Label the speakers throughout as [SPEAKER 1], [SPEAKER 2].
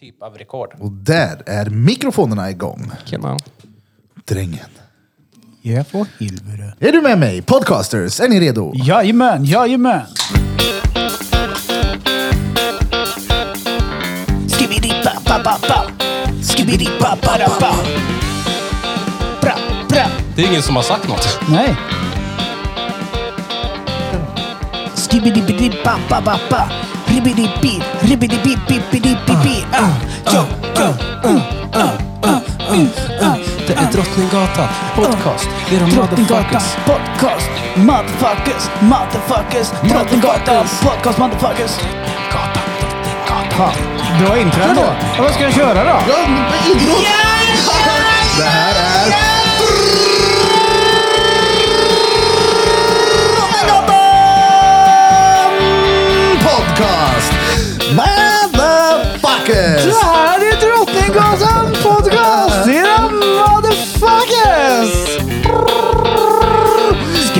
[SPEAKER 1] typ av rekord.
[SPEAKER 2] Och där är mikrofonerna igång.
[SPEAKER 1] Genau.
[SPEAKER 2] Drängen.
[SPEAKER 3] Ja, för helvete.
[SPEAKER 2] Är du med mig? Podcasters, är ni redo?
[SPEAKER 3] Jajamän, jajamän.
[SPEAKER 4] Skibidi ba ba ba ba. Skibidi ba ba da ba. Bra, bra.
[SPEAKER 1] Det är ingen som har sagt något.
[SPEAKER 3] Nej.
[SPEAKER 4] Skibidi bidi ba ba ba ba. Ribidi bi, ribidi bi bi bidi bi bi. Ah, yo, yo.
[SPEAKER 1] Det är Drottninggatan podcast. Det är de
[SPEAKER 4] Drottninggatan
[SPEAKER 1] motherfuckers.
[SPEAKER 4] podcast. Motherfuckers, motherfuckers. Drottninggatan podcast motherfuckers.
[SPEAKER 3] Fan. Bra intro ändå. Ja, Vad ska jag köra då?
[SPEAKER 2] Ja, men intro. Det här är... Drottninggatan Podcast! Motherfuckers!
[SPEAKER 3] här är Drottninggatan podcast. Era motherfuckers.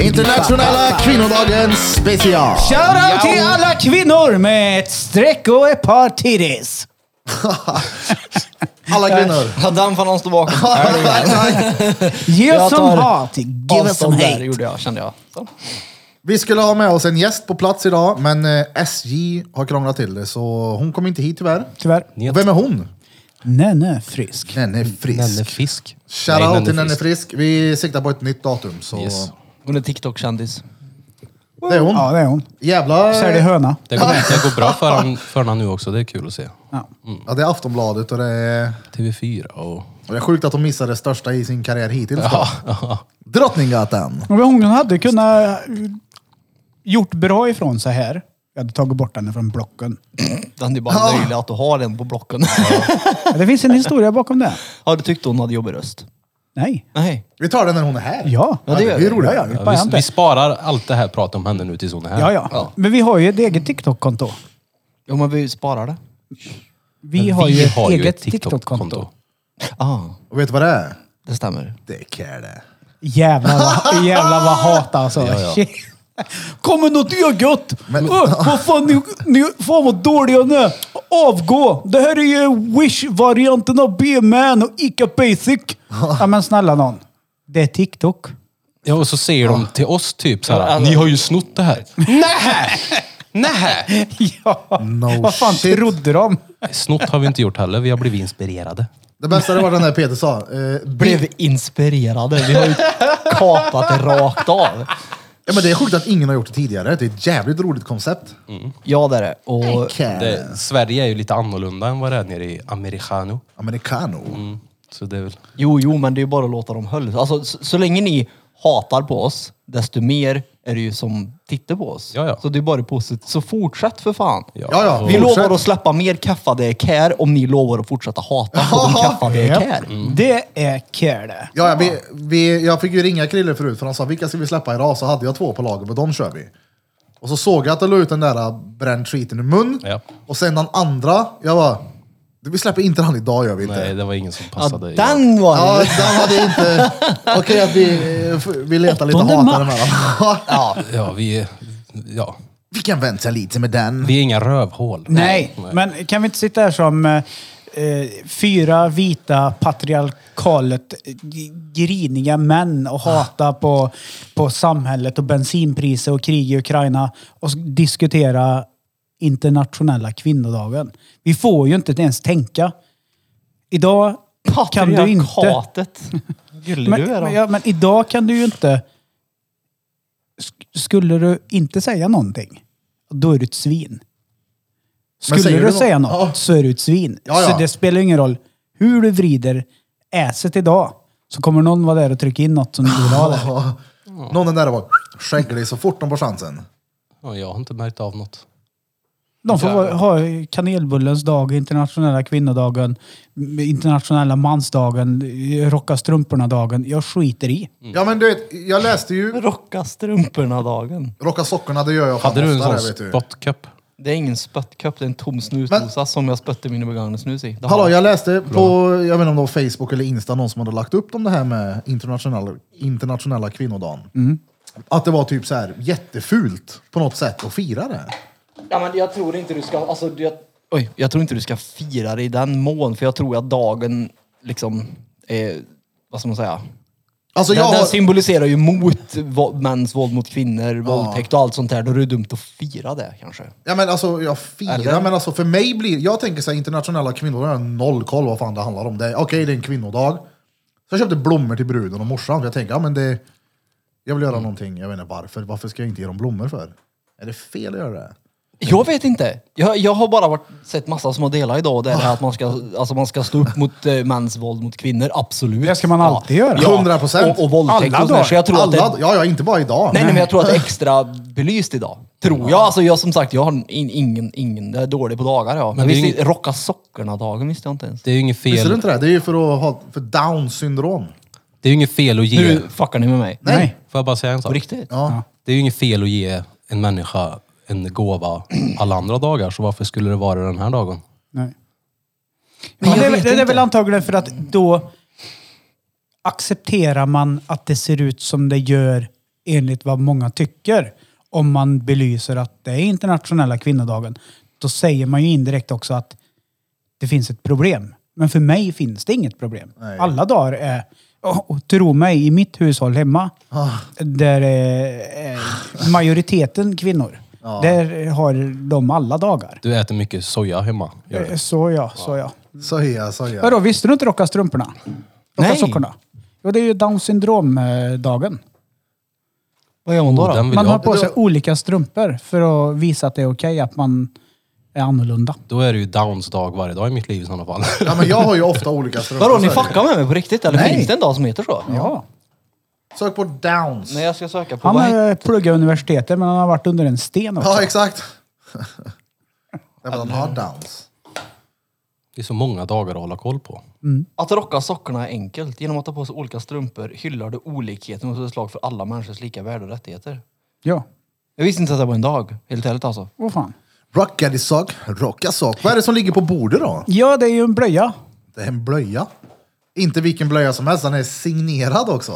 [SPEAKER 2] Internationella kvinnodagen special!
[SPEAKER 3] Shoutout till alla kvinnor med ett streck och ett par titties.
[SPEAKER 2] Alla kvinnor!
[SPEAKER 5] Ja, den får någon stå bakom.
[SPEAKER 3] Ge oss
[SPEAKER 5] Jag
[SPEAKER 3] som
[SPEAKER 5] tar
[SPEAKER 3] hat. Give us some
[SPEAKER 5] Avstånd där
[SPEAKER 3] hate.
[SPEAKER 5] gjorde jag, kände jag. Så.
[SPEAKER 2] Vi skulle ha med oss en gäst på plats idag, men eh, SJ har krånglat till det så hon kom inte hit tyvärr.
[SPEAKER 3] Tyvärr.
[SPEAKER 2] Och vem är hon?
[SPEAKER 3] Nenne Frisk.
[SPEAKER 2] Nenne Frisk.
[SPEAKER 1] Nenne Fisk. Nej,
[SPEAKER 2] Shoutout till Nenne
[SPEAKER 1] Frisk.
[SPEAKER 2] Frisk. Vi siktar på ett nytt datum. Så
[SPEAKER 1] Yes.
[SPEAKER 5] Hon är TikTok-kändis.
[SPEAKER 2] Det är hon.
[SPEAKER 3] Ja, det är hon.
[SPEAKER 2] Jävla...
[SPEAKER 3] Säljer höna.
[SPEAKER 1] Det går, det går bra för honom för han nu också. Det är kul att se.
[SPEAKER 2] Ja, det är Aftonbladet och det är,
[SPEAKER 1] TV4 och...
[SPEAKER 2] och det är sjukt att hon missade det största i sin karriär hittills.
[SPEAKER 1] Ja,
[SPEAKER 2] Ja. Drottninggatan.
[SPEAKER 3] Men Hon hade kunnat eh, gjort bra ifrån sig här. Jag hade tagit bort henne från blocken.
[SPEAKER 5] Den är bara löjlig att du har en på blocken.
[SPEAKER 3] Det finns en historia bakom det.
[SPEAKER 5] Har du tyckt hon hade jobbig röst?
[SPEAKER 3] Nej.
[SPEAKER 5] Nej.
[SPEAKER 2] Vi tar den när hon är här.
[SPEAKER 3] Ja.
[SPEAKER 5] Ja, det gör
[SPEAKER 2] det är
[SPEAKER 5] vi.
[SPEAKER 2] roligt.
[SPEAKER 3] Ja, ja.
[SPEAKER 1] ja, vi, vi sparar allt det här pratet om henne nu tills hon är här.
[SPEAKER 3] Ja, ja. Men vi har ju ett eget TikTok-konto.
[SPEAKER 5] Jo, men vi sparar det.
[SPEAKER 3] Vi har ju ett eget TikTok-konto.
[SPEAKER 5] Ja,
[SPEAKER 2] Och vet du vad det är?
[SPEAKER 5] Ah, det stämmer.
[SPEAKER 2] Det är Kärle.
[SPEAKER 3] Jävlar vad, jävlar vad hat alltså.
[SPEAKER 1] Ja,
[SPEAKER 3] Shit. Kommer något ögat!
[SPEAKER 2] Men-
[SPEAKER 3] Öh, vad fan, ni, ni, fan vad dåliga ni är. Avgå! Det här är ju Wish-varianten av B-man och Ica Basic. Ja men snälla någon. Det är TikTok.
[SPEAKER 1] Ja, och så säger de till oss typ så här.
[SPEAKER 5] Ja, alltså-
[SPEAKER 1] Ni har ju snott det här. Nej! Nej!
[SPEAKER 3] Ja,
[SPEAKER 2] No
[SPEAKER 3] vad fan
[SPEAKER 2] shit.
[SPEAKER 3] trodde de?
[SPEAKER 1] Snott har vi inte gjort heller. Vi har blivit inspirerade.
[SPEAKER 2] Det bästa det var den där Peter sa. Eh,
[SPEAKER 5] Blev
[SPEAKER 2] bi-
[SPEAKER 5] inspirerade. Vi har ju kapat det rakt av.
[SPEAKER 2] ja, men det är sjukt att ingen har gjort det tidigare. Det är ett jävligt roligt koncept.
[SPEAKER 5] Ja, det är det. Och
[SPEAKER 2] Kärle.
[SPEAKER 1] Det, Sverige är ju lite annorlunda än vad det är nere i Americano.
[SPEAKER 2] Americano.
[SPEAKER 1] Mm. Så det är väl...
[SPEAKER 5] jo, jo, men det är ju bara att låta dem hålla. Alltså, så, så länge ni hatar på oss, desto mer är det ju som tittar på oss.
[SPEAKER 1] Ja, ja.
[SPEAKER 5] Så det är bara positivt. Så fortsätt för fan.
[SPEAKER 2] Ja, ja.
[SPEAKER 5] Vi
[SPEAKER 2] Fortsätt.
[SPEAKER 5] lovar att släppa mer kaffade kär om ni lovar att fortsätta hata på de kaffade kär.
[SPEAKER 3] Det är kärle.
[SPEAKER 2] Ja, ja, vi, vi, jag fick ju ringa Krille förut för han sa vilka ska vi släppa idag? Så hade jag två på lager, men de kör vi. Och så såg jag att jag la ut den där äh, bränd treaten i mun.
[SPEAKER 1] Ja.
[SPEAKER 2] Och sen den andra, jag bara, vi släpper inte den idag gör vi inte.
[SPEAKER 1] Nej, det var ingen som
[SPEAKER 5] Ja,
[SPEAKER 1] passade. i-
[SPEAKER 5] den var
[SPEAKER 2] Ja,
[SPEAKER 5] det.
[SPEAKER 2] den hade inte... Okej att vi, eh, f- vi letar lite
[SPEAKER 3] Åttonde
[SPEAKER 2] hatare
[SPEAKER 3] mars.
[SPEAKER 2] mellan.
[SPEAKER 5] Ja.
[SPEAKER 1] Ja, vi... Ja.
[SPEAKER 2] Vi kan vänta lite med den.
[SPEAKER 1] Vi är inga rövhål.
[SPEAKER 3] Nej, men kan vi inte sitta här som eh, eh, fyra vita patriarkalet eh, g- griniga män och hata på, på samhället och bensinpriser och krig i Ukraina och s- diskutera internationella kvinnodagen. Vi får ju inte ens tänka. Idag kan du inte...
[SPEAKER 5] Patriarkatet. Gillar
[SPEAKER 3] Men,
[SPEAKER 5] du är
[SPEAKER 3] men,
[SPEAKER 5] de.
[SPEAKER 3] ja, men idag kan du ju inte... Sk- Skulle du inte säga någonting, då är du ett svin. Skulle
[SPEAKER 2] säger
[SPEAKER 3] du,
[SPEAKER 2] du nå-
[SPEAKER 3] säga något,
[SPEAKER 2] Ja.
[SPEAKER 3] så är du ett svin.
[SPEAKER 2] Ja, ja.
[SPEAKER 3] Så det spelar ingen roll hur du vrider äset idag, så kommer någon vara där och trycka in något som du vill ha där.
[SPEAKER 2] Ja. Någon den där var skägglig så fort de får chansen.
[SPEAKER 1] Ja, jag har inte märkt av något.
[SPEAKER 3] De får vara- ha kanelbullens dag, internationella kvinnodagen, internationella mansdagen, rocka strumporna-dagen. Jag skiter i.
[SPEAKER 1] Mm.
[SPEAKER 2] Ja men du vet, jag läste ju
[SPEAKER 5] Rocka strumporna-dagen.
[SPEAKER 2] Rocka sockorna, det gör jag fan
[SPEAKER 1] Hade du en
[SPEAKER 2] oftare,
[SPEAKER 1] sån
[SPEAKER 2] vet du.
[SPEAKER 1] spottcup?
[SPEAKER 5] Det är ingen spöttkopp, det är en tom snusdosa som jag spötte min begagnade snus i. Det har
[SPEAKER 2] Hallå,
[SPEAKER 5] jag.
[SPEAKER 2] jag läste på, jag vet inte om det var Facebook eller Insta, någon som hade lagt upp om det här med internationella, internationella kvinnodagen.
[SPEAKER 5] Mm.
[SPEAKER 2] Att det var typ så här jättefult på något sätt att fira det.
[SPEAKER 5] Ja, men jag tror inte du ska... Alltså, jag, Oj, jag tror inte du ska fira det i den mån, för jag tror att dagen liksom är, vad ska man säga?
[SPEAKER 2] Alltså,
[SPEAKER 5] den,
[SPEAKER 2] jag
[SPEAKER 5] den
[SPEAKER 2] har,
[SPEAKER 5] symboliserar ju mot vå- mäns våld mot kvinnor, våldtäkt och allt sånt där. Då är det dumt att fira det kanske.
[SPEAKER 2] ja, men alltså, jag firar,
[SPEAKER 5] Eller?
[SPEAKER 2] men alltså, för mig blir... Jag tänker så här, internationella kvinnodagen, jag har noll koll vad fan det handlar om. Det är- Okej, det är en kvinnodag. Så jag köpte blommor till bruden och morsan, för jag tänkte, ja men det... Jag vill göra någonting, jag vet inte varför. Varför ska jag inte ge dem blommor för? Är det fel att göra det?
[SPEAKER 5] Jag vet inte. Jag, jag har bara varit, sett massa små delar idag. Det är det här att man ska, alltså man ska stå upp mot eh, mäns våld mot kvinnor, absolut.
[SPEAKER 3] Det ska man alltid göra.
[SPEAKER 2] 100%.
[SPEAKER 5] Och, och våldtäkt
[SPEAKER 3] Alla
[SPEAKER 5] och sådär.
[SPEAKER 3] dagar.
[SPEAKER 5] Så jag tror att det,
[SPEAKER 2] Alla, ja, ja, inte bara idag.
[SPEAKER 5] nej, nej, men jag tror att det är extra belyst idag. Tror jag. Alltså jag som sagt, jag har in, ingen, ingen, jag är dålig på dagar
[SPEAKER 1] Men
[SPEAKER 5] jag. Men
[SPEAKER 1] det är
[SPEAKER 5] visst,
[SPEAKER 1] ingen-
[SPEAKER 5] rocka sockorna-dagen visste jag inte ens.
[SPEAKER 1] Det är ju inget
[SPEAKER 2] Visste du
[SPEAKER 1] fel,
[SPEAKER 2] inte det? Det är ju för att ha för down syndrom.
[SPEAKER 1] det är ju inget fel att ge.
[SPEAKER 5] Nu fuckar ni med mig.
[SPEAKER 3] Nej.
[SPEAKER 1] Får jag bara säga en
[SPEAKER 5] På
[SPEAKER 1] sak?
[SPEAKER 5] riktigt?
[SPEAKER 2] Ja.
[SPEAKER 1] Det är ju inget fel att ge en människa en gåva alla andra dagar, så varför skulle det vara den här dagen?
[SPEAKER 3] Nej.
[SPEAKER 5] Men
[SPEAKER 3] Men det,
[SPEAKER 5] jag
[SPEAKER 3] är väl-
[SPEAKER 5] vet
[SPEAKER 3] det är
[SPEAKER 5] inte.
[SPEAKER 3] väl antagligen för att då accepterar man att det ser ut som det gör enligt vad många tycker. Om man belyser att det är internationella kvinnodagen. Då säger man ju indirekt också att det finns ett problem. Men för mig finns det inget problem.
[SPEAKER 2] Nej.
[SPEAKER 3] Alla dagar är... Och och tro mig, i mitt hushåll hemma,
[SPEAKER 1] Ah.
[SPEAKER 3] där är är majoriteten kvinnor.
[SPEAKER 1] Ah.
[SPEAKER 3] Där har de alla dagar. Eh,
[SPEAKER 1] Du äter mycket soja hemma. Gör det.
[SPEAKER 3] Så ja, så ja.
[SPEAKER 2] Så ja, så ja.
[SPEAKER 3] Vadå, visste du inte rocka strumporna? Rocka
[SPEAKER 5] Nej.
[SPEAKER 3] sockorna? Jo, det är ju down syndrom-dagen.
[SPEAKER 5] Vad gör man då?
[SPEAKER 1] Och den
[SPEAKER 5] då?
[SPEAKER 1] vill
[SPEAKER 3] Man har
[SPEAKER 1] jag.
[SPEAKER 3] på sig olika strumpor för att visa att det är okej att man är annorlunda.
[SPEAKER 1] Då är det ju Downs dag varje dag i mitt liv i sådana fall.
[SPEAKER 2] ja, men jag har ju ofta olika strumpor.
[SPEAKER 5] Vadå, ni
[SPEAKER 2] så är det.
[SPEAKER 5] fuckar med mig på riktigt? Eller
[SPEAKER 3] Nej.
[SPEAKER 5] finns det en dag som heter så?
[SPEAKER 3] Ja.
[SPEAKER 2] Sök på downs.
[SPEAKER 5] Nej, jag ska söka på...
[SPEAKER 3] Han
[SPEAKER 5] vad heter-
[SPEAKER 3] har pluggat universitetet men han har varit under en sten också.
[SPEAKER 2] Ja, exakt. Därför att han har downs.
[SPEAKER 1] Det är så många dagar att hålla koll på.
[SPEAKER 5] Att rocka sockorna är enkelt. Genom att ta på sig olika strumpor hyllar du olikheten och slår ett slag för alla människors lika värde och rättigheter.
[SPEAKER 3] Ja.
[SPEAKER 5] Jag visste inte att det var en dag, helt ärligt alltså.
[SPEAKER 3] Åh fan.
[SPEAKER 2] Rocka di sock, rocka sock. Vad är det som ligger på bordet då?
[SPEAKER 3] Ja, det är ju en blöja.
[SPEAKER 2] Det är en blöja. Inte vilken blöja som helst, den är signerad också.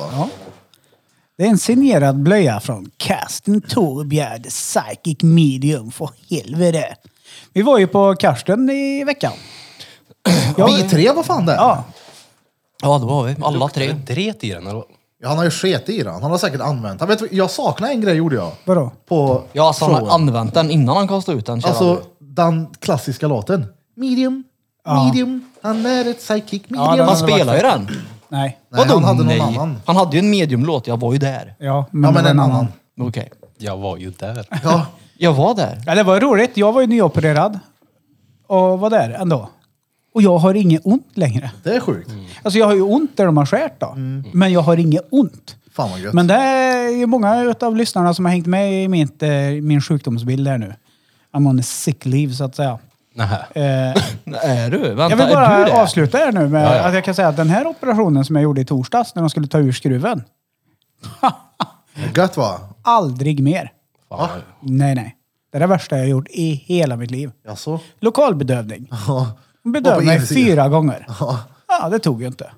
[SPEAKER 3] Det är en signerad blöja från Karsten Torbjörd, Psychic Medium, för helvete. Vi var ju på Karsten i veckan. Ja.
[SPEAKER 2] Vi tre, vad fan det är?
[SPEAKER 3] Ja,
[SPEAKER 5] Ja, det var vi. Alla tre.
[SPEAKER 1] Dret i den eller?
[SPEAKER 2] Ja, Han har ju sket i den, han har säkert använt den. Vet du, Jag saknar en grej gjorde jag.
[SPEAKER 3] vadå?
[SPEAKER 2] På
[SPEAKER 5] Ja, alltså han
[SPEAKER 2] showen.
[SPEAKER 5] har använt den innan han kastade ut den. kära
[SPEAKER 2] Alltså
[SPEAKER 5] du.
[SPEAKER 2] den klassiska låten. Medium, medium, han är ett psychic medium.
[SPEAKER 3] den-
[SPEAKER 5] han
[SPEAKER 2] han,
[SPEAKER 3] hade varit
[SPEAKER 5] spelar ju
[SPEAKER 3] fett.
[SPEAKER 5] den.
[SPEAKER 3] Nej.
[SPEAKER 2] nej,
[SPEAKER 5] Vadå
[SPEAKER 2] han hade någon
[SPEAKER 5] nej?
[SPEAKER 2] annan.
[SPEAKER 5] Han hade ju en mediumlåt, jag var ju där.
[SPEAKER 3] Ja, men,
[SPEAKER 2] ja men
[SPEAKER 3] det var
[SPEAKER 2] en annan.
[SPEAKER 5] Okej.
[SPEAKER 1] Jag var ju där.
[SPEAKER 2] Ja.
[SPEAKER 5] Jag var där.
[SPEAKER 3] Ja, det var roligt. Jag var ju nyopererad och var där ändå. Och jag har inget ont längre.
[SPEAKER 2] Det är sjukt.
[SPEAKER 3] Alltså jag har ju ont där de har skärt då. Men jag har inget ont.
[SPEAKER 2] Fan vad gött.
[SPEAKER 3] Men det är ju många av lyssnarna som har hängt med i mitt, eh, min sjukdomsbild här nu. I'm on a sick leave så att säga.
[SPEAKER 1] Nähä.
[SPEAKER 3] Eh,
[SPEAKER 5] Är du? Vänta,
[SPEAKER 3] jag vill
[SPEAKER 5] är du
[SPEAKER 3] bara
[SPEAKER 5] det?
[SPEAKER 3] avsluta här nu med
[SPEAKER 1] Ja, ja.
[SPEAKER 3] att jag kan säga att den här operationen som jag gjorde i torsdags när de skulle ta ur skruven.
[SPEAKER 2] Gött va?
[SPEAKER 3] Aldrig mer.
[SPEAKER 1] Fan,
[SPEAKER 2] ah,
[SPEAKER 1] vad-
[SPEAKER 3] Nej, nej. Det är det värsta jag har gjort i hela mitt liv.
[SPEAKER 2] Jaså?
[SPEAKER 3] Lokalbedövning.
[SPEAKER 2] Ja.
[SPEAKER 3] Hon
[SPEAKER 2] Och
[SPEAKER 3] bedöv
[SPEAKER 2] på
[SPEAKER 3] mig
[SPEAKER 2] insidan.
[SPEAKER 3] fyra gånger.
[SPEAKER 2] Ja.
[SPEAKER 3] Ja, det tog ju inte.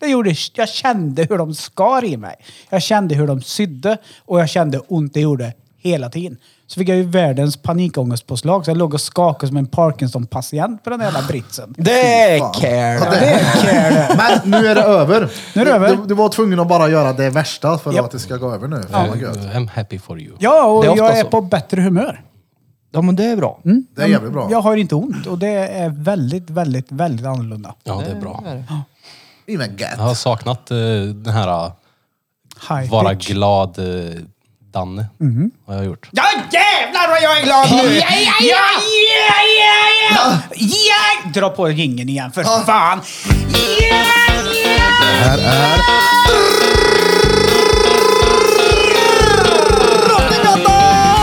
[SPEAKER 3] Det gjorde, jag kände hur de skar i mig. Jag kände hur de sydde och jag kände ont det gjorde hela tiden. Så fick jag ju världens panikångestpåslag så jag låg och skakade som en Parkinson-patient på den där jävla britsen.
[SPEAKER 5] Det
[SPEAKER 2] Fan.
[SPEAKER 5] är
[SPEAKER 2] Ja,
[SPEAKER 5] care.
[SPEAKER 2] det är Men nu är det över.
[SPEAKER 3] Nu är det över.
[SPEAKER 2] Du, du var tvungen att bara göra det värsta för
[SPEAKER 3] Japp.
[SPEAKER 2] att det ska gå över nu. Fan vad gött.
[SPEAKER 1] I'm happy for you.
[SPEAKER 3] Ja, och
[SPEAKER 5] Det är ofta
[SPEAKER 3] jag är
[SPEAKER 5] så.
[SPEAKER 3] på bättre humör.
[SPEAKER 5] Ja, men det är bra.
[SPEAKER 2] Det är jävligt bra.
[SPEAKER 3] Jag har inte ont och det är väldigt, väldigt, väldigt annorlunda.
[SPEAKER 1] Ja, det är bra.
[SPEAKER 2] I men gött.
[SPEAKER 1] Jag har saknat eh, den här eh,
[SPEAKER 3] High
[SPEAKER 1] vara
[SPEAKER 3] pitch.
[SPEAKER 1] glad eh, Danne.
[SPEAKER 2] Mhm.
[SPEAKER 1] Har jag gjort.
[SPEAKER 3] Ja jävlar vad jag är glad nu! Ja, ja, ja, ja, ja, ja! Dra på ringen igen för fan! Ja, ja!
[SPEAKER 2] Här är...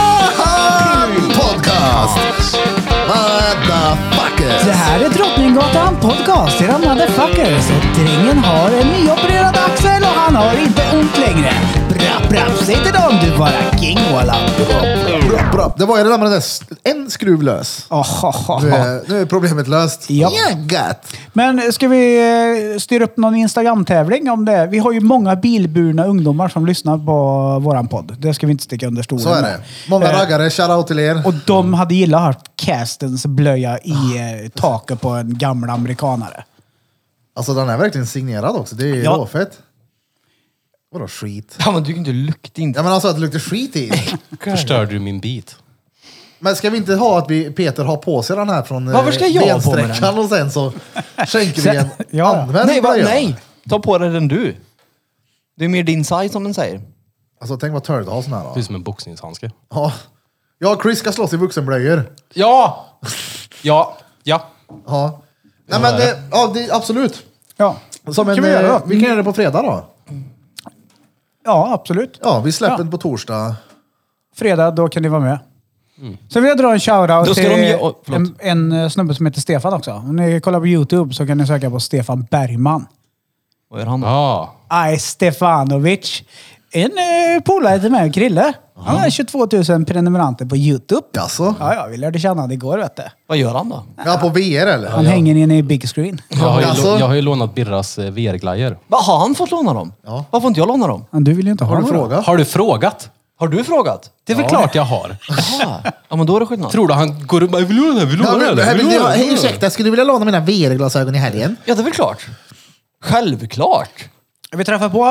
[SPEAKER 2] Drottninggatan Podcast!
[SPEAKER 4] Det
[SPEAKER 2] Motherfuckers!
[SPEAKER 4] här är Drottninggatan Podcast, era motherfuckers. Och drängen har en nyopererad axel och han har inte ont längre. Bra Rapp, rapp, säg till dem du bara king walla.
[SPEAKER 2] Bra, bra. Det var ju det där med den där s- en skruv lös.
[SPEAKER 3] Oh, oh,
[SPEAKER 2] Nu
[SPEAKER 3] oh.
[SPEAKER 2] är, nu är problemet löst.
[SPEAKER 3] Japp.
[SPEAKER 2] Ja, gött.
[SPEAKER 3] Men ska vi eh, styra upp någon Instagram-tävling om det? Vi har ju många bilburna ungdomar som lyssnar på våran podd. Det ska vi inte sticka under stolen
[SPEAKER 2] Så är
[SPEAKER 3] med.
[SPEAKER 2] det. Många
[SPEAKER 3] Eh,
[SPEAKER 2] raggare, shoutout till er.
[SPEAKER 3] Och de hade gillat castens blöja i eh, taket på en gammal amerikanare.
[SPEAKER 2] Alltså den är verkligen signerad också. Det är ju
[SPEAKER 3] Ja.
[SPEAKER 2] råfett. Vadå skit?
[SPEAKER 5] Ja, men du kan inte lukta inte.
[SPEAKER 2] Ja men alltså att det luktar skit i den.
[SPEAKER 1] Förstörde du min bit?
[SPEAKER 2] Men ska vi inte ha att vi, Peter har på sig den här från eh,
[SPEAKER 5] Varför ska jag ha på mig den?
[SPEAKER 2] bensträckan och sen så skänker vi
[SPEAKER 3] Sen-
[SPEAKER 2] en
[SPEAKER 3] Ja.
[SPEAKER 2] använd
[SPEAKER 5] nej, va,
[SPEAKER 2] blöja?
[SPEAKER 5] nej! Ta på dig den du. Det är mer din size som den säger.
[SPEAKER 2] Alltså tänk vad törd att ha sån här då.
[SPEAKER 1] Det är som en boxningshandske.
[SPEAKER 2] Ja. ja, Chris ska slåss i vuxenblöjor.
[SPEAKER 1] Ja! Ja, ja.
[SPEAKER 2] Ja. Nej men det, ja, det, absolut.
[SPEAKER 3] Ja,
[SPEAKER 2] Som en,
[SPEAKER 3] kan vi
[SPEAKER 2] eh,
[SPEAKER 3] göra då?
[SPEAKER 2] vi kan göra det på fredag då.
[SPEAKER 3] ja absolut.
[SPEAKER 2] Ja, vi släpper den på torsdag.
[SPEAKER 3] fredag, då kan ni vara med. Sen vill jag dra en
[SPEAKER 5] Då
[SPEAKER 3] shoutout
[SPEAKER 5] ska
[SPEAKER 3] till
[SPEAKER 5] de ge- oh,
[SPEAKER 3] en,
[SPEAKER 5] förlåt.
[SPEAKER 3] en eh, snubbe som heter Stefan också. Om ni kollar på YouTube så kan ni söka på Stefan Bergman.
[SPEAKER 5] Vad gör han då?
[SPEAKER 1] Ja.
[SPEAKER 3] Aj, Stefanovic. En eh, polare till mig, Krille. Han har 22 000 prenumeranter på YouTube.
[SPEAKER 2] Jaså?
[SPEAKER 3] Ja, ja, vi lärde känna det igår vet du.
[SPEAKER 5] Vad gör han då?
[SPEAKER 2] Ja, på VR eller?
[SPEAKER 3] Han hänger inne i big screen.
[SPEAKER 1] Jag har ju,
[SPEAKER 2] Alltså?
[SPEAKER 1] lå- jag har ju lånat Birras eh, VR-glajjor.
[SPEAKER 5] Va, har han fått låna dem?
[SPEAKER 2] Ja.
[SPEAKER 5] Varför inte jag låna dem?
[SPEAKER 3] Men du vill ju inte ha
[SPEAKER 2] Har du
[SPEAKER 3] några.
[SPEAKER 2] frågat?
[SPEAKER 1] Har du frågat?
[SPEAKER 5] Har du frågat?
[SPEAKER 1] Det är väl klart jag har.
[SPEAKER 5] Jaha. Ja, men då är det skillnad.
[SPEAKER 1] Tror du han går upp och bara, vill du ha den här? Vill du
[SPEAKER 2] Ja,
[SPEAKER 1] ha
[SPEAKER 2] men-
[SPEAKER 1] den här?
[SPEAKER 2] hej,
[SPEAKER 1] Vill du ha den här?
[SPEAKER 2] hej, ursäkta, skulle du vilja låna mina VR-glasögon i helgen?
[SPEAKER 5] Ja, det är väl klart. Självklart.
[SPEAKER 3] Vi träffade på...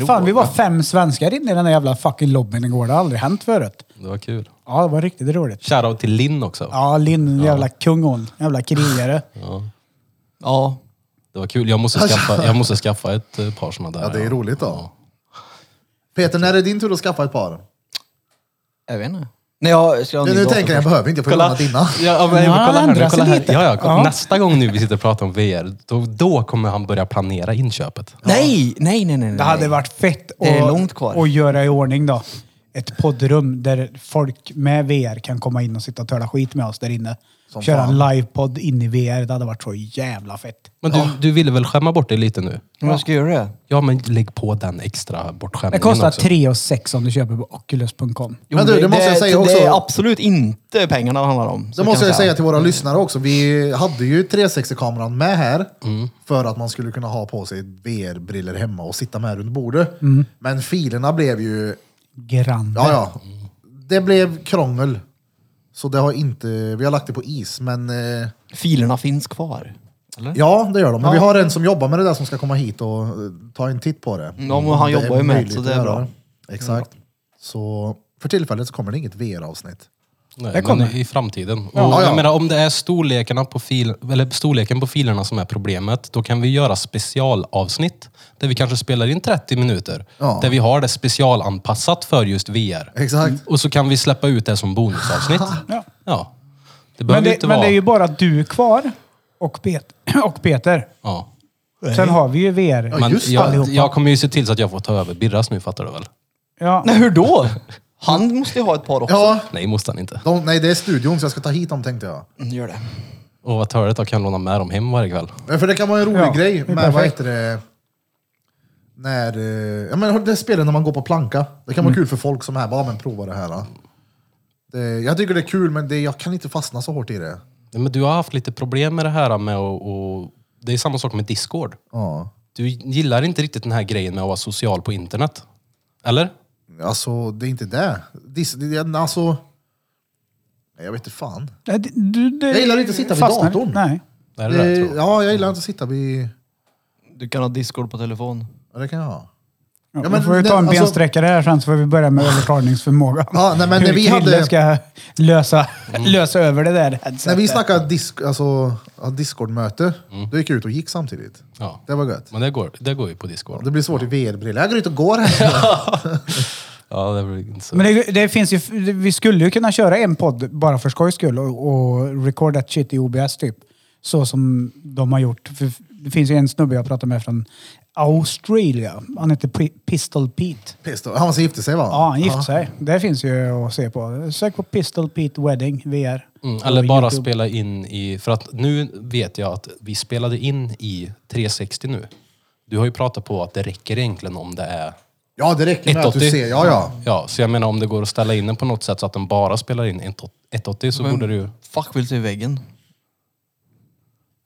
[SPEAKER 3] Eh, fan, vi var fem svenskar inne i den där jävla fucking lobbyn igår. Det har aldrig hänt förut.
[SPEAKER 1] Det var kul.
[SPEAKER 3] Ja, det var riktigt roligt.
[SPEAKER 1] Shoutout till Linn också.
[SPEAKER 3] Ja, Linn, jävla kung hon. Jävla krigare.
[SPEAKER 5] Ja.
[SPEAKER 1] Det var kul. Jag måste skaffa, jag måste skaffa ett eh, par såna där.
[SPEAKER 2] Ja, det är roligt då. Peter, när är det din tur att skaffa ett par?
[SPEAKER 5] Jag vet inte. Nej, jag ska ha en
[SPEAKER 2] Nu,
[SPEAKER 5] ny
[SPEAKER 2] nu
[SPEAKER 5] dator
[SPEAKER 2] tänker jag, jag
[SPEAKER 5] först.
[SPEAKER 2] behöver inte, jag får låna
[SPEAKER 1] Kolla,
[SPEAKER 2] dina.
[SPEAKER 1] ja, men,
[SPEAKER 3] Ja,
[SPEAKER 1] kolla här nu.
[SPEAKER 3] ändra sig
[SPEAKER 1] Kolla här.
[SPEAKER 3] lite.
[SPEAKER 1] Ja, ja,
[SPEAKER 3] Ja.
[SPEAKER 1] Nästa gång nu vi sitter och pratar om VR, då, då kommer han börja planera inköpet.
[SPEAKER 5] Nej, nej, nej, nej. nej.
[SPEAKER 3] Det hade varit fett
[SPEAKER 5] Det är långt kvar.
[SPEAKER 3] att göra i ordning då. Ett poddrum där folk med VR kan komma in och sitta och töla skit med oss där inne.
[SPEAKER 2] Som
[SPEAKER 3] Köra
[SPEAKER 2] fan.
[SPEAKER 3] en livepodd in i VR. Det hade varit så jävla fett.
[SPEAKER 1] Men du, du ville väl skämma bort det lite nu?
[SPEAKER 5] Men jag ska göra det.
[SPEAKER 1] Ja, men lägg på den extra bortskämningen
[SPEAKER 3] Det kostar
[SPEAKER 1] också.
[SPEAKER 3] 3 och 6 om du köper på oculus.com.
[SPEAKER 5] Jo,
[SPEAKER 2] Men du, det måste jag säga
[SPEAKER 5] det, Det
[SPEAKER 2] också.
[SPEAKER 5] är absolut inte pengarna det handlar om.
[SPEAKER 2] Det
[SPEAKER 5] så
[SPEAKER 2] måste
[SPEAKER 5] kan
[SPEAKER 2] jag säga till våra lyssnare också. Vi hade ju 360-kameran med här
[SPEAKER 5] Mm.
[SPEAKER 2] för att man skulle kunna ha på sig VR-briller hemma och sitta med här runt bordet.
[SPEAKER 5] Mm.
[SPEAKER 2] Men filerna blev ju...
[SPEAKER 3] Grand.
[SPEAKER 2] Ja, ja.
[SPEAKER 5] Mm.
[SPEAKER 2] Det blev krångel. Så det har inte... Vi har lagt det på is, men... Eh,
[SPEAKER 5] Filerna finns kvar. Eller?
[SPEAKER 2] ja, det gör de. Men vi har en som jobbar med det där som ska komma hit och eh, ta en titt på det.
[SPEAKER 5] Ja, men han
[SPEAKER 2] Det är
[SPEAKER 5] jobbar ju med det,
[SPEAKER 2] möjligt
[SPEAKER 5] så
[SPEAKER 2] att
[SPEAKER 5] det är
[SPEAKER 2] göra
[SPEAKER 5] bra. Mm.
[SPEAKER 2] Exakt. Så för tillfället så kommer det inget VR-avsnitt.
[SPEAKER 1] Nej,
[SPEAKER 3] Det
[SPEAKER 1] men
[SPEAKER 3] kommer.
[SPEAKER 1] I framtiden.
[SPEAKER 2] Ja,
[SPEAKER 1] Och
[SPEAKER 2] ja.
[SPEAKER 1] jag menar, om det är storlekarna på fil, eller storleken på filerna som är problemet, då kan vi göra specialavsnitt där vi kanske spelar in 30 minuter.
[SPEAKER 2] Ja.
[SPEAKER 1] Där vi har det specialanpassat för just VR.
[SPEAKER 2] Exakt.
[SPEAKER 5] Mm.
[SPEAKER 1] Och så kan vi släppa ut det som bonusavsnitt.
[SPEAKER 3] Ja.
[SPEAKER 1] ja. Det behöver
[SPEAKER 3] Men, det,
[SPEAKER 1] inte
[SPEAKER 3] men
[SPEAKER 1] vara...
[SPEAKER 3] det är ju bara du kvar och, Pet och Peter.
[SPEAKER 1] ja.
[SPEAKER 3] Sen har vi ju VR.
[SPEAKER 2] Ja,
[SPEAKER 1] Men
[SPEAKER 2] just det,
[SPEAKER 1] jag,
[SPEAKER 3] allihopa.
[SPEAKER 1] jag kommer ju se till så att jag får ta över Birras nu, fattar du väl?
[SPEAKER 3] Ja.
[SPEAKER 5] Nej, hur då? Han måste ju ha ett par också.
[SPEAKER 2] Ja,
[SPEAKER 1] Nej, måste han inte.
[SPEAKER 2] de, nej det är studion så jag ska ta hit dem tänkte jag.
[SPEAKER 5] Mm, Gör det.
[SPEAKER 1] Och vad törligt, jag kan låna med dem hem varje kväll.
[SPEAKER 2] Ja, För det kan vara en rolig
[SPEAKER 3] Ja, det
[SPEAKER 2] grej
[SPEAKER 3] är
[SPEAKER 2] med, vad
[SPEAKER 3] perfekt.
[SPEAKER 2] heter det, när, eh, ja men det spelet när man går på planka. Det kan vara
[SPEAKER 5] Mm.
[SPEAKER 2] kul för folk som är bara, "Ja, men prova det här. då." Det, jag tycker det är kul men det, jag kan inte fastna så hårt i det.
[SPEAKER 1] Nej, Men du har haft lite problem med det här med att... Och, det är samma sak med Discord.
[SPEAKER 2] Ja.
[SPEAKER 1] Du gillar inte riktigt den här grejen med att vara social på internet. Eller?
[SPEAKER 2] Alltså det är inte det. Dis, det alltså, nej, jag vet inte fan.
[SPEAKER 3] Nej, det- du- det-
[SPEAKER 2] Jag gillar inte att sitta vid
[SPEAKER 3] fastnar-
[SPEAKER 2] datorn.
[SPEAKER 3] Nej.
[SPEAKER 1] Det är det där,
[SPEAKER 2] Eh,
[SPEAKER 1] tror jag.
[SPEAKER 2] ja, jag gillar inte att sitta vid,
[SPEAKER 5] Du kan ha Discord på telefon.
[SPEAKER 2] ja, det kan jag ha.
[SPEAKER 3] Ja,
[SPEAKER 2] Ja, men
[SPEAKER 3] vi får ju
[SPEAKER 2] det-
[SPEAKER 3] ta en
[SPEAKER 2] alltså- Ah.
[SPEAKER 3] bensträckare här sen så får vi börja med övertalningsförmågan.
[SPEAKER 2] Ja, nej, men
[SPEAKER 3] Hur
[SPEAKER 2] när vi
[SPEAKER 3] Krille
[SPEAKER 2] hade- Mm.
[SPEAKER 3] ska lösa, lösa över det där
[SPEAKER 2] När
[SPEAKER 3] headsetet.
[SPEAKER 2] vi snackade disk, alltså, ja, Discord-möte,
[SPEAKER 1] Mm.
[SPEAKER 2] då gick jag ut och gick samtidigt.
[SPEAKER 1] Ja.
[SPEAKER 2] Det var gött.
[SPEAKER 1] Men det går, det går ju på Discord.
[SPEAKER 2] Det blir svårt i VR-brillor. Jag går ut och går här.
[SPEAKER 1] Ja, det blir inte så.
[SPEAKER 3] Men det, det finns ju, vi skulle ju kunna köra en podd bara för skojs skull och, och record that shit i OBS typ. Så som de har gjort. För det finns ju en snubbe jag pratade med från Australien. Han heter P- Pistol Pete.
[SPEAKER 2] Pistol. Han som gifte sig va?
[SPEAKER 3] Ja, han gifte sig. Det finns ju att se på. Sök på Pistol Pete Wedding VR.
[SPEAKER 1] Mm, eller bara
[SPEAKER 3] YouTube.
[SPEAKER 1] spela in i... För att nu vet jag att vi spelade in i 360 nu. Du har ju pratat på att det räcker egentligen om det är
[SPEAKER 2] Ja, det räcker med att du
[SPEAKER 1] 180.
[SPEAKER 2] ser. Ja, ja.
[SPEAKER 1] Ja, så jag menar om det går att ställa in den på något sätt så att den bara spelar in 180 så borde det ju...
[SPEAKER 5] Fuck vill se i väggen.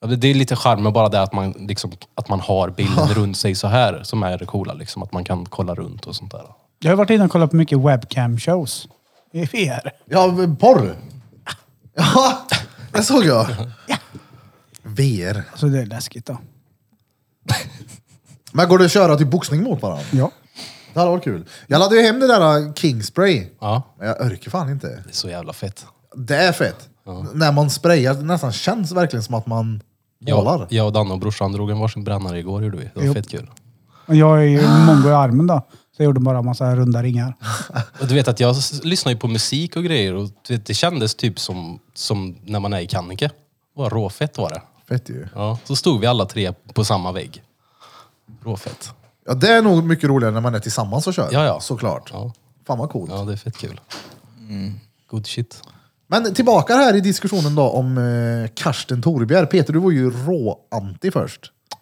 [SPEAKER 1] Ja, det- det är lite charmen bara det att man, liksom, att man har bilden runt sig så här som är det coola. Liksom, att man kan kolla runt och sånt där.
[SPEAKER 3] Jag har varit inne och kollat på mycket webcam-shows. I VR.
[SPEAKER 2] Ja, porr. Ja, det såg jag. VR.
[SPEAKER 3] Så Alltså, det är läskigt då.
[SPEAKER 2] Men går det att köra till boxning mot varandra?
[SPEAKER 3] Ja.
[SPEAKER 2] Det hade varit kul. Jag laddade ju hem det där äh, Kingspray.
[SPEAKER 1] Ja,
[SPEAKER 2] Men jag örker fan inte.
[SPEAKER 1] det är så jävla fett.
[SPEAKER 2] Det är fett. N- När man sprayar, det nästan känns verkligen som att man målar.
[SPEAKER 1] Jag, jag och Danne och brorsan drog en varsin brännare igår gjorde vi. Det var
[SPEAKER 3] Jo.
[SPEAKER 1] fett kul.
[SPEAKER 3] Men jag är ju mongo i armen då. Så jag gjorde bara en massa runda ringar.
[SPEAKER 1] Och du vet att jag s- lyssnar ju på musik och grejer och du vet, det kändes typ som, som när man är i Kannike. Vad råfett var det.
[SPEAKER 2] Fett ju.
[SPEAKER 1] Ja, så stod vi alla tre på samma vägg. Råfett.
[SPEAKER 2] Ja, det är nog mycket roligare när man är tillsammans och kör.
[SPEAKER 1] Ja, ja.
[SPEAKER 2] Såklart.
[SPEAKER 1] Ja,
[SPEAKER 2] Fan vad coolt.
[SPEAKER 1] ja det är fett kul.
[SPEAKER 2] Mm.
[SPEAKER 1] Good shit.
[SPEAKER 2] Men tillbaka här i diskussionen då om eh, Karsten Torebjer. Peter, du var ju rå-anti först.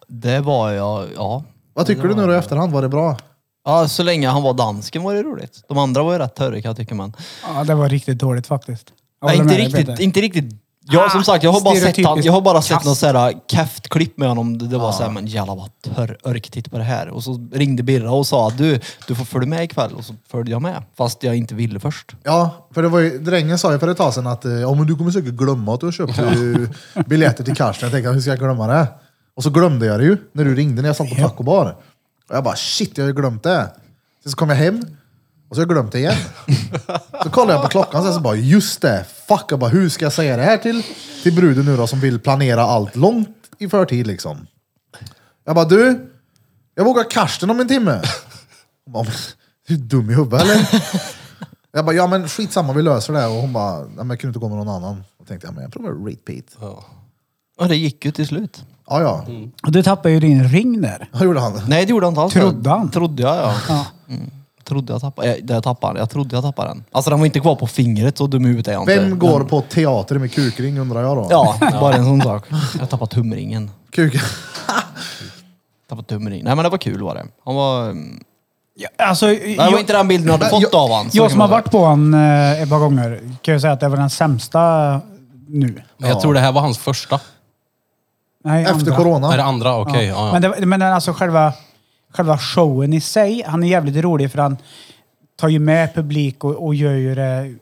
[SPEAKER 5] Det var jag, ja.
[SPEAKER 2] Vad tycker du nu då i efterhand? Var det bra?
[SPEAKER 5] Ja, så länge han var dansken var det roligt. De andra var ju rätt törre kan jag tycka men.
[SPEAKER 3] Ja, det var riktigt dåligt faktiskt. Jag
[SPEAKER 5] Nej,
[SPEAKER 3] håller
[SPEAKER 5] inte
[SPEAKER 3] med dig,
[SPEAKER 5] riktigt,
[SPEAKER 3] Peter.
[SPEAKER 5] inte riktigt. Ja, som sagt, jag har bara sett, han,
[SPEAKER 3] stereotypiskt
[SPEAKER 5] jag har bara sett
[SPEAKER 3] kast.
[SPEAKER 5] något sådär käft klipp med honom. Det, det var såhär, men jävlar vad törr örk, titta på det här. Och så ringde Birra och sa, du, du får följa med ikväll. Och så följde jag med, fast jag inte ville först.
[SPEAKER 2] Ja, för det var ju, drängen sa ju för ett tag sedan att eh, ja, men du kommer säkert glömma att du har köpt eh, biljetter till Karsten. Jag tänkte, hur ska jag glömma det? Och så glömde jag det ju när du ringde när jag satt på taco bar. Och jag bara, shit, jag har ju glömt det. Sen så kom jag hem och så har jag glömt det igen. så kollade jag på klockan sen så bara, just det, fuck, jag bara, hur ska jag säga det här till, till bruden nu då som vill planera allt långt i förtid liksom. Jag bara, du, jag vågar Karsten om en timme. Hon bara, du är dum i huvudet eller? Jag bara, ja men skitsamma vi löser det. Och hon bara, nej men jag kunde inte gå med någon annan. Och tänkte jag, men jag provar repeat.
[SPEAKER 1] Ja.
[SPEAKER 5] Och det gick ju till slut.
[SPEAKER 2] Ja ja,
[SPEAKER 3] Och du tappade ju din ring där.
[SPEAKER 2] vad gjorde han?
[SPEAKER 5] Nej, det gjorde han inte alls.
[SPEAKER 3] Trodde han?
[SPEAKER 5] Trodde jag, ja.
[SPEAKER 3] Ja.
[SPEAKER 5] Mm. Trodde jag tappade, jag, jag tappade den. Jag trodde jag tappade den. Alltså den var inte kvar på fingret, så dum i huvudet är jag inte.
[SPEAKER 2] Vem går på teater med kukring undrar jag då?
[SPEAKER 5] Ja, bara en sån sak. Jag tappade tumringen.
[SPEAKER 2] Kuk.
[SPEAKER 5] Tappade tumringen. Nej men det var kul var det. Han var... mm,
[SPEAKER 3] Ja, alltså,
[SPEAKER 5] Nej, det var
[SPEAKER 3] jag-
[SPEAKER 5] inte den bilden jag hade
[SPEAKER 2] Men
[SPEAKER 5] fått av han. så
[SPEAKER 3] Jag
[SPEAKER 5] kan
[SPEAKER 3] som har
[SPEAKER 5] man säga.
[SPEAKER 3] varit på honom eh, ett par gånger kan ju säga att det var den sämsta nu.
[SPEAKER 1] Men jag tror det här var hans första.
[SPEAKER 3] Nej,
[SPEAKER 2] Efter
[SPEAKER 3] andra.
[SPEAKER 2] corona.
[SPEAKER 1] Är det andra? Okej. ja. ja.
[SPEAKER 3] Men, det, men alltså själva, själva showen i sig, han är jävligt rolig för han tar ju med publik och, och gör ju det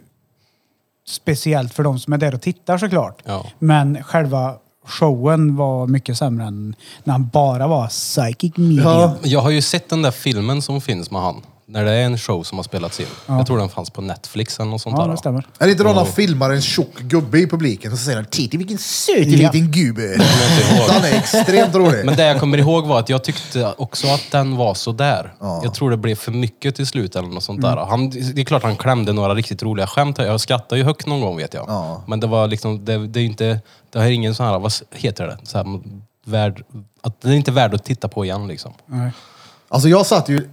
[SPEAKER 3] speciellt för de som är där och tittar såklart.
[SPEAKER 1] Ja.
[SPEAKER 3] Men själva showen var mycket sämre än när han bara var psychic medium.
[SPEAKER 2] Ja.
[SPEAKER 1] Jag har ju sett den där filmen som finns med han. När det är en show som har spelats in. Jag tror den fanns på Netflix eller något sånt
[SPEAKER 3] ja
[SPEAKER 1] där.
[SPEAKER 3] det
[SPEAKER 1] va?
[SPEAKER 3] stämmer.
[SPEAKER 2] Är det inte någon som filmar en tjock gubbe i publiken och så säger han “Titta vilken söt
[SPEAKER 3] Ja.
[SPEAKER 2] liten gubbe”?
[SPEAKER 1] kommer inte ihåg.
[SPEAKER 2] Han är extremt rolig.
[SPEAKER 1] Men det jag kommer ihåg var att jag tyckte också att den var sådär.
[SPEAKER 2] Ja.
[SPEAKER 1] Jag tror det blev för mycket till slut eller något sånt
[SPEAKER 3] Mm.
[SPEAKER 1] där. Han, det är klart han klämde några riktigt roliga skämt. Jag skrattade ju högt någon gång vet jag.
[SPEAKER 2] Ja.
[SPEAKER 1] Men det var liksom, det, det är ju inte, det har ingen sån här, vad heter det? Så här, värd, att det är inte värd att titta på igen liksom.
[SPEAKER 3] Nej.
[SPEAKER 2] Alltså jag satt ju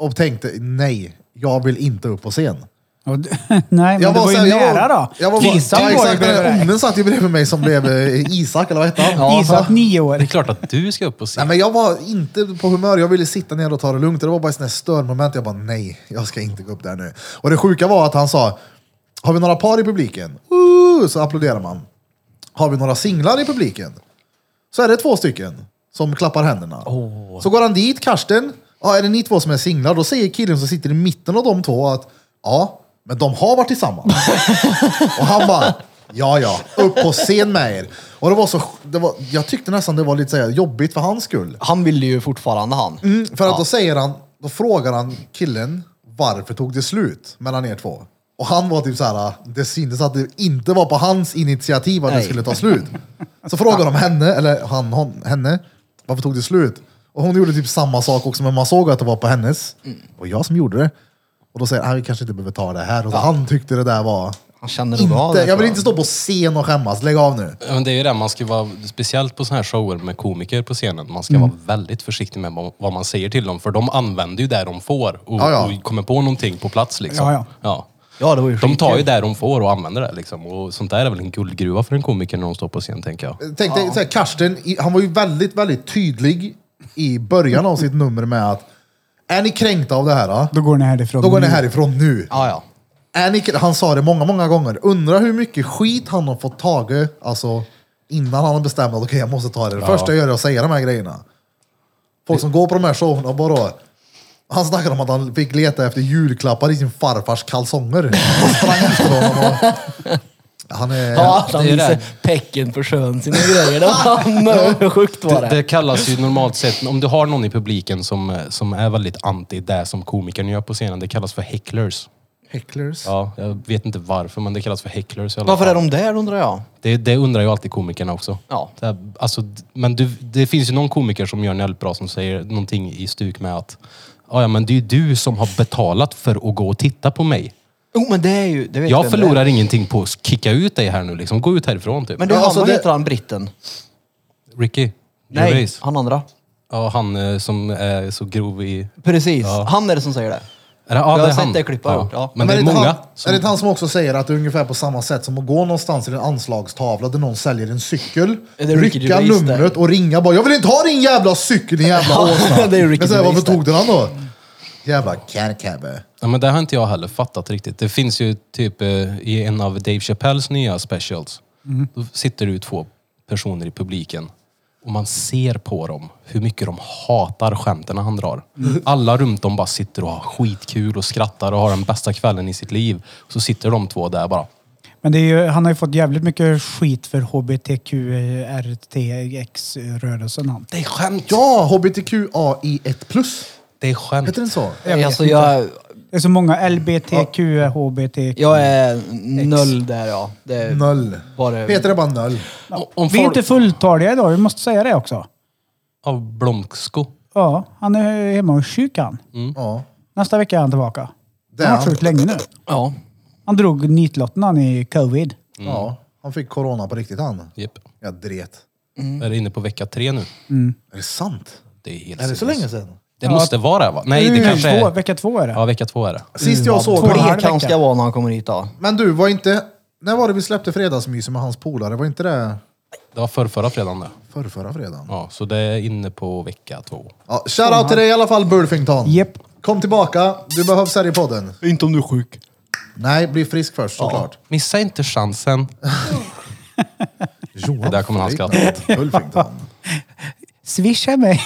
[SPEAKER 2] och tänkte, nej, jag vill inte upp på scen.
[SPEAKER 3] Och d- Nej, men det var ju
[SPEAKER 2] så här,
[SPEAKER 3] nära då.
[SPEAKER 2] Jag var,
[SPEAKER 3] Isak
[SPEAKER 2] ja,
[SPEAKER 3] var ju
[SPEAKER 2] exakt, den
[SPEAKER 3] bredvid
[SPEAKER 2] där
[SPEAKER 3] dig.
[SPEAKER 2] onnen satt ju bredvid mig som blev eh, Isak, eller vad hette han?
[SPEAKER 3] Isak, nio år.
[SPEAKER 1] Det är klart att du ska upp och se.
[SPEAKER 2] Nej, men jag var inte på humör. Jag ville sitta ner och ta det lugnt. Det var bara ett sånt här störmoment. Jag bara, nej, jag ska inte gå upp där nu. Och det sjuka var att han sa, har vi några par i publiken? Uh, så applåderar man. Har vi några singlar i publiken? Så är det två stycken som klappar händerna. Så går han dit, Karsten. Ja, är det ni två som är singlar? Då säger killen som sitter i mitten av de två att, ja, men de har varit tillsammans. Och han bara, ja ja, upp på scen med er. Och det var så, det var, jag tyckte nästan det var lite så här jobbigt för hans skull.
[SPEAKER 5] Han ville ju fortfarande han.
[SPEAKER 2] Mm, för att då säger han, då frågar han killen varför tog det slut mellan er två? Och han var typ så här, det syntes att det inte var på hans initiativ att det
[SPEAKER 5] Nej.
[SPEAKER 2] skulle ta slut. Så frågar de henne, eller han, hon, henne, varför tog det slut? Och hon gjorde typ samma sak också, men man såg att det var på hennes.
[SPEAKER 5] Mm.
[SPEAKER 2] Och jag som gjorde det. Och då säger han, "Ah, vi kanske inte behöver ta det här. Och så han tyckte det där var...
[SPEAKER 5] Han känner det bra.
[SPEAKER 2] Inte, jag
[SPEAKER 5] där, tror
[SPEAKER 2] vill inte stå på scen och skämmas, lägg av nu.
[SPEAKER 1] Ja, Men det är ju det, man ska vara, speciellt på såna här shower med komiker på scenen, man ska vara väldigt försiktig med vad- vad man säger till dem. För de använder ju det de får och,
[SPEAKER 2] Ja, ja.
[SPEAKER 1] och kommer på någonting på plats. Liksom.
[SPEAKER 3] Ja, ja.
[SPEAKER 5] Ja, det var ju
[SPEAKER 1] De tar ju
[SPEAKER 5] skitkul.
[SPEAKER 1] det de får och använder det. Liksom. Och sånt där är väl en guldgruva för en komiker när de står på scen, tänker jag.
[SPEAKER 2] Tänk dig, så här, Karsten, i- han var ju väldigt, väldigt tydlig i början av sitt nummer med att Är ni kränkta av det här? Då,
[SPEAKER 3] Då går ni härifrån.
[SPEAKER 2] då går ni
[SPEAKER 3] nu.
[SPEAKER 2] härifrån nu.
[SPEAKER 5] Ja, ja.
[SPEAKER 2] Är ni, han sa det många, många gånger. Undrar hur mycket skit han har fått tage, alltså innan han har bestämt att okej, jag måste ta det. Det första jag gör är att säga de här grejerna. Folk som går på de här showerna bara... Han snackade om att han fick leta efter julklappar i sin farfars kalsonger. Och sprang efter honom. och- Han är...
[SPEAKER 5] Ja, han
[SPEAKER 1] det är
[SPEAKER 5] visar
[SPEAKER 1] det.
[SPEAKER 5] pecken på sjön sina grejer. Det var sjukt var
[SPEAKER 1] Det,
[SPEAKER 5] det.
[SPEAKER 1] det kallas ju normalt sett, om du har någon i publiken som, eh, som är väldigt anti det som komikern gör på scenen, det kallas för hecklers.
[SPEAKER 2] Hecklers.
[SPEAKER 1] Ja, jag vet inte varför, men det kallas för hecklers i alla
[SPEAKER 5] Varför
[SPEAKER 1] fall.
[SPEAKER 5] är de där undrar jag?
[SPEAKER 1] Det, det undrar ju alltid komikerna också.
[SPEAKER 5] Ja.
[SPEAKER 1] Det, här- alltså, d- men du, det finns ju någon komiker som gör en jävligt bra som säger någonting i stuk med att "Ah, "Ja, ja, men det är ju du som har betalat för att gå och titta på mig.
[SPEAKER 5] Jo men det är ju... Det vet
[SPEAKER 1] Jag
[SPEAKER 5] vem det är.
[SPEAKER 1] förlorar ingenting på att kicka ut dig här nu liksom. Gå ut härifrån typ.
[SPEAKER 5] Men du,
[SPEAKER 2] Ja,
[SPEAKER 5] han,
[SPEAKER 2] alltså
[SPEAKER 5] vad
[SPEAKER 2] det-
[SPEAKER 5] heter han britten?
[SPEAKER 1] Ricky?
[SPEAKER 5] Nej,
[SPEAKER 1] Gervais.
[SPEAKER 5] han andra.
[SPEAKER 1] Ja, han eh, som är så grov i...
[SPEAKER 5] Precis. Han är det som säger det.
[SPEAKER 1] Är det, ja,
[SPEAKER 5] Jag
[SPEAKER 1] det
[SPEAKER 5] har
[SPEAKER 1] är
[SPEAKER 5] sett
[SPEAKER 1] han.
[SPEAKER 5] det klippet, ja. Ja.
[SPEAKER 1] Men, det är
[SPEAKER 2] inte
[SPEAKER 1] många.
[SPEAKER 2] Han,
[SPEAKER 1] som-
[SPEAKER 2] Är det inte han som också säger att det är ungefär på samma sätt som att gå någonstans i en anslagstavla där någon säljer en cykel,
[SPEAKER 5] Är det Ricky
[SPEAKER 2] rycka
[SPEAKER 5] Gervais
[SPEAKER 2] numret och ringa bara “Jag vill inte ha din jävla cykel din jävla
[SPEAKER 5] Ja,
[SPEAKER 2] åsna”.
[SPEAKER 5] det är Ricky
[SPEAKER 2] Men så här, varför
[SPEAKER 5] Gervais
[SPEAKER 2] tog den han då? Jävla kärkabbe.
[SPEAKER 1] Ja, men det har inte jag heller fattat riktigt. Det finns ju typ eh, i en av Dave Chappelles nya specials. Då sitter det ju två personer i publiken och man ser på dem hur mycket de hatar skämten han drar. Alla runt om bara sitter och har skitkul och skrattar och har den bästa kvällen i sitt liv. Så sitter de två där bara.
[SPEAKER 3] Men det är ju, han har ju fått jävligt mycket skit för hbtqrtx-rörelsen han.
[SPEAKER 1] Det är skämt!
[SPEAKER 2] Ja, hbtqai1+.
[SPEAKER 1] Det är skämt.
[SPEAKER 2] Heter den så?
[SPEAKER 3] vet
[SPEAKER 5] alltså jag,
[SPEAKER 3] Det är så många LBTQ, HBTQ.
[SPEAKER 5] jag är noll där ja. Det är
[SPEAKER 2] Noll.
[SPEAKER 5] Bara,
[SPEAKER 2] Heter det bara noll?
[SPEAKER 1] O- Om
[SPEAKER 3] Vi är
[SPEAKER 1] folk...
[SPEAKER 3] inte fulltaliga idag, vi måste säga det också.
[SPEAKER 1] Av Blomsko.
[SPEAKER 3] Ja, han är hemma och sjuk han.
[SPEAKER 1] Mm.
[SPEAKER 5] Mm.
[SPEAKER 2] Ja.
[SPEAKER 3] Nästa vecka är han tillbaka.
[SPEAKER 2] Det
[SPEAKER 3] han
[SPEAKER 2] är
[SPEAKER 3] har varit
[SPEAKER 2] han.
[SPEAKER 3] sjuk länge nu.
[SPEAKER 5] ja.
[SPEAKER 3] Han drog nitlotten han i covid.
[SPEAKER 2] ja. Han fick corona på riktigt han.
[SPEAKER 1] Japp.
[SPEAKER 2] Jag dret.
[SPEAKER 1] Är det inne på vecka tre nu?
[SPEAKER 2] Är det sant?
[SPEAKER 1] Det är helt
[SPEAKER 2] Är det så
[SPEAKER 1] sinnes.
[SPEAKER 2] länge sedan?
[SPEAKER 1] Det måste vara det va? Nej, det
[SPEAKER 3] Mm,
[SPEAKER 1] kanske
[SPEAKER 3] två,
[SPEAKER 1] är...
[SPEAKER 3] Vecka två är det.
[SPEAKER 1] Ja, vecka två är det.
[SPEAKER 2] Sist
[SPEAKER 5] Mm.
[SPEAKER 2] jag såg
[SPEAKER 3] två och en
[SPEAKER 2] honom-
[SPEAKER 3] halv
[SPEAKER 5] Blek han
[SPEAKER 3] vecka.
[SPEAKER 5] ska vara när han kommer hit då.
[SPEAKER 2] Men du, var inte... När var det vi släppte fredagsmyset med hans polare? Var inte det
[SPEAKER 1] Det var förrförra fredagen det.
[SPEAKER 2] förra, förra fredagen?
[SPEAKER 1] Ja, så det är inne på vecka två.
[SPEAKER 2] Ja, shoutout till dig i alla fall Burfington.
[SPEAKER 3] Japp.
[SPEAKER 2] Kom tillbaka, du behövs här i podden.
[SPEAKER 5] Inte om du är sjuk.
[SPEAKER 2] Nej, bli frisk först såklart.
[SPEAKER 1] Missa inte chansen.
[SPEAKER 2] Johan
[SPEAKER 1] Där kommer han skratta.
[SPEAKER 2] Frick, Burfington.
[SPEAKER 3] Swisha mig!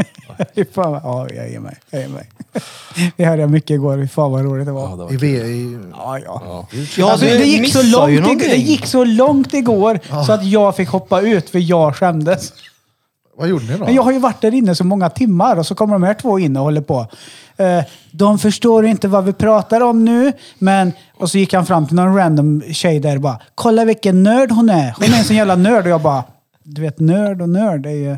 [SPEAKER 3] Fy fan, vad- ja, jag ger mig. Jag ger mig. Vi hörde jag mycket igår. Fy fan vad roligt det var.
[SPEAKER 2] I, v, i,
[SPEAKER 3] Ja, ja.
[SPEAKER 5] Ja,
[SPEAKER 3] Alltså,
[SPEAKER 5] du
[SPEAKER 3] det, gick så
[SPEAKER 5] missar ju
[SPEAKER 3] långt, ig-
[SPEAKER 5] någonting.
[SPEAKER 3] det gick så långt igår så att jag fick hoppa ut för jag skämdes.
[SPEAKER 2] vad gjorde ni då?
[SPEAKER 3] Men jag har ju varit där inne så många timmar och så kommer de här två in och håller på. Eh, De förstår inte vad vi pratar om nu, men... Och så gick han fram till någon random tjej där och bara “Kolla vilken nörd hon är! Hon är en sån jävla nörd” och jag bara “Du vet, nörd och nörd det är ju...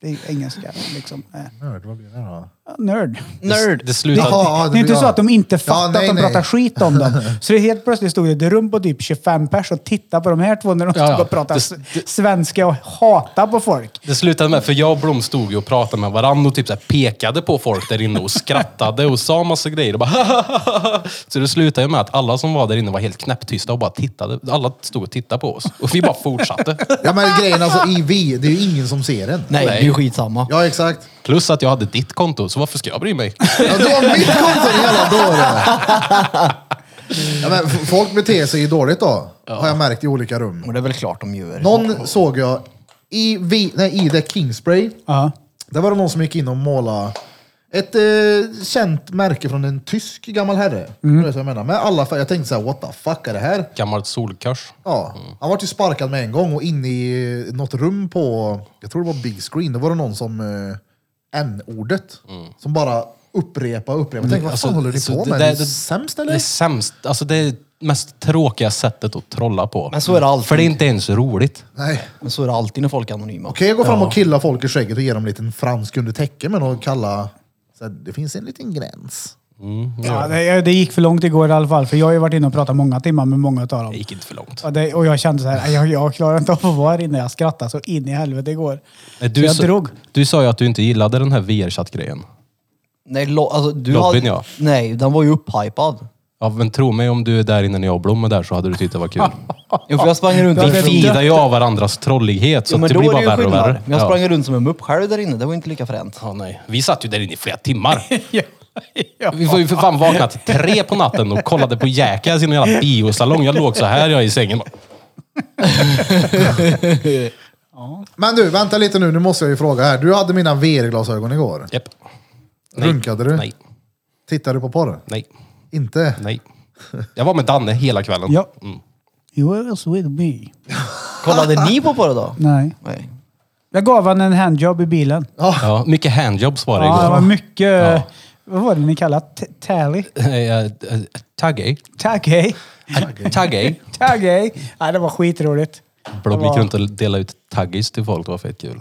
[SPEAKER 3] Det är ju engelska liksom. Eh,
[SPEAKER 2] Nörd, vad blir det då?
[SPEAKER 3] ja, Nörd.
[SPEAKER 1] Det,
[SPEAKER 5] Nerd.
[SPEAKER 1] det slutade...
[SPEAKER 2] Jaha. Ja, det
[SPEAKER 3] det är inte
[SPEAKER 2] blir
[SPEAKER 3] så
[SPEAKER 2] jag.
[SPEAKER 3] att de inte fattar
[SPEAKER 2] Ja, nej,
[SPEAKER 3] att de
[SPEAKER 2] nej.
[SPEAKER 3] pratar skit om dem. Så det helt plötsligt stod ett rum på typ 25 pers och tittade på de här två när de
[SPEAKER 1] Ja, ja.
[SPEAKER 3] stod och pratade
[SPEAKER 1] Det- det-
[SPEAKER 3] svenska och hatade på folk.
[SPEAKER 1] Det slutade med, för jag och Blom stod ju och pratade med varandra och typ så här pekade på folk där inne och skrattade och sa massa grejer. Och bara, så det slutade ju med att alla som var där inne var helt knäpptysta och bara tittade. Alla stod och tittade på oss. Och vi bara fortsatte.
[SPEAKER 2] Ja men grejen alltså, i vi, det är ju ingen som ser den.
[SPEAKER 5] Nej, det är ju skitsamma.
[SPEAKER 2] Ja exakt.
[SPEAKER 1] Plus att jag hade ditt konto, så varför ska jag bry mig?
[SPEAKER 2] Ja, du har mitt konto din jävla dåre! Ja, men f- folk beter sig ju dåligt då, har jag märkt i olika rum.
[SPEAKER 5] Men det är väl klart de gör.
[SPEAKER 2] Någon såg jag i, vi, nej, i The Kingspray.
[SPEAKER 3] Ja.
[SPEAKER 2] Där var det någon som gick in och målade ett eh, känt märke från en tysk gammal herre.
[SPEAKER 1] Mm.
[SPEAKER 2] Du vet vad jag menar? Med alla färger. Jag tänkte så här, what the fuck är det här?
[SPEAKER 1] Gammalt solkors.
[SPEAKER 2] Ja,
[SPEAKER 1] Mm.
[SPEAKER 2] han var ju sparkad med en gång och inne i något rum på, jag tror det var big screen, då var det någon som, eh, n-ordet, som bara upprepa upprepa. Tänk, vad fan håller
[SPEAKER 1] Mm.
[SPEAKER 2] ni
[SPEAKER 1] alltså, så
[SPEAKER 2] på
[SPEAKER 1] det-
[SPEAKER 2] med?
[SPEAKER 1] det-
[SPEAKER 2] är ni
[SPEAKER 1] det-
[SPEAKER 2] sämst
[SPEAKER 1] Det är
[SPEAKER 2] eller?
[SPEAKER 1] sämst, alltså det är mest tråkiga sättet att trolla på.
[SPEAKER 5] Men så är det alltid.
[SPEAKER 1] För det är inte ens roligt.
[SPEAKER 2] Nej.
[SPEAKER 5] Men så är det alltid när folk är anonyma.
[SPEAKER 2] Okej, jag går fram och killar folk i skägget och ger dem en liten fransk under täcke men att kalla, så här, det finns en liten gräns.
[SPEAKER 3] Ja, det, det gick för långt igår i alla fall, för jag har ju varit inne och pratat många timmar med många av dem.
[SPEAKER 1] Det gick inte för långt.
[SPEAKER 3] Ja, det, och jag kände så här, jag, jag klarar inte av att vara här inne. Jag skrattade så in i helvete igår.
[SPEAKER 1] Nej,
[SPEAKER 3] Så
[SPEAKER 1] Du,
[SPEAKER 3] jag
[SPEAKER 1] sa-
[SPEAKER 3] drog.
[SPEAKER 1] du sa ju att du inte gillade den här VR-chatt-grejen.
[SPEAKER 5] Nej, lo, alltså, du
[SPEAKER 1] Lobbyn,
[SPEAKER 5] hade,
[SPEAKER 1] ja.
[SPEAKER 5] Nej, den var ju upphypad.
[SPEAKER 1] Ja, men tro mig om du är där inne när jag och Blom är där så hade du tyckt det var kul.
[SPEAKER 5] Jo, för jag sprang runt
[SPEAKER 1] Vi
[SPEAKER 5] som-
[SPEAKER 1] fidar ju av varandras trollighet så
[SPEAKER 5] Jo,
[SPEAKER 1] att
[SPEAKER 5] men
[SPEAKER 1] det
[SPEAKER 5] då
[SPEAKER 1] blir
[SPEAKER 5] är
[SPEAKER 1] bara
[SPEAKER 5] det ju
[SPEAKER 1] värre och
[SPEAKER 5] skillnad.
[SPEAKER 1] värre.
[SPEAKER 5] Jag
[SPEAKER 1] Ja.
[SPEAKER 5] sprang runt som en mupp själv där inne. Det var inte lika fränt.
[SPEAKER 1] Ja, nej. Vi satt ju där inne i flera timmar.
[SPEAKER 3] Ja. Ja.
[SPEAKER 1] Vi var ju för fan vakna till tre på natten och kollade på Jackass i någon jävla biosalong. Jag låg så här jag i sängen.
[SPEAKER 2] Men du, vänta lite nu. Nu måste jag ju fråga här. Du hade mina VR-glasögon igår.
[SPEAKER 1] Japp.
[SPEAKER 2] Runkade du?
[SPEAKER 1] Nej,
[SPEAKER 2] Tittade du på porr?
[SPEAKER 1] nej,
[SPEAKER 2] Inte?
[SPEAKER 1] nej. Jag var med Danne hela kvällen.
[SPEAKER 3] Ja.
[SPEAKER 1] Mm.
[SPEAKER 3] You was with me.
[SPEAKER 5] Kollade ni på på det då?
[SPEAKER 3] Nej.
[SPEAKER 5] Nej.
[SPEAKER 3] Jag gav han en handjob i bilen.
[SPEAKER 1] Ja, mycket handjobs var det
[SPEAKER 3] Ja, det var
[SPEAKER 1] igår.
[SPEAKER 3] mycket... Vad var det ni kallade? T- Tally?
[SPEAKER 1] Eh, eh, Taggey.
[SPEAKER 3] Tack hej.
[SPEAKER 1] Taggey.
[SPEAKER 3] Tack hej. Nej, det var skitroligt.
[SPEAKER 1] Blom
[SPEAKER 3] Det var-
[SPEAKER 1] gick runt och delade ut taggis till folk. Det var fett kul.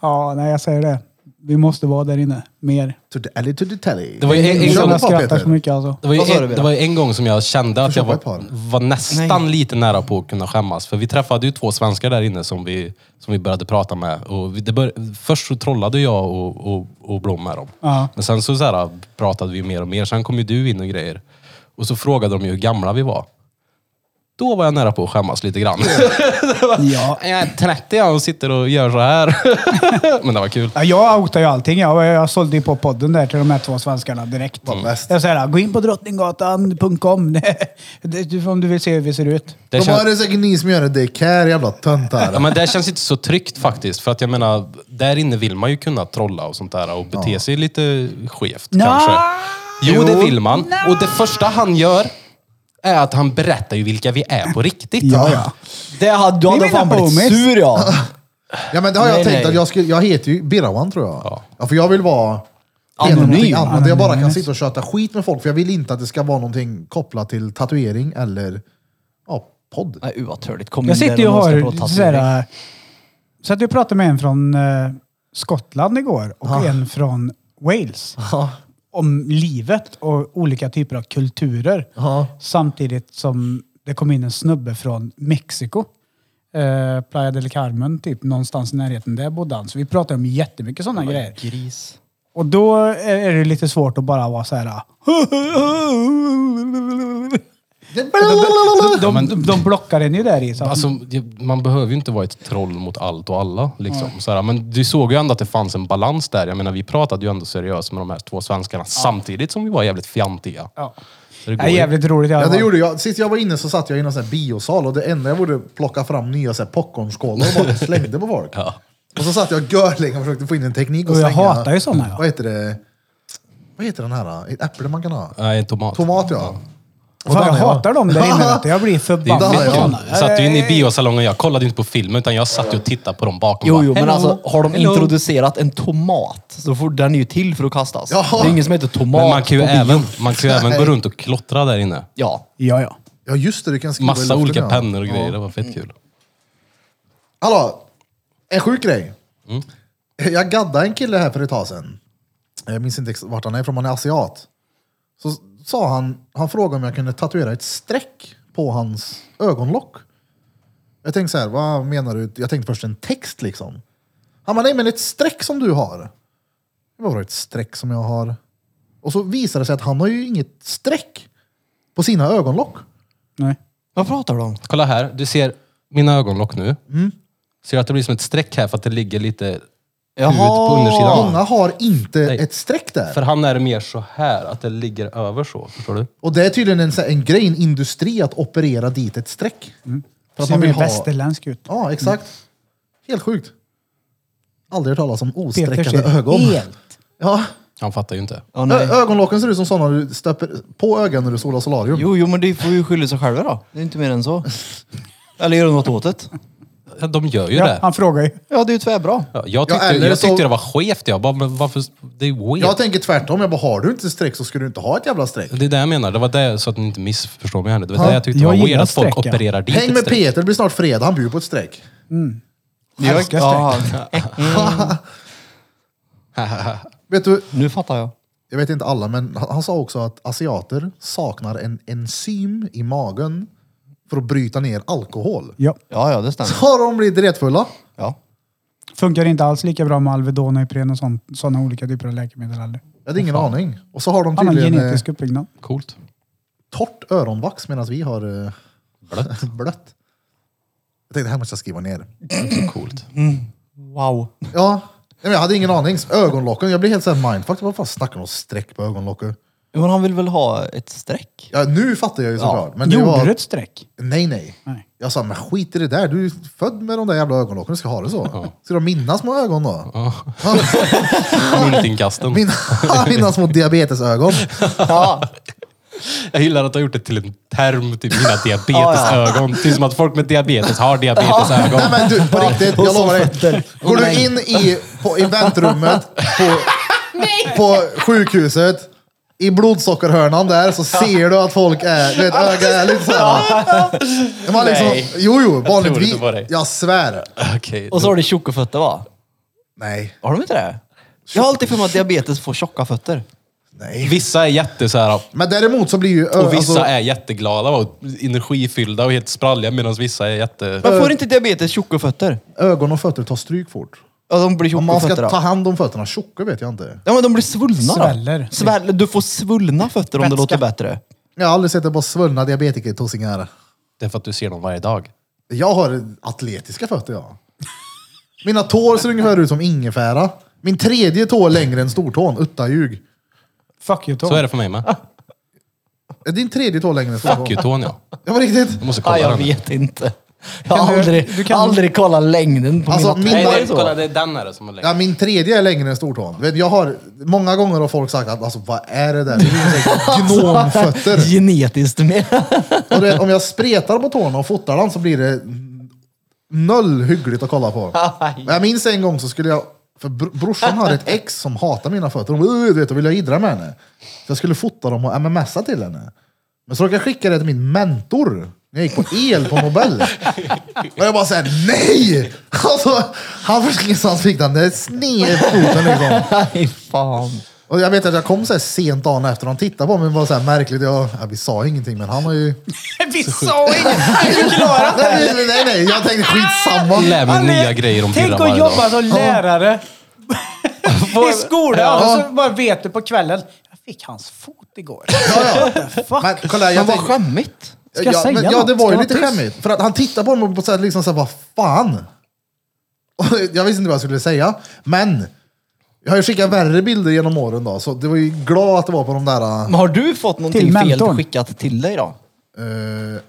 [SPEAKER 3] Ja, nej jag säger det. Vi måste vara där inne mer.
[SPEAKER 2] To the alley, to the telly.
[SPEAKER 1] Det var ju en- en
[SPEAKER 2] Kör
[SPEAKER 1] gång-
[SPEAKER 2] på,
[SPEAKER 3] Jag skrattar
[SPEAKER 2] Peter.
[SPEAKER 3] så mycket alltså.
[SPEAKER 1] Det var, ju
[SPEAKER 5] Vad sa du,
[SPEAKER 1] en,
[SPEAKER 5] Bira?
[SPEAKER 1] det var ju en gång som jag kände att jag
[SPEAKER 2] köpa ett par.
[SPEAKER 1] var, var nästan lite nära på att kunna skämmas. För vi träffade ju två svenskar där inne som vi, som vi började prata med. Och vi, det bör, först så trollade jag och, och, och Blom med dem.
[SPEAKER 3] Ja.
[SPEAKER 1] Men sen så, så här, pratade vi mer och mer. Sen kom ju du in och grejer. Och så frågade de ju hur gamla vi var. Då var jag nära på att skämmas lite grann.
[SPEAKER 3] Ja.
[SPEAKER 1] jag är 30 jag och sitter och gör så här. Men det var kul.
[SPEAKER 3] Ja, jag outar ju allting. Jag, jag sålde ju på podden där till de här två svenskarna direkt.
[SPEAKER 2] Vad bäst.
[SPEAKER 3] Jag säger det här, gå in på drottninggatan.com Det- det- om du vill se hur vi ser ut.
[SPEAKER 1] Det
[SPEAKER 2] De
[SPEAKER 1] kän-
[SPEAKER 2] har det säkert ni som gör det. Det är jävla töntar.
[SPEAKER 1] Ja, men det känns inte så tryggt faktiskt. För att jag menar, där inne vill man ju kunna trolla och sånt där och bete sig lite skevt
[SPEAKER 3] Nja.
[SPEAKER 1] kanske. Jo, det vill man. Och det första han gör är att han berättar ju vilka vi är på riktigt.
[SPEAKER 3] Ja, ja.
[SPEAKER 5] Det hade, du
[SPEAKER 3] Ni
[SPEAKER 5] hade
[SPEAKER 3] menar
[SPEAKER 5] fan blivit
[SPEAKER 3] homies?
[SPEAKER 5] sur ja.
[SPEAKER 2] Ja men det har
[SPEAKER 5] Nej,
[SPEAKER 2] jag tänkt
[SPEAKER 5] nej.
[SPEAKER 2] att jag, skulle, jag heter ju Birawan tror jag.
[SPEAKER 1] Ja.
[SPEAKER 2] Ja. för jag vill vara
[SPEAKER 5] Anonym.
[SPEAKER 2] Anonym. Annat, där jag bara kan
[SPEAKER 3] Anonymous.
[SPEAKER 2] sitta och köta skit med folk för jag vill inte att det ska vara någonting kopplat till tatuering eller ja, podd.
[SPEAKER 5] Nej, uh, vad törligt. Kom in
[SPEAKER 3] Jag sitter
[SPEAKER 5] där
[SPEAKER 3] ju och
[SPEAKER 5] någon ska prata
[SPEAKER 3] har så
[SPEAKER 5] tatuering.
[SPEAKER 3] här, Så att jag pratade med en från eh, Skottland igår och
[SPEAKER 5] Ah.
[SPEAKER 3] en från Wales. Om livet och olika typer av kulturer.
[SPEAKER 5] Ah.
[SPEAKER 2] Ja.
[SPEAKER 3] Samtidigt som det kom in en snubbe från Mexiko. Eh, Playa del Carmen, typ någonstans i närheten där bodde han. Så vi pratade om jättemycket
[SPEAKER 5] Ah.
[SPEAKER 3] sådana grejer.
[SPEAKER 5] Gris.
[SPEAKER 3] Och då är är det lite svårt att bara vara så här. De, de, de, de blockar en ju där i. Så att-
[SPEAKER 1] Alltså, det- man behöver ju inte vara ett troll mot allt och alla. Liksom. Så här, men du såg ju ändå att det fanns en balans där. Jag menar, vi pratade ju ändå seriöst med de här två svenskarna samtidigt som vi var jävligt fjantiga.
[SPEAKER 3] ja.
[SPEAKER 1] Så det går
[SPEAKER 3] Ja,
[SPEAKER 1] ju.
[SPEAKER 3] jävligt roligt.
[SPEAKER 2] Ja, det gjorde jag. Sist jag var inne så satt jag i någon sån här biosal och det enda jag borde plocka fram nya så här popcornskålar och bara slängde på folk.
[SPEAKER 1] Ja.
[SPEAKER 2] Och så satt jag görlänge och försökte få in en teknik och
[SPEAKER 3] Och jag
[SPEAKER 2] slänga.
[SPEAKER 3] hatar ju såna, ja.
[SPEAKER 2] Vad heter det? Vad heter den här? Ett äpple man kan ha?
[SPEAKER 1] Nej, tomat.
[SPEAKER 2] Tomat ja. Och
[SPEAKER 3] Fan, jag
[SPEAKER 2] Danne, ja.
[SPEAKER 3] hatar dem där inne. vet du. Jag blir
[SPEAKER 1] Det är
[SPEAKER 3] förbannad.
[SPEAKER 2] Danne,
[SPEAKER 1] fett
[SPEAKER 2] ja.
[SPEAKER 1] kul.
[SPEAKER 3] såna.
[SPEAKER 1] Jag satt ju inne i biosalongen. Jag kollade inte på film utan jag satt ju och tittade på dem bakom.
[SPEAKER 5] Jo,
[SPEAKER 1] bara,
[SPEAKER 5] jo, men
[SPEAKER 1] "Hello,
[SPEAKER 5] alltså har de
[SPEAKER 1] hello."
[SPEAKER 5] introducerat en tomat så får den är ju till för att kastas.
[SPEAKER 2] Ja.
[SPEAKER 5] Det är ingen som heter tomat
[SPEAKER 1] Men man kan ju
[SPEAKER 5] på bio.
[SPEAKER 1] även, man kan ju även gå runt och klottra där inne.
[SPEAKER 5] Ja.
[SPEAKER 3] Ja, ja.
[SPEAKER 2] Ja just det, du kan skriva i
[SPEAKER 1] Massa
[SPEAKER 2] luften,
[SPEAKER 1] olika
[SPEAKER 2] ja.
[SPEAKER 1] pennor och grejer. Det var fett kul.
[SPEAKER 2] Hallå! En sjuk grej. Jag gaddade en kille här för ett tag sedan. Jag minns inte ex- vart han är ifrån, han är asiat. Så s- sa han, han frågade om jag kunde tatuera ett streck på hans ögonlock. Jag tänkte så här, vad menar du? Jag tänkte först en text liksom. Han bara, nej men ett streck som du har. Vadå ett streck som jag har? Och så visade det sig att han har ju inget streck på sina ögonlock.
[SPEAKER 3] Nej.
[SPEAKER 5] Vad pratar du om?
[SPEAKER 1] Kolla här, du ser mina ögonlock nu. Ser du att det blir som ett streck här för att det ligger lite hud på
[SPEAKER 5] Jaha.
[SPEAKER 1] undersidan?
[SPEAKER 2] Många har inte
[SPEAKER 1] Nej.
[SPEAKER 2] ett streck där.
[SPEAKER 1] För han är det mer så här, att det ligger över så. Förstår du?
[SPEAKER 2] Och det är tydligen en, så här- en grej, en industri att operera dit ett streck. För att
[SPEAKER 3] Ser
[SPEAKER 2] man vill
[SPEAKER 3] mer
[SPEAKER 2] ha...
[SPEAKER 3] västerländsk ut.
[SPEAKER 2] Ja, exakt. Helt sjukt. Aldrig hört talas om
[SPEAKER 3] Peter
[SPEAKER 2] osträckade
[SPEAKER 3] ser
[SPEAKER 2] ögon.
[SPEAKER 3] helt...
[SPEAKER 2] Ja.
[SPEAKER 1] Han fattar ju inte.
[SPEAKER 5] Ja,
[SPEAKER 2] Ö-
[SPEAKER 5] nej.
[SPEAKER 2] Ögonlocken ser ut som sådana du stöper på ögonen när du solar solarium.
[SPEAKER 5] Jo, jo, men det får ju skylla sig själva då. Det är inte mer än så. Eller gör de något åt det?
[SPEAKER 1] Ja, De gör ju
[SPEAKER 3] Ja,
[SPEAKER 1] det.
[SPEAKER 3] han frågar ju.
[SPEAKER 5] Ja, det är ju tvärbra.
[SPEAKER 1] Ja, Jag tyckte,
[SPEAKER 2] Ja, eller
[SPEAKER 1] jag
[SPEAKER 2] så-
[SPEAKER 1] tyckte det var skevt. Jag bara, men varför? Det är weird.
[SPEAKER 2] Jag tänker tvärtom. Jag bara, har du inte streck så ska du inte ha ett jävla streck.
[SPEAKER 1] Det är det jag menar. Det var det, så att ni inte missförstår mig här nu. Det var det jag tyckte
[SPEAKER 3] Jag
[SPEAKER 1] var weird
[SPEAKER 3] gillar
[SPEAKER 1] att folk
[SPEAKER 3] streck, ja.
[SPEAKER 1] opererar dit
[SPEAKER 2] Häng
[SPEAKER 1] ett
[SPEAKER 2] med
[SPEAKER 1] streck.
[SPEAKER 2] Peter, det blir snart fredag. Han bjuder på ett streck.
[SPEAKER 5] Jag,
[SPEAKER 3] Älskar
[SPEAKER 5] ja,
[SPEAKER 2] Vet du,
[SPEAKER 5] nu fattar jag.
[SPEAKER 2] jag vet inte alla, men han, han sa också att asiater saknar en enzym i magen för att bryta ner alkohol.
[SPEAKER 3] Ja.
[SPEAKER 5] Ja, ja, det stämmer.
[SPEAKER 2] Har de blivit retfulla?
[SPEAKER 5] Ja.
[SPEAKER 3] Funkar inte alls lika bra med Alvedon och Ipren och sådana olika typer av läkemedel heller.
[SPEAKER 2] Jag hade ingen aning. Och så har de
[SPEAKER 3] Han har
[SPEAKER 2] tydligen eh,
[SPEAKER 3] genetisk uppbyggnad.
[SPEAKER 1] Coolt.
[SPEAKER 2] torrt öronvax medan vi har eh, blött. Jag tänkte, det här måste jag skriva ner.
[SPEAKER 1] Coolt.
[SPEAKER 5] Wow.
[SPEAKER 2] Ja, nej, men jag hade ingen aning. Ögonlocken, jag blir helt såhär mindfuck. Vad fan snackar de om streck på ögonlocken?
[SPEAKER 5] Men han vill väl ha ett streck?
[SPEAKER 2] Ja, nu fattar jag ju såklart. Men det
[SPEAKER 3] Gjorde
[SPEAKER 2] var...
[SPEAKER 3] du ett streck?
[SPEAKER 2] Nej, nej,
[SPEAKER 3] Nej.
[SPEAKER 2] Jag sa, men skit i det där. Du är född med de där jävla ögonlocken. Du ska ha det så. Ska de minnas små ögon då?
[SPEAKER 1] Myntinkasten.
[SPEAKER 2] Min, mina små diabetesögon.
[SPEAKER 5] Ja.
[SPEAKER 1] Jag gillar att du har gjort det till en term, typ mina diabetesögon. Det är som att folk med diabetes har diabetesögon.
[SPEAKER 2] Nej men du, på riktigt. Jag lovar dig. Går du
[SPEAKER 5] Nej.
[SPEAKER 2] in i, på, i väntrummet på, på sjukhuset, i blodsockerhörnan där, så ser du att folk är, du vet ögat är lite såhär. De har
[SPEAKER 1] Nej.
[SPEAKER 2] liksom, jo jo, vanligtvis.
[SPEAKER 1] inte på dig.
[SPEAKER 2] Jag svär.
[SPEAKER 1] Okej.
[SPEAKER 5] Och så har du tjocka fötter va?
[SPEAKER 2] Nej,
[SPEAKER 5] Har de inte det? Jag har alltid för mig att diabetes får tjocka fötter.
[SPEAKER 2] nej.
[SPEAKER 1] Vissa är jätte så här,
[SPEAKER 2] Men däremot så blir ju... ö-
[SPEAKER 1] och vissa
[SPEAKER 2] alltså-
[SPEAKER 1] är jätteglada och energifyllda och helt spralliga medan vissa är jätte...
[SPEAKER 5] Men får inte diabetes tjocka fötter?
[SPEAKER 2] ögon och fötter tar stryk fort.
[SPEAKER 5] Ja, de blir
[SPEAKER 2] Om
[SPEAKER 5] tjocka
[SPEAKER 2] man ska
[SPEAKER 5] fötter då.
[SPEAKER 2] ta hand om fötterna tjocka vet jag inte.
[SPEAKER 5] Ja, men de blir svullna då.
[SPEAKER 3] Sväller.
[SPEAKER 5] Sväller. Du får svullna fötter om det
[SPEAKER 3] Vätska.
[SPEAKER 5] låter bättre.
[SPEAKER 2] Jag har aldrig sett ett par svullna diabetiker-tossingar.
[SPEAKER 1] Det är för att du ser dem varje dag.
[SPEAKER 2] Jag har atletiska fötter jag. Mina tår ser ungefär ut som ingefära. Min tredje tå är längre än stortån, uttaljug.
[SPEAKER 3] Fuck you Tom.
[SPEAKER 1] Så är det för mig med.
[SPEAKER 2] Är din tredje tå längre än stortån?
[SPEAKER 1] Fuck you Tony. ja.
[SPEAKER 2] Ja, på riktigt.
[SPEAKER 1] Jag måste kolla
[SPEAKER 5] Ja, jag
[SPEAKER 1] den.
[SPEAKER 5] vet inte. Jag har
[SPEAKER 3] Kan du-
[SPEAKER 5] aldrig,
[SPEAKER 3] du kan-
[SPEAKER 5] aldrig kollat längden på
[SPEAKER 2] Alltså,
[SPEAKER 5] mina
[SPEAKER 2] min-
[SPEAKER 1] Nej,
[SPEAKER 5] tår.
[SPEAKER 1] nej,
[SPEAKER 2] Är det
[SPEAKER 1] kolla det är den här som är längre.
[SPEAKER 2] Ja, min tredje är längre än stortån. Vet, Jag har, många gånger har folk sagt att alltså, vad är det där? Det är ju säkert
[SPEAKER 1] Alltså,
[SPEAKER 2] gnomfötter.
[SPEAKER 5] Genetiskt med.
[SPEAKER 2] Och det, om jag spretar på tårna och fotar den så blir det noll hyggligt att kolla på. Men jag minns en gång så skulle jag, för br- brorsan har ett ex som hatar mina fötter. Hon bara, "Ugh", du vet, då vill jag idra med henne. Så jag skulle fota dem och mmsa till henne. Men så råkade jag skicka det till min mentor. när Jag gick på el på Nobel. Och jag bara såhär, nej! Alltså, han fick, han fick den där snedfoten liksom.
[SPEAKER 5] Nej, fan.
[SPEAKER 2] Och jag vet att jag kom så här sent dagen efter och han tittade på mig och var såhär märkligt. Jag, ja, vi sa ingenting men han har ju...
[SPEAKER 3] Vi sa inget! Förklara!
[SPEAKER 2] Nej, nej, nej, nej, jag tänkte skitsamma.
[SPEAKER 1] Lär mig nya grejer om
[SPEAKER 3] Tänk
[SPEAKER 1] fyra
[SPEAKER 3] att
[SPEAKER 1] varje dag.
[SPEAKER 3] jobba som lärare i skolan
[SPEAKER 2] Ja.
[SPEAKER 3] och så bara vet du på kvällen. Jag fick hans fot igår.
[SPEAKER 2] Ja, ja.
[SPEAKER 3] Fuck.
[SPEAKER 2] Men kolla,
[SPEAKER 5] Men
[SPEAKER 2] jag
[SPEAKER 5] vad
[SPEAKER 2] tänkte,
[SPEAKER 5] skämmigt.
[SPEAKER 3] Ska jag
[SPEAKER 2] ja,
[SPEAKER 3] säga
[SPEAKER 2] men, ja, det
[SPEAKER 3] något?
[SPEAKER 2] var ju
[SPEAKER 3] Ska jag
[SPEAKER 2] lite
[SPEAKER 3] vara tyst?
[SPEAKER 2] skämmigt. För att han tittade på mig på så här, liksom så här, vad fan? Och jag visste inte vad jag skulle säga, men jag har ju skickat värre bilder genom åren då, så det var ju glad att det var på de där...
[SPEAKER 5] Men har du fått någonting
[SPEAKER 3] Till
[SPEAKER 5] fel
[SPEAKER 3] mentorn.
[SPEAKER 5] skickat till dig då?
[SPEAKER 2] eh,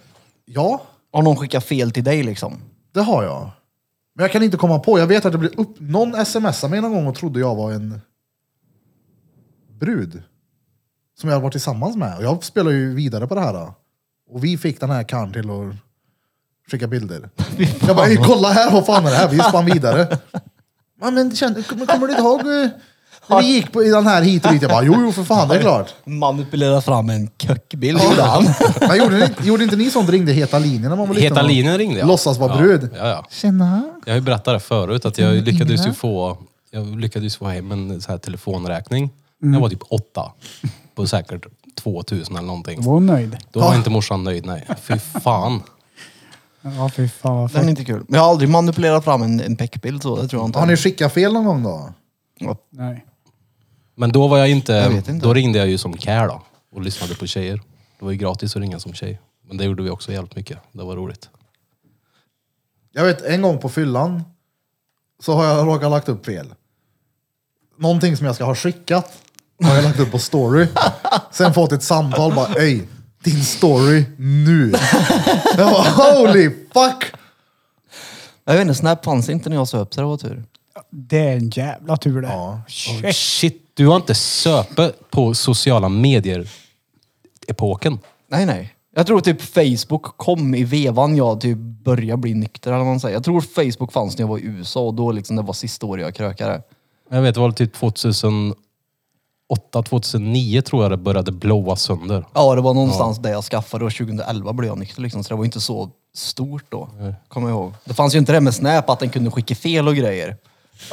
[SPEAKER 2] ja,
[SPEAKER 5] Har någon skickat fel till dig liksom?
[SPEAKER 2] det har jag. Men jag kan inte komma på, jag vet att det blev upp... Någon smsade mig någon gång och trodde jag var en brud. Som jag hade varit tillsammans med. Och jag spelar ju vidare på det här. Då. Och vi fick den här karln till att skicka bilder. Jag bara, "Ey, kolla här, vad fan är det här? Vi spann vidare. Ja, men, kände, men kommer du inte ihåg eh, när vi gick på, i den här hit och dit? Jag bara, jo, jo för fan, det är klart.
[SPEAKER 5] Manipulera fram en kökbild ibland.
[SPEAKER 2] Men gjorde, ni, gjorde inte ni sånt? Ringde Heta linjen när man var liten?
[SPEAKER 1] Heta
[SPEAKER 2] och
[SPEAKER 1] linjen ringde jag.
[SPEAKER 2] Låtsas vara brud.
[SPEAKER 1] Ja, ja.
[SPEAKER 2] Tjena.
[SPEAKER 1] Jag har ju berättat det förut att jag lyckades ju få, jag lyckades få hem en så här telefonräkning. Jag var typ åtta. På säkert 2000 eller någonting.
[SPEAKER 3] Var hon nöjd?
[SPEAKER 1] Då var inte morsan nöjd, nej. Fy fan.
[SPEAKER 3] Ja, fy fan vad
[SPEAKER 5] Den är
[SPEAKER 3] fett.
[SPEAKER 5] inte kul. Men jag har aldrig manipulerat fram en, en peckbild så, det tror jag inte.
[SPEAKER 2] Har ni skickat fel någon gång då?
[SPEAKER 5] Ja.
[SPEAKER 3] Nej.
[SPEAKER 1] Men då var jag inte,
[SPEAKER 5] Jag vet inte.
[SPEAKER 1] då ringde jag ju som care då. Och lyssnade på tjejer. Det var ju gratis att ringa som tjej. Men det gjorde vi också jävligt mycket. Det var roligt.
[SPEAKER 2] Jag vet en gång på fyllan så har jag råkat lagt upp fel. Någonting som jag ska ha skickat har jag lagt upp på story. Sen fått ett samtal bara, öj, din story nu. Jag bara, holy fuck!
[SPEAKER 5] Jag vet inte, Snap fanns inte när jag söp så det var tur.
[SPEAKER 3] Det är en jävla tur det.
[SPEAKER 2] Ja.
[SPEAKER 3] Shit.
[SPEAKER 1] Shit, du har inte söpe på sociala medier-epoken.
[SPEAKER 5] Nej, nej. Jag tror typ Facebook kom i vevan jag typ började bli nykter eller vad man säger. Jag tror Facebook fanns när jag var i USA och då liksom det var sista året jag krökade.
[SPEAKER 1] Jag vet, det var typ 2008, 2009 tror jag det började blåa sönder.
[SPEAKER 5] Ja, det var någonstans där jag skaffade och 2011 blev jag nykter liksom, så det var inte så stort då. Kommer jag ihåg. Det fanns ju inte det med Snap att den kunde skicka fel och grejer.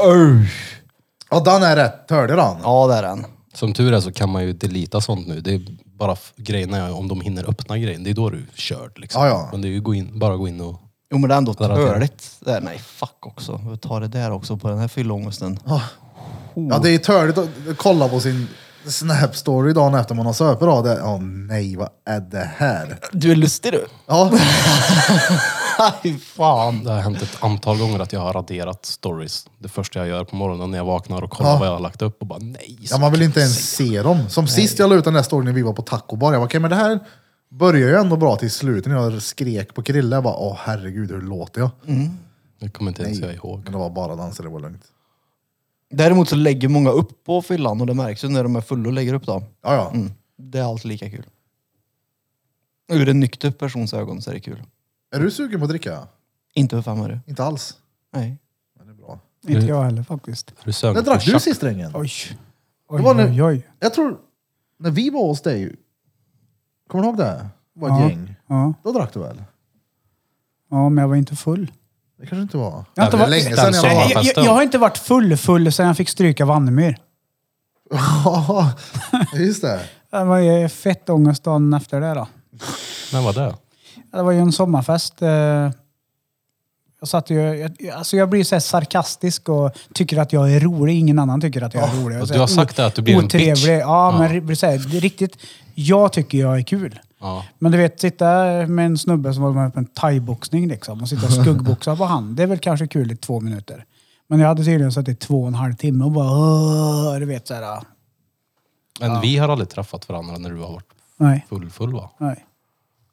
[SPEAKER 5] Usch.
[SPEAKER 2] Ja, den är rätt. Hörde du den?
[SPEAKER 5] Ja, det är den.
[SPEAKER 1] Som tur är så kan man ju delita sånt nu. Det är bara f- grejen är om de hinner öppna grejen. Det är då du är körd liksom.
[SPEAKER 2] Ja, ja.
[SPEAKER 1] Men det är ju gå in, bara gå in och...
[SPEAKER 5] Jo men det är ändå
[SPEAKER 1] Där har jag
[SPEAKER 5] törligt. Det är- Nej fuck också. Vi tar det där också på den här fyllångesten.
[SPEAKER 2] Ja, det är törligt att kolla på sin Snap-story dagen efter man har supit av det. Åh nej, vad är det här?
[SPEAKER 5] Du är lustig du.
[SPEAKER 2] Ja,
[SPEAKER 5] Aj, fan.
[SPEAKER 1] Det har hänt ett antal gånger att jag har raderat stories. Det första jag gör på morgonen när jag vaknar och kollar
[SPEAKER 2] Ja.
[SPEAKER 1] vad jag har lagt upp och bara nej.
[SPEAKER 2] ja man vill inte ens se dem. Som sist jag la ut den där storyn när vi var på tacobar. Jag bara, okej men det här börjar ju ändå bra till slutet. När jag skrek på Krille, jag bara, åh herregud, hur låter jag?
[SPEAKER 3] Mm.
[SPEAKER 1] Det kommer inte ens jag ihåg.
[SPEAKER 2] Men det var bara danser, det var lugnt.
[SPEAKER 5] Däremot så lägger många upp på fyllan och det märks ju när de är fulla och lägger upp dem.
[SPEAKER 2] Ja, ja.
[SPEAKER 5] Mm. Det är alltid lika kul. Ur en nykter persons ögon så är det kul.
[SPEAKER 2] Är du sugen på att dricka?
[SPEAKER 5] Inte för fem öre.
[SPEAKER 2] Inte alls.
[SPEAKER 5] Nej.
[SPEAKER 2] Men det är bra.
[SPEAKER 3] Inte jag heller faktiskt.
[SPEAKER 1] Är du sugen
[SPEAKER 2] När
[SPEAKER 1] på
[SPEAKER 2] drack du
[SPEAKER 1] chack?
[SPEAKER 2] sist drängen?
[SPEAKER 3] Oj. Oj,
[SPEAKER 2] Det var nu-
[SPEAKER 3] oj, oj.
[SPEAKER 2] Jag tror, när vi var hos dig, kommer du ihåg det? Det var ett
[SPEAKER 3] Ja.
[SPEAKER 2] gäng.
[SPEAKER 3] Ja.
[SPEAKER 2] Då drack du väl?
[SPEAKER 3] ja, men jag var inte full.
[SPEAKER 2] Det kanske inte var.
[SPEAKER 3] Jag har inte
[SPEAKER 1] Nej,
[SPEAKER 3] varit-
[SPEAKER 1] men
[SPEAKER 2] länge
[SPEAKER 1] den
[SPEAKER 2] sedan jag
[SPEAKER 1] sommaren.
[SPEAKER 2] var...
[SPEAKER 3] Jag, jag, jag har inte varit full full sedan jag fick stryka Vannemyr.
[SPEAKER 2] Ja, just det.
[SPEAKER 3] Det var ju fett ångest dagen efter det då.
[SPEAKER 1] När var det?
[SPEAKER 3] Det var ju en sommarfest. eh, Jag satt ju... jag- Alltså jag blir så här sarkastisk och tycker att jag är rolig. Ingen annan tycker att jag är rolig.
[SPEAKER 1] fast
[SPEAKER 3] Så
[SPEAKER 1] du har
[SPEAKER 3] här,
[SPEAKER 1] sagt
[SPEAKER 3] o-
[SPEAKER 1] det, att du blir en
[SPEAKER 3] otrevlig.
[SPEAKER 1] bitch.
[SPEAKER 3] Ja, men det blir så här, det är riktigt... Jag tycker jag är kul.
[SPEAKER 1] Ja.
[SPEAKER 3] Men du vet, sitta med en snubbe som håller med på en thaiboxning liksom och sitta och skuggboxa på han. Det är väl kanske kul i två minuter. Men jag hade tydligen suttit två och en halv timme och bara "Åh", du vet så här.
[SPEAKER 1] Men vi har aldrig träffat varandra när du har varit
[SPEAKER 3] Nej,
[SPEAKER 1] full, full va?
[SPEAKER 3] nej.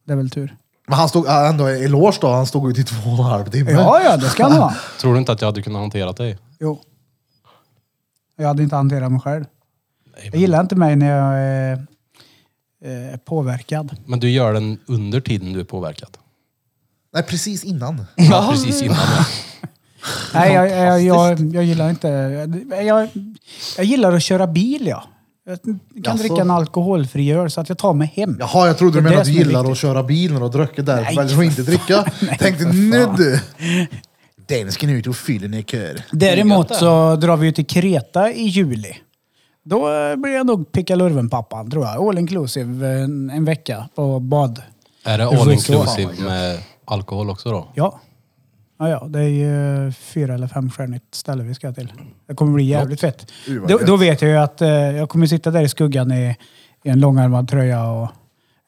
[SPEAKER 3] Det är väl tur.
[SPEAKER 2] Men han stod ja, ändå i eloge då, han stod ut i två och en halv timme.
[SPEAKER 3] Ja, ja, det ska han ha.
[SPEAKER 1] Tror du inte att jag hade kunnat hantera dig?
[SPEAKER 3] Jo. Jag hade inte hanterat mig själv.
[SPEAKER 1] Nej,
[SPEAKER 3] Jag gillar inte mig när jag är, eh, är påverkad.
[SPEAKER 1] Men du gör den under tiden du är påverkad.
[SPEAKER 2] Nej, precis innan.
[SPEAKER 1] Ja, precis innan det.
[SPEAKER 3] Nej, jag, jag, jag, jag gillar inte... Jag, jag gillar att köra bil, ja. Jag kan
[SPEAKER 2] Jaså?
[SPEAKER 3] dricka en alkoholfri öl så att jag tar mig hem.
[SPEAKER 2] Jaha, jag trodde
[SPEAKER 3] Det
[SPEAKER 2] du
[SPEAKER 3] är
[SPEAKER 2] menade att
[SPEAKER 3] det
[SPEAKER 2] du
[SPEAKER 3] som är
[SPEAKER 2] gillar att
[SPEAKER 3] viktigt.
[SPEAKER 2] köra bil när du har druckit där.
[SPEAKER 3] Nej,
[SPEAKER 2] Väljer att inte dricka. Tänkte, nu du. Den ska nu ut och fylla ner kör.
[SPEAKER 3] Däremot så drar vi ju till Kreta i juli. Då eh, blir jag nog pickalurven-pappan, tror jag. All inclusive en, en vecka på bad.
[SPEAKER 1] Är det
[SPEAKER 3] får
[SPEAKER 1] all
[SPEAKER 3] ju
[SPEAKER 1] inclusive med alkohol också då?
[SPEAKER 3] Ja. Ja, ja, det är ju eh, fyra eller femstjärnigt ställe vi ska till. Det kommer bli jävligt fett.
[SPEAKER 2] Ur, vad
[SPEAKER 3] Då,
[SPEAKER 2] gött.
[SPEAKER 3] då vet jag ju att eh, jag kommer sitta där i skuggan i, i en långärmad tröja och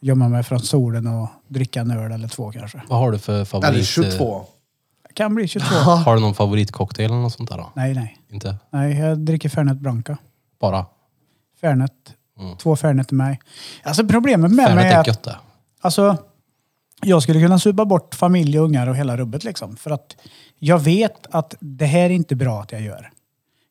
[SPEAKER 3] gömma mig från solen och dricka en öl eller två kanske.
[SPEAKER 1] Vad har du för favorit?
[SPEAKER 2] Eller
[SPEAKER 1] eh,
[SPEAKER 2] 22.
[SPEAKER 3] Det kan bli 22.
[SPEAKER 1] Har du någon favoritcocktail eller något sånt där då?
[SPEAKER 3] nej, nej.
[SPEAKER 1] Inte?
[SPEAKER 3] Nej, jag dricker Fernet Branca.
[SPEAKER 1] Bara?
[SPEAKER 3] Fernet.
[SPEAKER 2] Mm.
[SPEAKER 3] Två Fernet till mig. Alltså problemet med mig
[SPEAKER 1] Färdigt
[SPEAKER 3] är
[SPEAKER 1] är
[SPEAKER 3] att
[SPEAKER 1] gött det.
[SPEAKER 3] Alltså, jag skulle kunna supa bort familj och ungar och hela rubbet liksom. För att jag vet att det här är inte bra att jag gör.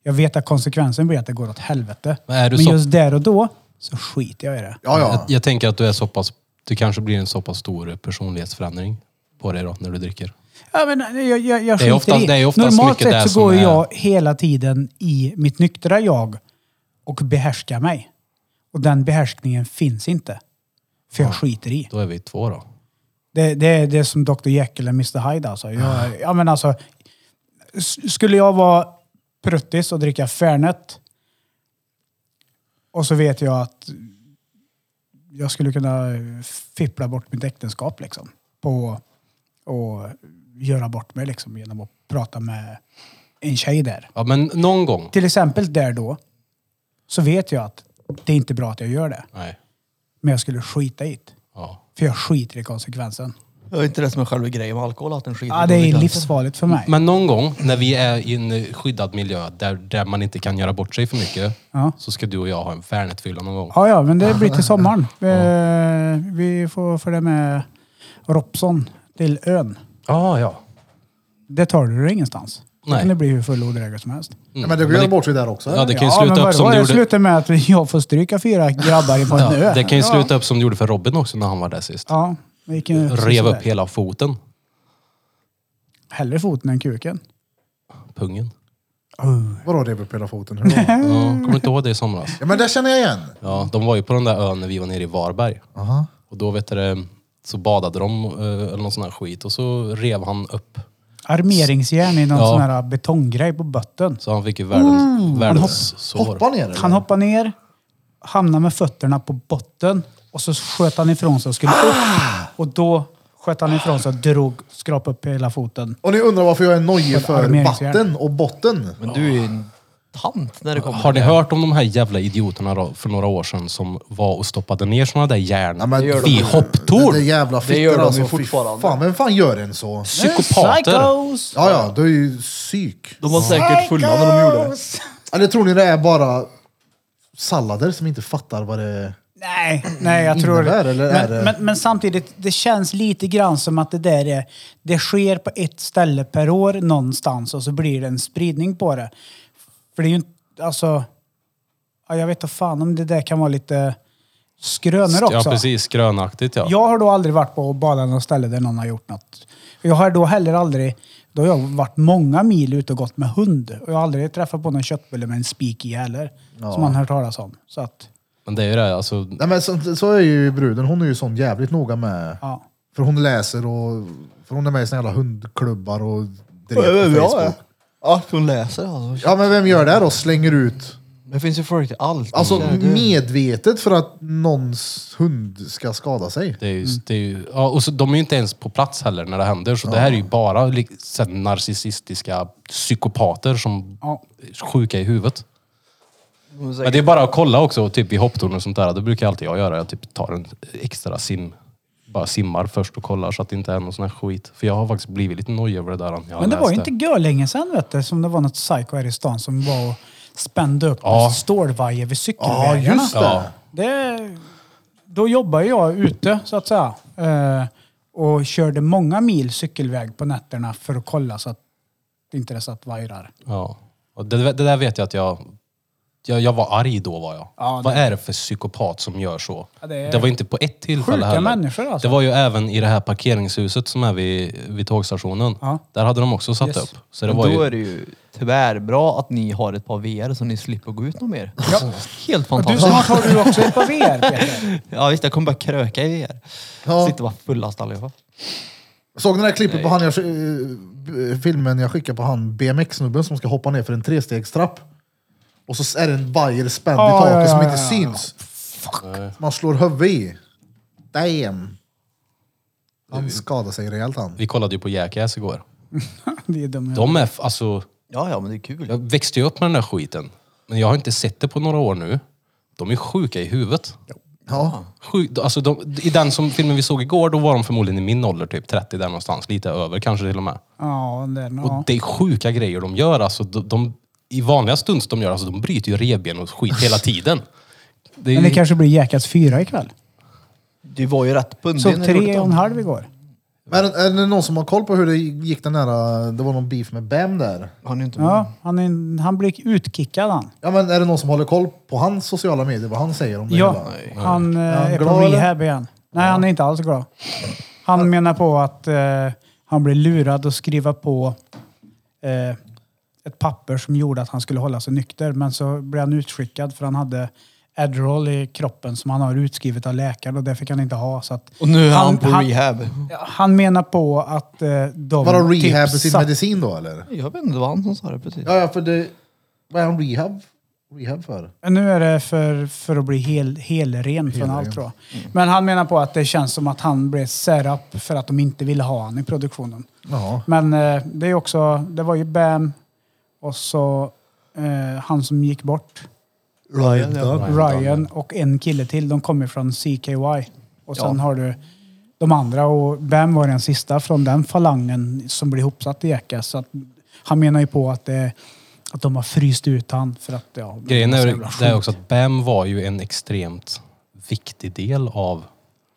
[SPEAKER 3] Jag vet att konsekvensen blir att det går åt helvete.
[SPEAKER 1] Men är du så-
[SPEAKER 3] just där och då så skiter jag i det.
[SPEAKER 2] Ja, ja.
[SPEAKER 1] Jag, jag tänker att du är så pass... Du kanske blir en så pass stor personlighetsförändring på dig då, när du dricker.
[SPEAKER 3] Ja, men, eh, jag, jag, jag
[SPEAKER 1] Det är
[SPEAKER 3] skiter
[SPEAKER 1] oftast-
[SPEAKER 3] i.
[SPEAKER 1] det är oftast
[SPEAKER 3] Normalt
[SPEAKER 1] mycket det
[SPEAKER 3] sett så
[SPEAKER 1] som
[SPEAKER 3] går
[SPEAKER 1] är-
[SPEAKER 3] jag hela tiden i mitt nyktra jag och behärskar mig. Och den behärskningen finns inte. För jag skiter i.
[SPEAKER 1] Då är vi två då.
[SPEAKER 3] Det, det, är- det är som Dr Jekyll och Mr Hyde alltså. Jag, ja, men alltså s- skulle jag vara pruttis och dricka Fernet och så vet jag att jag skulle kunna fippla bort mitt äktenskap liksom. På, och göra bort mig liksom genom att prata med en tjej där.
[SPEAKER 1] Ja, men någon gång.
[SPEAKER 3] Till exempel där då så vet jag att det är inte bra att jag gör det.
[SPEAKER 1] Nej.
[SPEAKER 3] Men jag skulle skita i det.
[SPEAKER 1] Ja.
[SPEAKER 3] För jag skiter i konsekvensen.
[SPEAKER 5] Det är inte det som är själva grejen med alkohol, att den skiter
[SPEAKER 3] Ja,
[SPEAKER 5] i
[SPEAKER 3] det är
[SPEAKER 5] konsekvenser.
[SPEAKER 3] livsfarligt för mig.
[SPEAKER 1] Men någon gång när vi är i en skyddad miljö där, där man inte kan göra bort sig för mycket
[SPEAKER 3] Ja.
[SPEAKER 1] så ska du och jag ha en Fernetfylla någon gång.
[SPEAKER 3] Ja, ja, men det blir till sommaren. Vi, vi får följa med Robson till ön.
[SPEAKER 1] Ja, ja.
[SPEAKER 3] Det tar du dig ingenstans.
[SPEAKER 1] Nej.
[SPEAKER 3] Nej. kan det bli hur full och odräglig som helst.
[SPEAKER 2] Ja, Men det går ju bort sig där också.
[SPEAKER 1] Ja,
[SPEAKER 2] eller?
[SPEAKER 1] det kan ju sluta
[SPEAKER 3] men
[SPEAKER 1] upp som
[SPEAKER 3] vadå?
[SPEAKER 1] du
[SPEAKER 3] det
[SPEAKER 1] gjorde...
[SPEAKER 3] slutar med att jag får stryka fyra grabbar på en
[SPEAKER 1] Ja,
[SPEAKER 3] ö.
[SPEAKER 1] det kan ju
[SPEAKER 3] Ja.
[SPEAKER 1] sluta upp som du gjorde för Robin också när han var där sist.
[SPEAKER 3] Ja, det gick ju
[SPEAKER 1] Rev upp
[SPEAKER 3] sådär.
[SPEAKER 1] hela foten.
[SPEAKER 3] Hellre foten än kuken.
[SPEAKER 1] Pungen.
[SPEAKER 2] Vadå rev upp hela foten? Hur var det?
[SPEAKER 1] Ja,
[SPEAKER 3] Mm.
[SPEAKER 1] kommer du inte ihåg det i somras?
[SPEAKER 2] Ja, men det känner jag igen.
[SPEAKER 1] Ja, de var ju på den där ön när vi var nere i Varberg.
[SPEAKER 2] Aha.
[SPEAKER 1] Och då vet du, det, så badade de eh, eller någon sån här skit och så rev han upp.
[SPEAKER 3] Armeringsjärn i någon
[SPEAKER 1] Ja.
[SPEAKER 3] sån här betonggrej på botten.
[SPEAKER 1] Så han fick ju världens, världens sår.
[SPEAKER 2] Hoppa ner eller?
[SPEAKER 3] Han Mm. hoppade ner, hamnade med fötterna på botten och så sköt han ifrån sig och skulle upp.
[SPEAKER 1] Ah!
[SPEAKER 3] Och då sköt han ifrån sig och drog, skrapade upp hela foten.
[SPEAKER 2] Och ni undrar varför jag är nojig för
[SPEAKER 3] Armeringsjärn.
[SPEAKER 2] vatten och botten.
[SPEAKER 5] Men du är ju en tant när det kommer
[SPEAKER 1] Har ni
[SPEAKER 5] till det.
[SPEAKER 1] hört om de här jävla idioterna då, för några år sedan som var och stoppade ner såna där järn
[SPEAKER 2] Ja, men-
[SPEAKER 5] Det gör de
[SPEAKER 1] i
[SPEAKER 5] ju.
[SPEAKER 2] Det,
[SPEAKER 1] hopptorn?
[SPEAKER 2] det jävla
[SPEAKER 5] Det gör
[SPEAKER 2] fittor
[SPEAKER 5] de ju
[SPEAKER 2] alltså. Fy
[SPEAKER 5] fortfarande.
[SPEAKER 2] fan, vem fan gör en så?
[SPEAKER 1] Psykopater!
[SPEAKER 3] Psychos!
[SPEAKER 2] Ja, ja, det är ju psyk.
[SPEAKER 5] De var säkert fulla när de gjorde det.
[SPEAKER 3] Psychos!
[SPEAKER 2] Eller tror ni det är bara sallader som inte fattar vad det är?
[SPEAKER 3] Nej, nej jag tror...
[SPEAKER 2] Innebär, eller är
[SPEAKER 3] men,
[SPEAKER 2] det-
[SPEAKER 3] men, men samtidigt, det känns lite grann som att det där är... Det sker på ett ställe per år någonstans och så blir det en spridning på det. För det är ju inte... Alltså... Ja, jag vet inte fan om det där kan vara lite skrönor också.
[SPEAKER 1] Ja precis, grönaktigt ja.
[SPEAKER 3] Jag har då aldrig varit på och badat något ställe där någon har gjort något. Jag har då heller aldrig... Då har jag varit många mil ute och gått med hund. Och jag har aldrig träffat på någon köttbulle med en spik i heller. Som man har hört talas om. Så att,
[SPEAKER 1] Men det är ju det, alltså,
[SPEAKER 2] Nej men så, så är ju bruden, hon är ju sån jävligt noga med...
[SPEAKER 3] ja.
[SPEAKER 2] För hon läser och... För hon är med i såna jävla hundklubbar och... drev på Facebook.
[SPEAKER 5] Ja, hon läser alltså.
[SPEAKER 2] Ja men vem gör det då? Slänger ut...
[SPEAKER 5] Det finns ju folk till allt.
[SPEAKER 2] Alltså
[SPEAKER 5] Mm. Det är ju-
[SPEAKER 2] medvetet för att någons hund ska skada sig.
[SPEAKER 1] det är
[SPEAKER 3] Mm.
[SPEAKER 1] ju, det är ju, ja, och så, de är ju inte ens på plats heller när det händer. Så det här är ju bara lik- så här narcissistiska psykopater som
[SPEAKER 3] Ja.
[SPEAKER 1] är sjuka i huvudet.
[SPEAKER 5] hon är
[SPEAKER 1] Men
[SPEAKER 5] säkert-
[SPEAKER 1] det är bara att kolla också, typ i hopptorn och sånt där. Det brukar alltid jag göra. Jag typ tar en extra sim. Bara simmar först och kollar så att det inte är någon sån här skit. För jag har faktiskt blivit lite nojig över det där. Jag har
[SPEAKER 3] Men det var
[SPEAKER 1] läst
[SPEAKER 3] ju inte gör länge sedan vet du, som det var något psyko här i stan som var och spände upp
[SPEAKER 1] Ja.
[SPEAKER 3] ja. stålvajer vid cykelvägarna.
[SPEAKER 2] Ja, just det.
[SPEAKER 1] Ja.
[SPEAKER 3] Det, då jobbar jag ute, så att säga. Eh, och körde många mil cykelväg på nätterna för att kolla så att det inte det satt vajrar.
[SPEAKER 1] Ja. Och det, det där vet jag att jag... Jag, jag var arg då var jag.
[SPEAKER 3] Ja,
[SPEAKER 1] Vad
[SPEAKER 3] det-
[SPEAKER 1] är det för psykopat som gör så?
[SPEAKER 3] Ja,
[SPEAKER 1] det,
[SPEAKER 3] det är-
[SPEAKER 1] var inte på ett tillfälle
[SPEAKER 3] Sjuka
[SPEAKER 1] heller.
[SPEAKER 3] människor, alltså.
[SPEAKER 1] Det var ju även i det här parkeringshuset som är vid, vid tågstationen.
[SPEAKER 3] Ja.
[SPEAKER 1] Där hade de också satt
[SPEAKER 3] Yes.
[SPEAKER 1] upp. Så det
[SPEAKER 5] Men
[SPEAKER 1] var
[SPEAKER 5] då
[SPEAKER 1] ju...
[SPEAKER 5] är det ju tyvärr bra att ni har ett par VR så ni slipper gå ut något mer. Helt
[SPEAKER 3] Du,
[SPEAKER 5] fantastiskt.
[SPEAKER 3] snart har du också ett par VR, Peter.
[SPEAKER 5] Ja visst, jag kommer bara kröka i VR.
[SPEAKER 2] Ja.
[SPEAKER 5] Sitter bara fullast allihopa.
[SPEAKER 2] Såg ni det här klippet på han jag, sk- eh, filmen jag skickade på han BMX-snubben som ska hoppa ner för en trestegstrapp? Och så är det en vajer spänd i
[SPEAKER 3] Ja,
[SPEAKER 2] taket
[SPEAKER 3] ja, ja,
[SPEAKER 2] som
[SPEAKER 3] ja,
[SPEAKER 2] inte
[SPEAKER 3] ja.
[SPEAKER 2] syns. Man slår huvudet i. Damn. Han skadade sig rejält han.
[SPEAKER 1] Vi kollade ju på Jackass
[SPEAKER 3] Mm.
[SPEAKER 1] igår.
[SPEAKER 3] Det är dumt.
[SPEAKER 1] De är... f- Alltså,
[SPEAKER 5] Ja, ja, men det är kul.
[SPEAKER 1] jag växte ju upp med den där skiten. Men jag har inte sett det på några år nu. De är sjuka i huvudet.
[SPEAKER 2] Ja.
[SPEAKER 1] Sjuk, alltså de, I den som filmen vi såg igår, då var de förmodligen i min ålder, typ 30 där någonstans. Lite över kanske till och med.
[SPEAKER 3] Ja, det är den,
[SPEAKER 1] Och
[SPEAKER 3] ja.
[SPEAKER 1] det är sjuka grejer de gör. Alltså, de, de, I vanliga stunds de gör, alltså, de bryter ju revben och skit hela tiden. Det är
[SPEAKER 3] Men det
[SPEAKER 1] ju,
[SPEAKER 3] kanske blir Jackass 4 ikväll.
[SPEAKER 5] Du var ju rätt bundig.
[SPEAKER 3] Såg
[SPEAKER 5] när du
[SPEAKER 3] tre
[SPEAKER 5] gjorde
[SPEAKER 3] och en
[SPEAKER 5] Mm, det. Mm.
[SPEAKER 3] halv igår.
[SPEAKER 2] Men är det någon som har koll på hur det gick den där, det var någon beef med Bam där?
[SPEAKER 5] Han är ju inte med.
[SPEAKER 3] Ja, han, är, han blir utkickad han.
[SPEAKER 2] Ja men är det någon som håller koll på hans sociala medier, vad han säger om det
[SPEAKER 3] Ja,
[SPEAKER 2] hela?
[SPEAKER 3] han eh,
[SPEAKER 2] han
[SPEAKER 3] är
[SPEAKER 2] glad,
[SPEAKER 3] på
[SPEAKER 2] eller?
[SPEAKER 3] rehab igen. Nej, han är inte alls glad. Han menar på att eh, han blev lurad att skriva på eh, ett papper som gjorde att han skulle hålla sig nykter. Men så blev han utskickad för han hade Adderall i kroppen som han har utskrivet av läkaren och det fick han inte ha. Så att
[SPEAKER 5] Och nu är han, på rehab.
[SPEAKER 3] Han menar på att eh, de...
[SPEAKER 2] Vadå rehab
[SPEAKER 3] typ
[SPEAKER 2] sin
[SPEAKER 3] satt-
[SPEAKER 2] medicin då eller?
[SPEAKER 5] Jag vet inte, det var han som sa det precis.
[SPEAKER 2] Ja, ja för det... Vad är han rehab? Rehab för?
[SPEAKER 3] Nu är det för, för att bli hel, helren från allt tror jag. Men han menar på att det känns som att han blev särap för att de inte ville ha han i produktionen.
[SPEAKER 2] Jaha.
[SPEAKER 3] Men eh, det är också, det var ju Bam och så eh, han som gick bort,
[SPEAKER 5] Ryan, ja.
[SPEAKER 3] Ryan och en kille till. De kommer från CKY. Och sen har du de andra och Bam var den sista från den falangen som blev ihopsatt i Jackass. Så att, han menar ju på att, det, att de har fryst ut han för att ja,
[SPEAKER 1] grejen
[SPEAKER 3] så
[SPEAKER 1] är,
[SPEAKER 3] jävla
[SPEAKER 1] det är
[SPEAKER 3] sjuk.
[SPEAKER 1] också att Bam var ju en extremt viktig del av,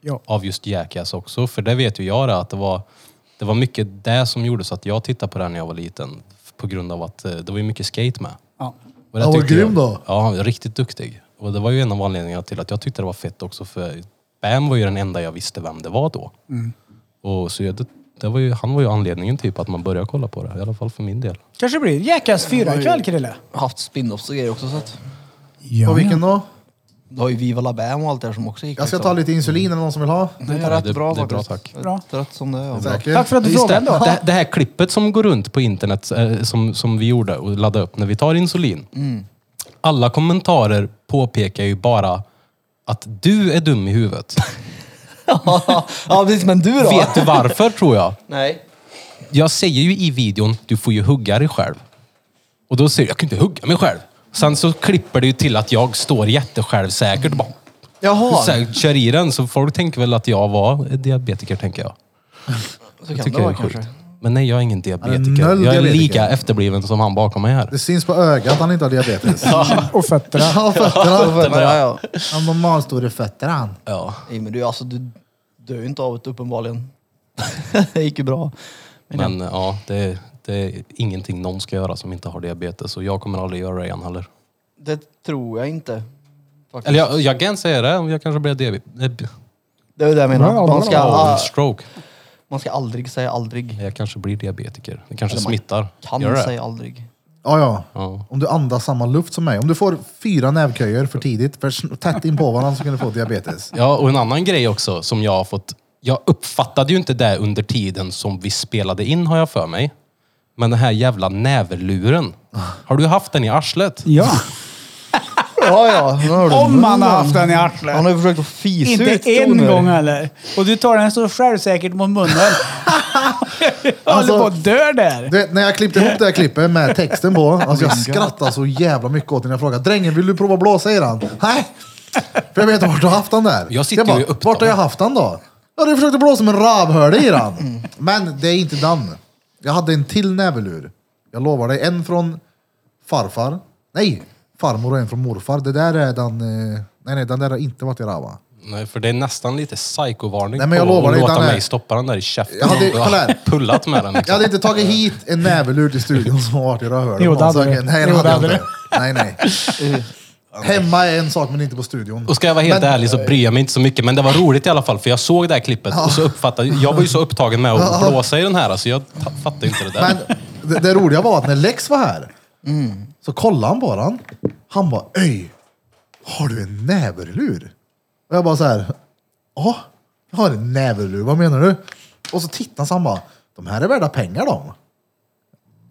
[SPEAKER 3] Ja.
[SPEAKER 1] av just Jackass också. För det vet ju jag det, att det var, det var mycket det som gjorde så att jag tittade på det här när jag var liten. På grund av att eh, det var ju mycket skate med.
[SPEAKER 3] Ja.
[SPEAKER 1] Och det
[SPEAKER 2] Han var
[SPEAKER 1] tyckte
[SPEAKER 2] grym
[SPEAKER 1] jag-
[SPEAKER 2] då.
[SPEAKER 1] Ja, han var riktigt duktig. Och det var ju en av anledningarna till att jag tyckte det var fett också för Bam var ju den enda jag visste vem det var då. Och så jag, det, det var ju, han var ju anledningen typ att man började kolla på det, i alla fall för min del.
[SPEAKER 3] Kanske blir Jackass 4 ikväll, Krille.
[SPEAKER 5] Haft spin-offs och grejer också så att.
[SPEAKER 3] Ja,
[SPEAKER 2] och vilken då?
[SPEAKER 5] Du har ju Viva La Bam och allt det här som också gick.
[SPEAKER 2] Jag ska
[SPEAKER 5] liksom.
[SPEAKER 2] ta lite insulin eller någon som vill ha?
[SPEAKER 5] Det
[SPEAKER 1] Ja,
[SPEAKER 5] är rätt
[SPEAKER 1] det-
[SPEAKER 5] bra
[SPEAKER 1] det är bra,
[SPEAKER 5] faktiskt.
[SPEAKER 3] tack. Bra.
[SPEAKER 5] Rätt- Rätt som det är. Ja.
[SPEAKER 2] Säker?
[SPEAKER 3] Mm. Tack för att du
[SPEAKER 1] Just
[SPEAKER 3] frågade
[SPEAKER 1] det,
[SPEAKER 3] ändå.
[SPEAKER 1] det, det här klippet som går runt på internet eh, som, som vi gjorde och laddade upp när vi tar insulin. Alla kommentarer påpekar ju bara att du är dum i huvudet.
[SPEAKER 5] ja precis, men du då?
[SPEAKER 1] Vet du varför tror jag?
[SPEAKER 5] Nej.
[SPEAKER 1] Jag säger ju i videon, du får ju hugga dig själv. Och då ser jag, jag kan inte hugga mig själv. Sen så klipper det ju till att jag står jättesjälvsäkert och bara
[SPEAKER 5] Jaha,
[SPEAKER 1] så här, kör i den. Så folk tänker väl att jag var diabetiker, tänker jag.
[SPEAKER 5] så kan
[SPEAKER 1] tycker
[SPEAKER 5] det
[SPEAKER 1] jag
[SPEAKER 5] vara
[SPEAKER 1] är
[SPEAKER 5] kanske.
[SPEAKER 1] sjukt. Men nej, jag är ingen diabetiker.
[SPEAKER 2] noll
[SPEAKER 1] Jag är
[SPEAKER 2] diabetiker.
[SPEAKER 1] lika efterbliven som han bakom mig här.
[SPEAKER 2] Det syns på ögat att han inte har diabetes.
[SPEAKER 3] Och fötterna.
[SPEAKER 2] Ja, fötterna.
[SPEAKER 5] Ja, ja.
[SPEAKER 2] Han har malstora fötter han.
[SPEAKER 1] Ja.
[SPEAKER 5] Nej, men du, alltså, du dör ju inte av det uppenbarligen. det gick ju bra. Men,
[SPEAKER 1] Men ja, det, det är ingenting någon ska göra som inte har diabetes. Och jag kommer aldrig göra det igen heller.
[SPEAKER 5] det tror jag inte. faktiskt.
[SPEAKER 1] Eller jag, jag kan säga det, om jag kanske blir diabetiker.
[SPEAKER 5] Det är ju det jag menar. Man ska,
[SPEAKER 1] Ja, stroke.
[SPEAKER 5] man ska aldrig säga aldrig.
[SPEAKER 1] Jag kanske blir diabetiker. Det kanske
[SPEAKER 5] Eller man
[SPEAKER 1] smittar.
[SPEAKER 5] Kan
[SPEAKER 1] Gör det?
[SPEAKER 5] säga aldrig.
[SPEAKER 2] Ja, ja.
[SPEAKER 1] Ja.
[SPEAKER 2] Om du andas samma luft som mig. Om du får fyra nävköjer för tidigt, för sn- tätt in på varandra, så kan du få diabetes.
[SPEAKER 1] Ja, och en annan grej också som jag har fått. Jag uppfattade ju inte det under tiden som vi spelade in har jag för mig. Men den här jävla näverluren. Har du haft den i arslet?
[SPEAKER 3] Ja.
[SPEAKER 5] Ja, ja. nu hör du.
[SPEAKER 3] Om man har haft den i arslet.
[SPEAKER 5] Han har ju försökt att fisa ut
[SPEAKER 3] Inte en
[SPEAKER 5] toner.
[SPEAKER 3] gång heller. Och du tar den så självsäkert mot munnen. Jag håller
[SPEAKER 2] Alltså-
[SPEAKER 3] på att dö där.
[SPEAKER 2] Du vet, när jag klippte ihop det här klippet med texten på, alltså jag skrattade så jävla mycket åt när jag frågade Drängen, vill du prova att blåsa i den? Nej! För jag vet vart du har haft den där.
[SPEAKER 1] Jag sitter ju upptagen.
[SPEAKER 2] vart har jag haft den då? Ja, du försökte blåsa med en ravhörde i den. Men det är inte den. Jag hade en till näverlur. Jag lovar dig, en från farfar. Nej, farmor och en från morfar. Det där är den... eh, Nej, nej, den där har inte varit i rava.
[SPEAKER 1] Nej, för det är nästan lite psykovarning
[SPEAKER 2] Nej, men jag
[SPEAKER 1] på
[SPEAKER 2] lovar
[SPEAKER 1] att
[SPEAKER 2] dig,
[SPEAKER 1] låta
[SPEAKER 2] den är-
[SPEAKER 1] mig stoppa den där i käften.
[SPEAKER 2] Jag hade-
[SPEAKER 1] Jag
[SPEAKER 2] kolla här.
[SPEAKER 1] pullat med den.
[SPEAKER 2] Jag
[SPEAKER 1] Liksom.
[SPEAKER 2] hade inte tagit hit en näverlur till studion som har varit i rövhålet.
[SPEAKER 3] Jo, det hade du.
[SPEAKER 2] Nej, det
[SPEAKER 3] Jo,
[SPEAKER 2] hade
[SPEAKER 3] det
[SPEAKER 2] jag
[SPEAKER 3] hade Mm.
[SPEAKER 2] inte. Nej, nej. Hemma är en sak, men inte på studion.
[SPEAKER 1] Och ska jag vara helt
[SPEAKER 2] Men-
[SPEAKER 1] ärlig så bryr jag mig inte så mycket. Men det var roligt i alla fall för jag såg det här klippet och så uppfattade jag. var ju så upptagen med att blåsa i den här så jag ta- fattade inte det där.
[SPEAKER 2] Men det, det roliga var att när Lex var här
[SPEAKER 3] Mm.
[SPEAKER 2] så kollade han på den. Han bara, öj, har du en näverlur? Och jag bara så här, ja, jag har en näverlur, vad menar du? Och så tittade han så han bara, de här är värda pengar de.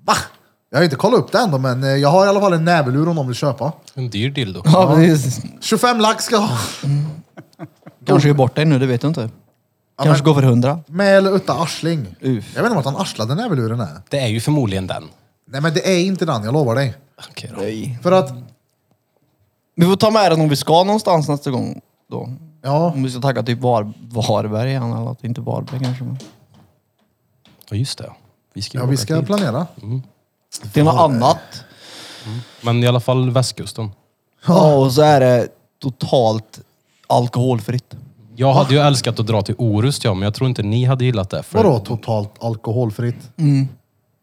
[SPEAKER 2] Va? Jag har inte kollat upp det ändå, men eh, jag har i alla fall en näverlur om de vill köpa.
[SPEAKER 1] En dyr dildo.
[SPEAKER 5] Ja, precis.
[SPEAKER 2] 25 lax ska jag ha.
[SPEAKER 5] Kanske är borta nu, det vet jag inte. Kanske går för hundra.
[SPEAKER 2] Med eller utan arsling.
[SPEAKER 5] Uff.
[SPEAKER 2] Jag vet inte vart han arslade näverluren är.
[SPEAKER 1] Det är ju förmodligen den.
[SPEAKER 2] Nej men det är inte den, jag lovar dig.
[SPEAKER 1] Okej då.
[SPEAKER 5] Nej.
[SPEAKER 2] För att,
[SPEAKER 5] Vi får ta med den om vi ska någonstans nästa gång. Då.
[SPEAKER 2] ja,
[SPEAKER 5] Om vi ska tagga typ Var Varberg igen, eller att inte Varberg kanske. Men.
[SPEAKER 1] Ja, just det. Vi ska, ju
[SPEAKER 2] ja vi
[SPEAKER 1] åka
[SPEAKER 2] ska
[SPEAKER 1] dit.
[SPEAKER 2] planera.
[SPEAKER 5] Det är något annat.
[SPEAKER 1] Men i alla fall västkusten.
[SPEAKER 5] Ja, och så är det totalt alkoholfritt.
[SPEAKER 1] Jag hade ju älskat att dra till Orust ja, men jag tror inte ni hade gillat det. För...
[SPEAKER 2] Vadå totalt alkoholfritt?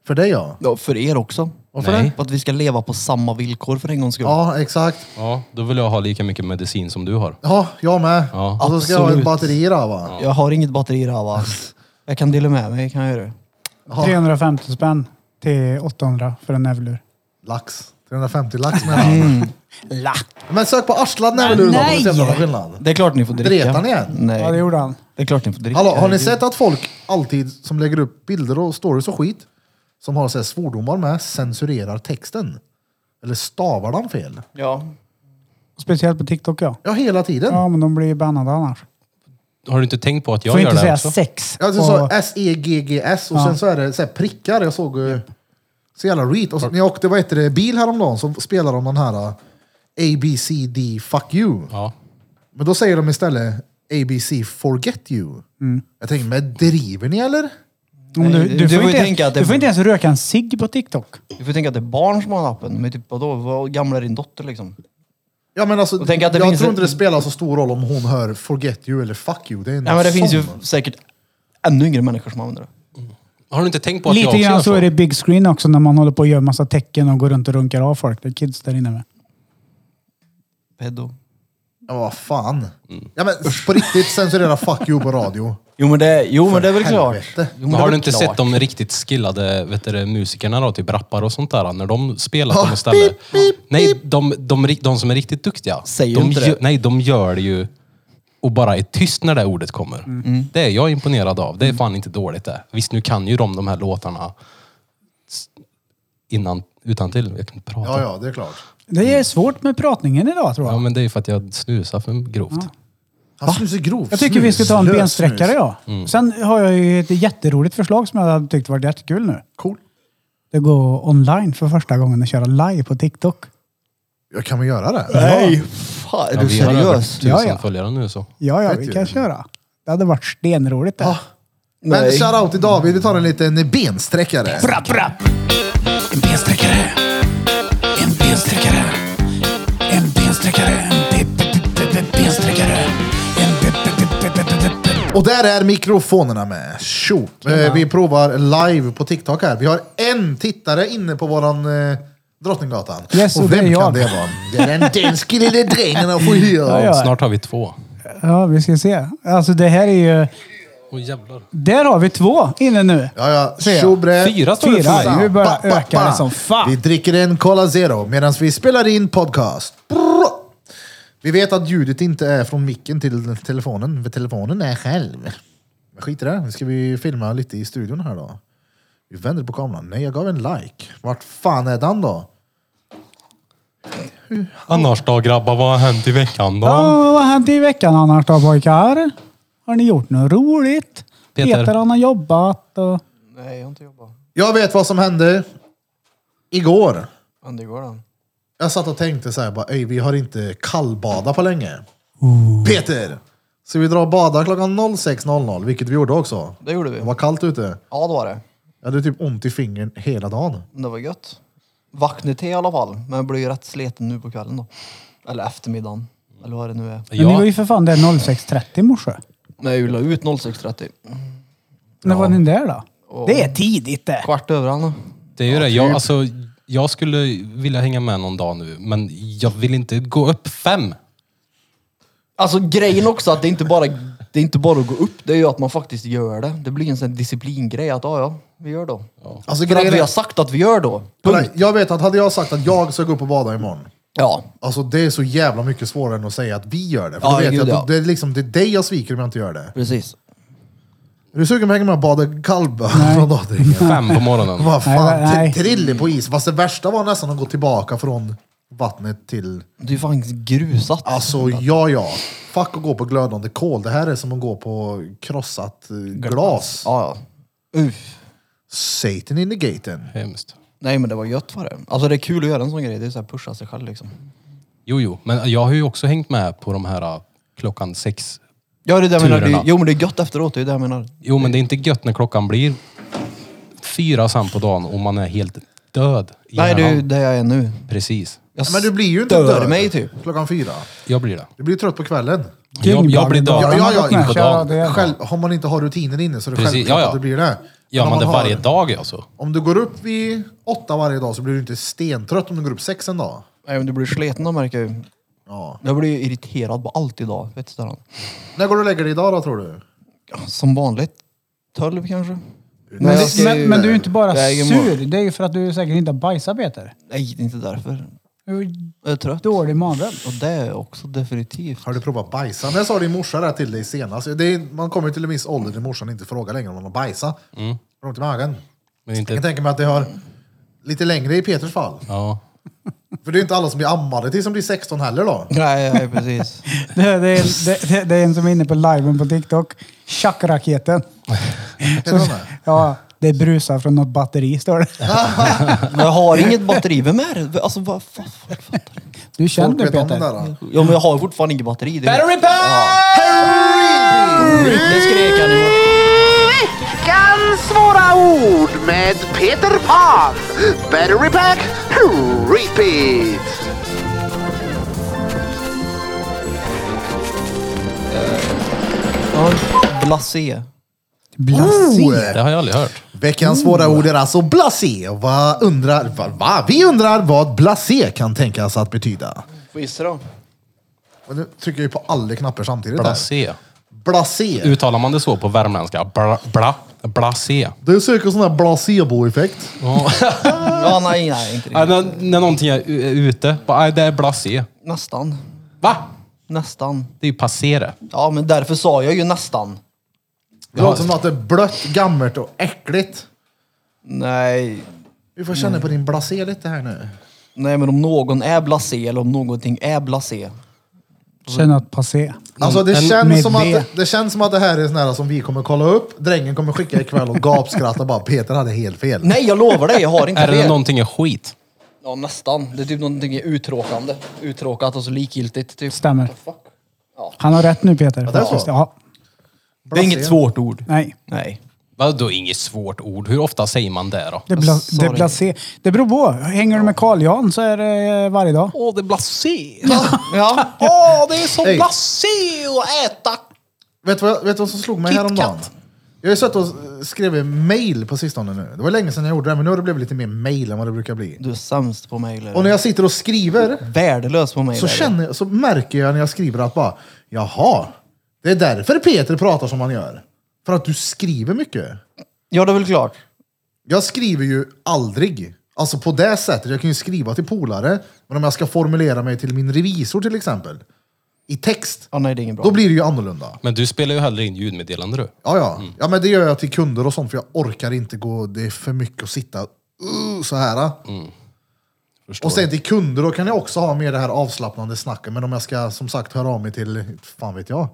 [SPEAKER 2] För dig ja.
[SPEAKER 5] Ja, för er också.
[SPEAKER 2] Varför
[SPEAKER 1] Nej.
[SPEAKER 2] det?
[SPEAKER 5] För att vi ska leva på samma villkor för en gångs skull.
[SPEAKER 2] Ja, exakt.
[SPEAKER 1] Ja, då vill jag ha lika mycket medicin som du har.
[SPEAKER 2] Ja, jag med.
[SPEAKER 1] Ja.
[SPEAKER 2] och så ska jag ha ett
[SPEAKER 5] Absolut.
[SPEAKER 2] batteri där va?
[SPEAKER 5] Jag har inget batteri där va. Jag kan dela med mig, kan jag göra det?
[SPEAKER 3] 350 spänn till 800 för en nävlur.
[SPEAKER 2] Lax. 350 lax med mm. Men sök på arslad näverlur då,
[SPEAKER 3] Nej.
[SPEAKER 2] får du se om det är skillnad.
[SPEAKER 5] Det är klart ni får dricka.
[SPEAKER 2] Dretar ni igen?
[SPEAKER 5] Nej.
[SPEAKER 3] Ja, det gjorde han.
[SPEAKER 5] Det är klart ni får dricka.
[SPEAKER 2] Hallå, har ni
[SPEAKER 5] Herregud.
[SPEAKER 2] sett att folk alltid som lägger upp bilder och stories och skit, som har så här svordomar med, censurerar texten? Eller stavar den fel?
[SPEAKER 5] Ja.
[SPEAKER 3] Speciellt på TikTok ja.
[SPEAKER 2] Ja, hela tiden.
[SPEAKER 3] Ja, men de blir bannade annars.
[SPEAKER 1] Har du inte tänkt på att jag
[SPEAKER 3] Får
[SPEAKER 1] gör
[SPEAKER 3] inte
[SPEAKER 1] det
[SPEAKER 3] säga
[SPEAKER 1] också?
[SPEAKER 3] sex.
[SPEAKER 2] Ja, det sa
[SPEAKER 3] Och-
[SPEAKER 2] E S-E-G-G-S och sen så är det så här prickar. Jag såg eh, så jävla reet. Och så, när jag åkte vad heter det, bil häromdagen så spelade de den här eh, ABCD fuck you.
[SPEAKER 1] Ja.
[SPEAKER 2] Men då säger de istället ABC forget you.
[SPEAKER 3] Mm.
[SPEAKER 2] Jag tänker, men driver ni eller?
[SPEAKER 3] Om
[SPEAKER 5] Nej,
[SPEAKER 3] du,
[SPEAKER 5] du-
[SPEAKER 3] du,
[SPEAKER 5] du får
[SPEAKER 3] får
[SPEAKER 5] ju
[SPEAKER 3] inte,
[SPEAKER 5] tänka att
[SPEAKER 3] ens-
[SPEAKER 5] det-
[SPEAKER 3] du får inte ens röka en cigg på TikTok.
[SPEAKER 5] Du får tänka att det är barn som har appen. Men typ vadå, vad gammal är din dotter liksom?
[SPEAKER 2] Ja, men alltså,
[SPEAKER 5] Och tänk att det
[SPEAKER 2] jag
[SPEAKER 5] finns
[SPEAKER 2] tror
[SPEAKER 5] en-
[SPEAKER 2] inte det spelar så stor roll om hon hör forget you eller fuck you. Det är en
[SPEAKER 5] Nej men det
[SPEAKER 2] sån.
[SPEAKER 5] finns ju säkert ännu yngre människor som använder det.
[SPEAKER 1] Har du inte tänkt på att
[SPEAKER 3] Lite
[SPEAKER 1] jag
[SPEAKER 3] grann
[SPEAKER 1] också
[SPEAKER 3] så
[SPEAKER 1] gör
[SPEAKER 3] är det big screen också när man håller på och gör massa tecken och går runt och runkar av folk. Det är kids där inne med.
[SPEAKER 5] Pedo.
[SPEAKER 2] Ja, vad fan.
[SPEAKER 5] Mm.
[SPEAKER 2] Ja, men på riktigt censurera fuck you på radio.
[SPEAKER 5] Jo men det, jo, men det är väl
[SPEAKER 2] helvete.
[SPEAKER 5] klart. Jo, men
[SPEAKER 1] Men
[SPEAKER 5] det är
[SPEAKER 1] har du
[SPEAKER 5] väl
[SPEAKER 1] inte
[SPEAKER 5] klart.
[SPEAKER 1] sett de riktigt skillade vet du, det, musikerna då, typ rappare och sånt där, när de spelar på något ställe?
[SPEAKER 2] pip, pip,
[SPEAKER 1] Nej, de, de, ri- de som är riktigt duktiga.
[SPEAKER 5] Säger
[SPEAKER 1] de
[SPEAKER 5] inte det.
[SPEAKER 1] gö- Nej, de gör det ju och bara är tyst när det ordet kommer. Mm. Det är jag imponerad av. Det är fan inte dåligt det. Visst, nu kan ju de de här låtarna s- innan, utan till. Jag kan inte prata.
[SPEAKER 2] Ja, ja, det är klart.
[SPEAKER 3] Det är svårt med pratningen idag tror jag.
[SPEAKER 1] Ja, men det är ju för att jag snusar för grovt.
[SPEAKER 2] Han snusar grovt.
[SPEAKER 3] Jag tycker vi ska ta en
[SPEAKER 2] Snus,
[SPEAKER 3] bensträckare
[SPEAKER 2] snus.
[SPEAKER 3] ja. Sen har jag ju ett jätteroligt förslag som jag hade tyckt varit jättekul nu.
[SPEAKER 2] Cool.
[SPEAKER 3] Det går online för första gången och köra live på TikTok.
[SPEAKER 2] Jag kan väl göra det?
[SPEAKER 5] Nej! Fan, är
[SPEAKER 1] Ja,
[SPEAKER 5] du
[SPEAKER 1] vi har över
[SPEAKER 5] seriös?
[SPEAKER 1] tusen
[SPEAKER 3] Ja, ja.
[SPEAKER 1] följare nu så.
[SPEAKER 3] Ja, ja,
[SPEAKER 2] Fett
[SPEAKER 3] vi
[SPEAKER 2] ju.
[SPEAKER 3] kan köra. Det hade varit stenroligt det.
[SPEAKER 2] Ah, Men shoutout till David, vi tar en liten bensträckare.
[SPEAKER 4] Brapp, brapp. En bensträckare. En bensträckare. En bensträckare. En be- be- be- be- bensträckare. En be- be- be- be- be- be- be-
[SPEAKER 2] Och där är mikrofonerna med. Tjo. Eh, vi provar live på TikTok här. Vi har en tittare inne på våran eh, Drottninggatan.
[SPEAKER 3] Yes,
[SPEAKER 2] och
[SPEAKER 3] och det
[SPEAKER 2] vem
[SPEAKER 3] är
[SPEAKER 2] kan
[SPEAKER 3] jag.
[SPEAKER 2] det vara? Det är den danske lille drängen och får
[SPEAKER 3] Ja,
[SPEAKER 2] hyra.
[SPEAKER 3] ja.
[SPEAKER 1] Snart har vi två.
[SPEAKER 3] Ja, vi ska se. Alltså det här är ju...
[SPEAKER 1] Åh jävlar.
[SPEAKER 3] Där har vi två inne nu.
[SPEAKER 2] Ja, ja.
[SPEAKER 3] Ser jag.
[SPEAKER 2] Tjo bre.
[SPEAKER 1] Fyra står det
[SPEAKER 3] Fyra.
[SPEAKER 1] för.
[SPEAKER 3] Nu
[SPEAKER 2] Ba,
[SPEAKER 3] börjar
[SPEAKER 2] ba,
[SPEAKER 3] öka
[SPEAKER 2] ba.
[SPEAKER 3] det som
[SPEAKER 2] Vi
[SPEAKER 3] fan.
[SPEAKER 2] dricker en Cola Zero medan vi spelar in podcast. Brr. Vi vet att ljudet inte är från micken till telefonen, för telefonen är själv. Men Skit i det, nu ska vi filma lite i studion här då. Vi vänder på kameran. Nej, jag gav en like. Vart fan är den då?
[SPEAKER 1] Annars då grabbar, vad har hänt i veckan då?
[SPEAKER 3] Ja, vad har hänt i veckan annars då pojkar? Har ni gjort något roligt?
[SPEAKER 1] Peter.
[SPEAKER 3] Peter, han har jobbat och...
[SPEAKER 5] Nej, jag har inte jobbat.
[SPEAKER 2] Jag vet vad som hände igår.
[SPEAKER 5] Men det går då.
[SPEAKER 2] Jag satt och tänkte så här, bara, "Ey, vi har inte kallbada på länge. Peter! Så vi drar och badar klockan 06.00, vilket vi gjorde också.
[SPEAKER 5] Det gjorde vi.
[SPEAKER 2] Det var kallt ute.
[SPEAKER 5] Ja, det var det.
[SPEAKER 2] Jag hade typ ont i fingern hela dagen.
[SPEAKER 5] Men Det var gött. Vaknade till i alla fall, men jag blir ju rätt sliten nu på kvällen då. Eller eftermiddagen. Eller vad det nu är.
[SPEAKER 3] Men ni var ju för fan där 06.30 i morse.
[SPEAKER 5] När jag la ut 06.30.
[SPEAKER 3] När var ni där då?
[SPEAKER 5] Och
[SPEAKER 3] Det är tidigt det.
[SPEAKER 5] Kvart över alla.
[SPEAKER 1] Det är ju det. Jag, alltså, jag skulle vilja hänga med någon dag nu, men jag vill inte gå upp fem.
[SPEAKER 5] Alltså grejen också att det är inte bara det är inte bara att gå upp, det är ju att man faktiskt gör det. Det blir en sån här disciplingrej att ja, ja, vi gör då.
[SPEAKER 2] Alltså,
[SPEAKER 5] För
[SPEAKER 2] grejen
[SPEAKER 5] att vi
[SPEAKER 2] är-
[SPEAKER 5] har sagt att vi gör då.
[SPEAKER 2] Kolla, jag vet att hade jag sagt att jag ska gå upp och bada imorgon,
[SPEAKER 5] Ja.
[SPEAKER 2] alltså det är så jävla mycket svårare än att säga att vi gör det. För
[SPEAKER 5] Ja,
[SPEAKER 2] då vet
[SPEAKER 5] gud,
[SPEAKER 2] jag att
[SPEAKER 5] ja.
[SPEAKER 2] det, är liksom, det är dig jag sviker om jag inte gör det.
[SPEAKER 5] Precis.
[SPEAKER 2] Är du sugen på att hänga med och bada kallbad från Dagdringen?
[SPEAKER 1] Fem på morgonen.
[SPEAKER 2] Vad fan,
[SPEAKER 3] Nej, nej.
[SPEAKER 2] t- trille på is. Fast det värsta var nästan att gå tillbaka från vattnet till...
[SPEAKER 5] Det är ju fan grusat.
[SPEAKER 2] Alltså, ja, ja. Fuck att gå på glödande kol. Det här är som att gå på krossat eh, glas.
[SPEAKER 5] Ja, ja. Uff.
[SPEAKER 2] Satan in the gaten.
[SPEAKER 1] Hemskt.
[SPEAKER 5] Nej men det var gött var det. Alltså det är kul att göra en sån grej. Det är så här pusha sig själv liksom.
[SPEAKER 1] Jo, jo. Men jag har ju också hängt med på de här ah, klockan sex.
[SPEAKER 5] Ja det är det jag menar. Det,
[SPEAKER 1] Turerna.
[SPEAKER 5] är- jo men det är gött efteråt, det är det jag menar.
[SPEAKER 1] Jo, men det är inte gött när klockan blir fyra sen på dagen och man är helt död i
[SPEAKER 5] Nej det är ju
[SPEAKER 1] hjärnan.
[SPEAKER 5] där jag är nu.
[SPEAKER 1] Precis.
[SPEAKER 5] Jag
[SPEAKER 2] Men du blir ju inte
[SPEAKER 5] stör
[SPEAKER 2] död
[SPEAKER 5] mig typ.
[SPEAKER 2] klockan fyra.
[SPEAKER 1] Jag blir det.
[SPEAKER 2] Du blir trött på kvällen.
[SPEAKER 1] Jag, jag blir död
[SPEAKER 2] Ja, ja, ja,
[SPEAKER 1] in på
[SPEAKER 3] Kör
[SPEAKER 1] dagen.
[SPEAKER 3] det.
[SPEAKER 2] Själv, om man inte har rutiner inne så är det
[SPEAKER 1] Precis,
[SPEAKER 2] självklart
[SPEAKER 1] ja, ja.
[SPEAKER 2] att det blir det.
[SPEAKER 1] Gör
[SPEAKER 2] om
[SPEAKER 1] man det
[SPEAKER 2] har-
[SPEAKER 1] varje dag alltså?
[SPEAKER 2] Om du går upp vid åtta varje dag så blir du inte stentrött om du går upp sex en dag.
[SPEAKER 5] Nej men du blir sliten då märker jag ju.
[SPEAKER 2] Ja.
[SPEAKER 5] Jag blir ju irriterad på allt idag. Vet du Stellan?
[SPEAKER 2] När går du och lägger dig idag då tror du?
[SPEAKER 5] Som vanligt. 12 kanske?
[SPEAKER 3] Men,
[SPEAKER 5] Nej, jag ska ju-
[SPEAKER 3] men, men du är ju inte bara
[SPEAKER 5] Jag är ju imorgon.
[SPEAKER 3] sur. Det är ju för att du säkert inte har bajsat Peter.
[SPEAKER 5] Nej, det är inte därför.
[SPEAKER 3] Du är
[SPEAKER 5] Jag är trött.
[SPEAKER 3] dålig i magen.
[SPEAKER 5] Och det är också definitivt.
[SPEAKER 2] Har du provat bajsa? Men jag sa din morsa där till dig senast. Det är, man kommer ju till en viss ålder där morsan inte frågar längre om man har bajsat. Mm. Runt i magen.
[SPEAKER 1] Men
[SPEAKER 2] Jag kan
[SPEAKER 1] inte...
[SPEAKER 2] tänka mig att det har lite längre i Peters fall.
[SPEAKER 1] Ja.
[SPEAKER 2] För det är inte alla som blir ammade till som blir 16 heller då.
[SPEAKER 5] Nej, nej precis.
[SPEAKER 3] Det, det, är- det, det, det är en som är inne på liven på TikTok. Tjackraketen.
[SPEAKER 2] Heter de det?
[SPEAKER 3] Ja, det brusar från något batteri står det.
[SPEAKER 5] Men jag har inget batteri. Vem är det? Alltså vad fan? folk fattar.
[SPEAKER 3] Du känner
[SPEAKER 2] Folk
[SPEAKER 3] det
[SPEAKER 2] vet om den
[SPEAKER 3] Peter.
[SPEAKER 2] där. då.
[SPEAKER 5] Ja, men jag har fortfarande inget batteri. Det är-
[SPEAKER 1] Battery pack!
[SPEAKER 5] Det skrek han i
[SPEAKER 6] Veckans svåra ord med Peter Pan. Battery pack, repeat.
[SPEAKER 5] Ja, Blasé.
[SPEAKER 3] Blasé.
[SPEAKER 1] Det har jag aldrig hört.
[SPEAKER 2] Veckans svåra ord är alltså blasé. Va undrar, va, va? Vi undrar vad blasé kan tänkas att betyda.
[SPEAKER 5] Får gissa då.
[SPEAKER 2] Och nu trycker jag ju på alla knappar samtidigt. här.
[SPEAKER 1] Blasé.
[SPEAKER 2] Blasé.
[SPEAKER 1] Uttalar man det så på värmländska? Bla, bla, blasé.
[SPEAKER 2] Det är säkert sån där blasebo-effekt.
[SPEAKER 5] Ja, nej, nej, inte
[SPEAKER 1] Ja,
[SPEAKER 5] riktigt.
[SPEAKER 1] när, när någonting är u- är ute, bara, nej, det är blasé.
[SPEAKER 5] Nästan.
[SPEAKER 1] Va?
[SPEAKER 5] Nästan.
[SPEAKER 1] Det är ju passé det.
[SPEAKER 5] Ja, men därför sa jag ju nästan.
[SPEAKER 2] Det låter som att det är blött, gammalt och äckligt.
[SPEAKER 5] Nej.
[SPEAKER 2] Vi får känna på din
[SPEAKER 5] Mm.
[SPEAKER 2] blasé lite här nu.
[SPEAKER 5] Nej, men om någon är blasé eller om någonting är blasé.
[SPEAKER 2] Oh!
[SPEAKER 3] Känner att passé.
[SPEAKER 2] Alltså det
[SPEAKER 1] En-
[SPEAKER 2] känns,
[SPEAKER 3] med
[SPEAKER 2] som
[SPEAKER 3] det.
[SPEAKER 2] att, det känns som att det här är sån här som vi kommer kolla upp. Drängen kommer skicka ikväll och gapskratta bara Peter hade helt fel.
[SPEAKER 5] Nej, jag lovar dig, jag har inte
[SPEAKER 1] Är det någonting jag skit?
[SPEAKER 5] Ja, nästan. Det är typ någonting uttråkande. Uttråkat och så likgiltigt. Typ.
[SPEAKER 3] Stämmer.
[SPEAKER 5] Fuck.
[SPEAKER 3] Han har rätt nu Peter.
[SPEAKER 2] det är så.
[SPEAKER 3] Faktiskt. Ja,
[SPEAKER 5] Det är inget svårt ord.
[SPEAKER 3] nej.
[SPEAKER 5] Nej.
[SPEAKER 1] Vadå inget svårt ord? Hur ofta säger man det då?
[SPEAKER 3] Det, bla, det, blasé. det beror på. Hänger du med Carl Jan så är det eh, varje dag.
[SPEAKER 1] Åh, det är blasé!
[SPEAKER 5] Ja.
[SPEAKER 1] Åh, det är så
[SPEAKER 2] Hej.
[SPEAKER 1] blasé att äta!
[SPEAKER 2] Vet du vad, vet du vad som slog mig
[SPEAKER 1] Kit
[SPEAKER 2] häromdagen?
[SPEAKER 1] Kat.
[SPEAKER 2] Jag har ju suttit och skrivit mail på sistone nu. Det var länge sedan jag gjorde det, men nu har det blivit lite mer mail än vad det brukar bli.
[SPEAKER 5] Du är sämst på mig. Eller?
[SPEAKER 2] Och när jag sitter och skriver
[SPEAKER 5] Värdelös på mig.
[SPEAKER 2] så,
[SPEAKER 5] eller?
[SPEAKER 2] känner, jag- så märker jag när jag skriver att bara, jaha, det är därför Peter pratar som han gör. För att du skriver mycket.
[SPEAKER 5] Ja, det är väl klart.
[SPEAKER 2] Jag skriver ju aldrig. Alltså på det sättet. Jag kan ju skriva till polare, men om jag ska formulera mig till min revisor till exempel, i text,
[SPEAKER 5] Ja, nej, det är inget bra.
[SPEAKER 2] då blir det ju annorlunda.
[SPEAKER 1] Men du spelar ju hellre in ljudmeddelande du.
[SPEAKER 2] Ja, ja. ja, men det gör jag till kunder och sånt, för jag orkar inte gå, det är för mycket att sitta uh, så här.
[SPEAKER 1] Förstår
[SPEAKER 2] Och
[SPEAKER 1] du?
[SPEAKER 2] sen till kunder, då kan jag också ha mer det här avslappnande snacket. Men om jag ska, som sagt, höra av mig till, fan vet jag,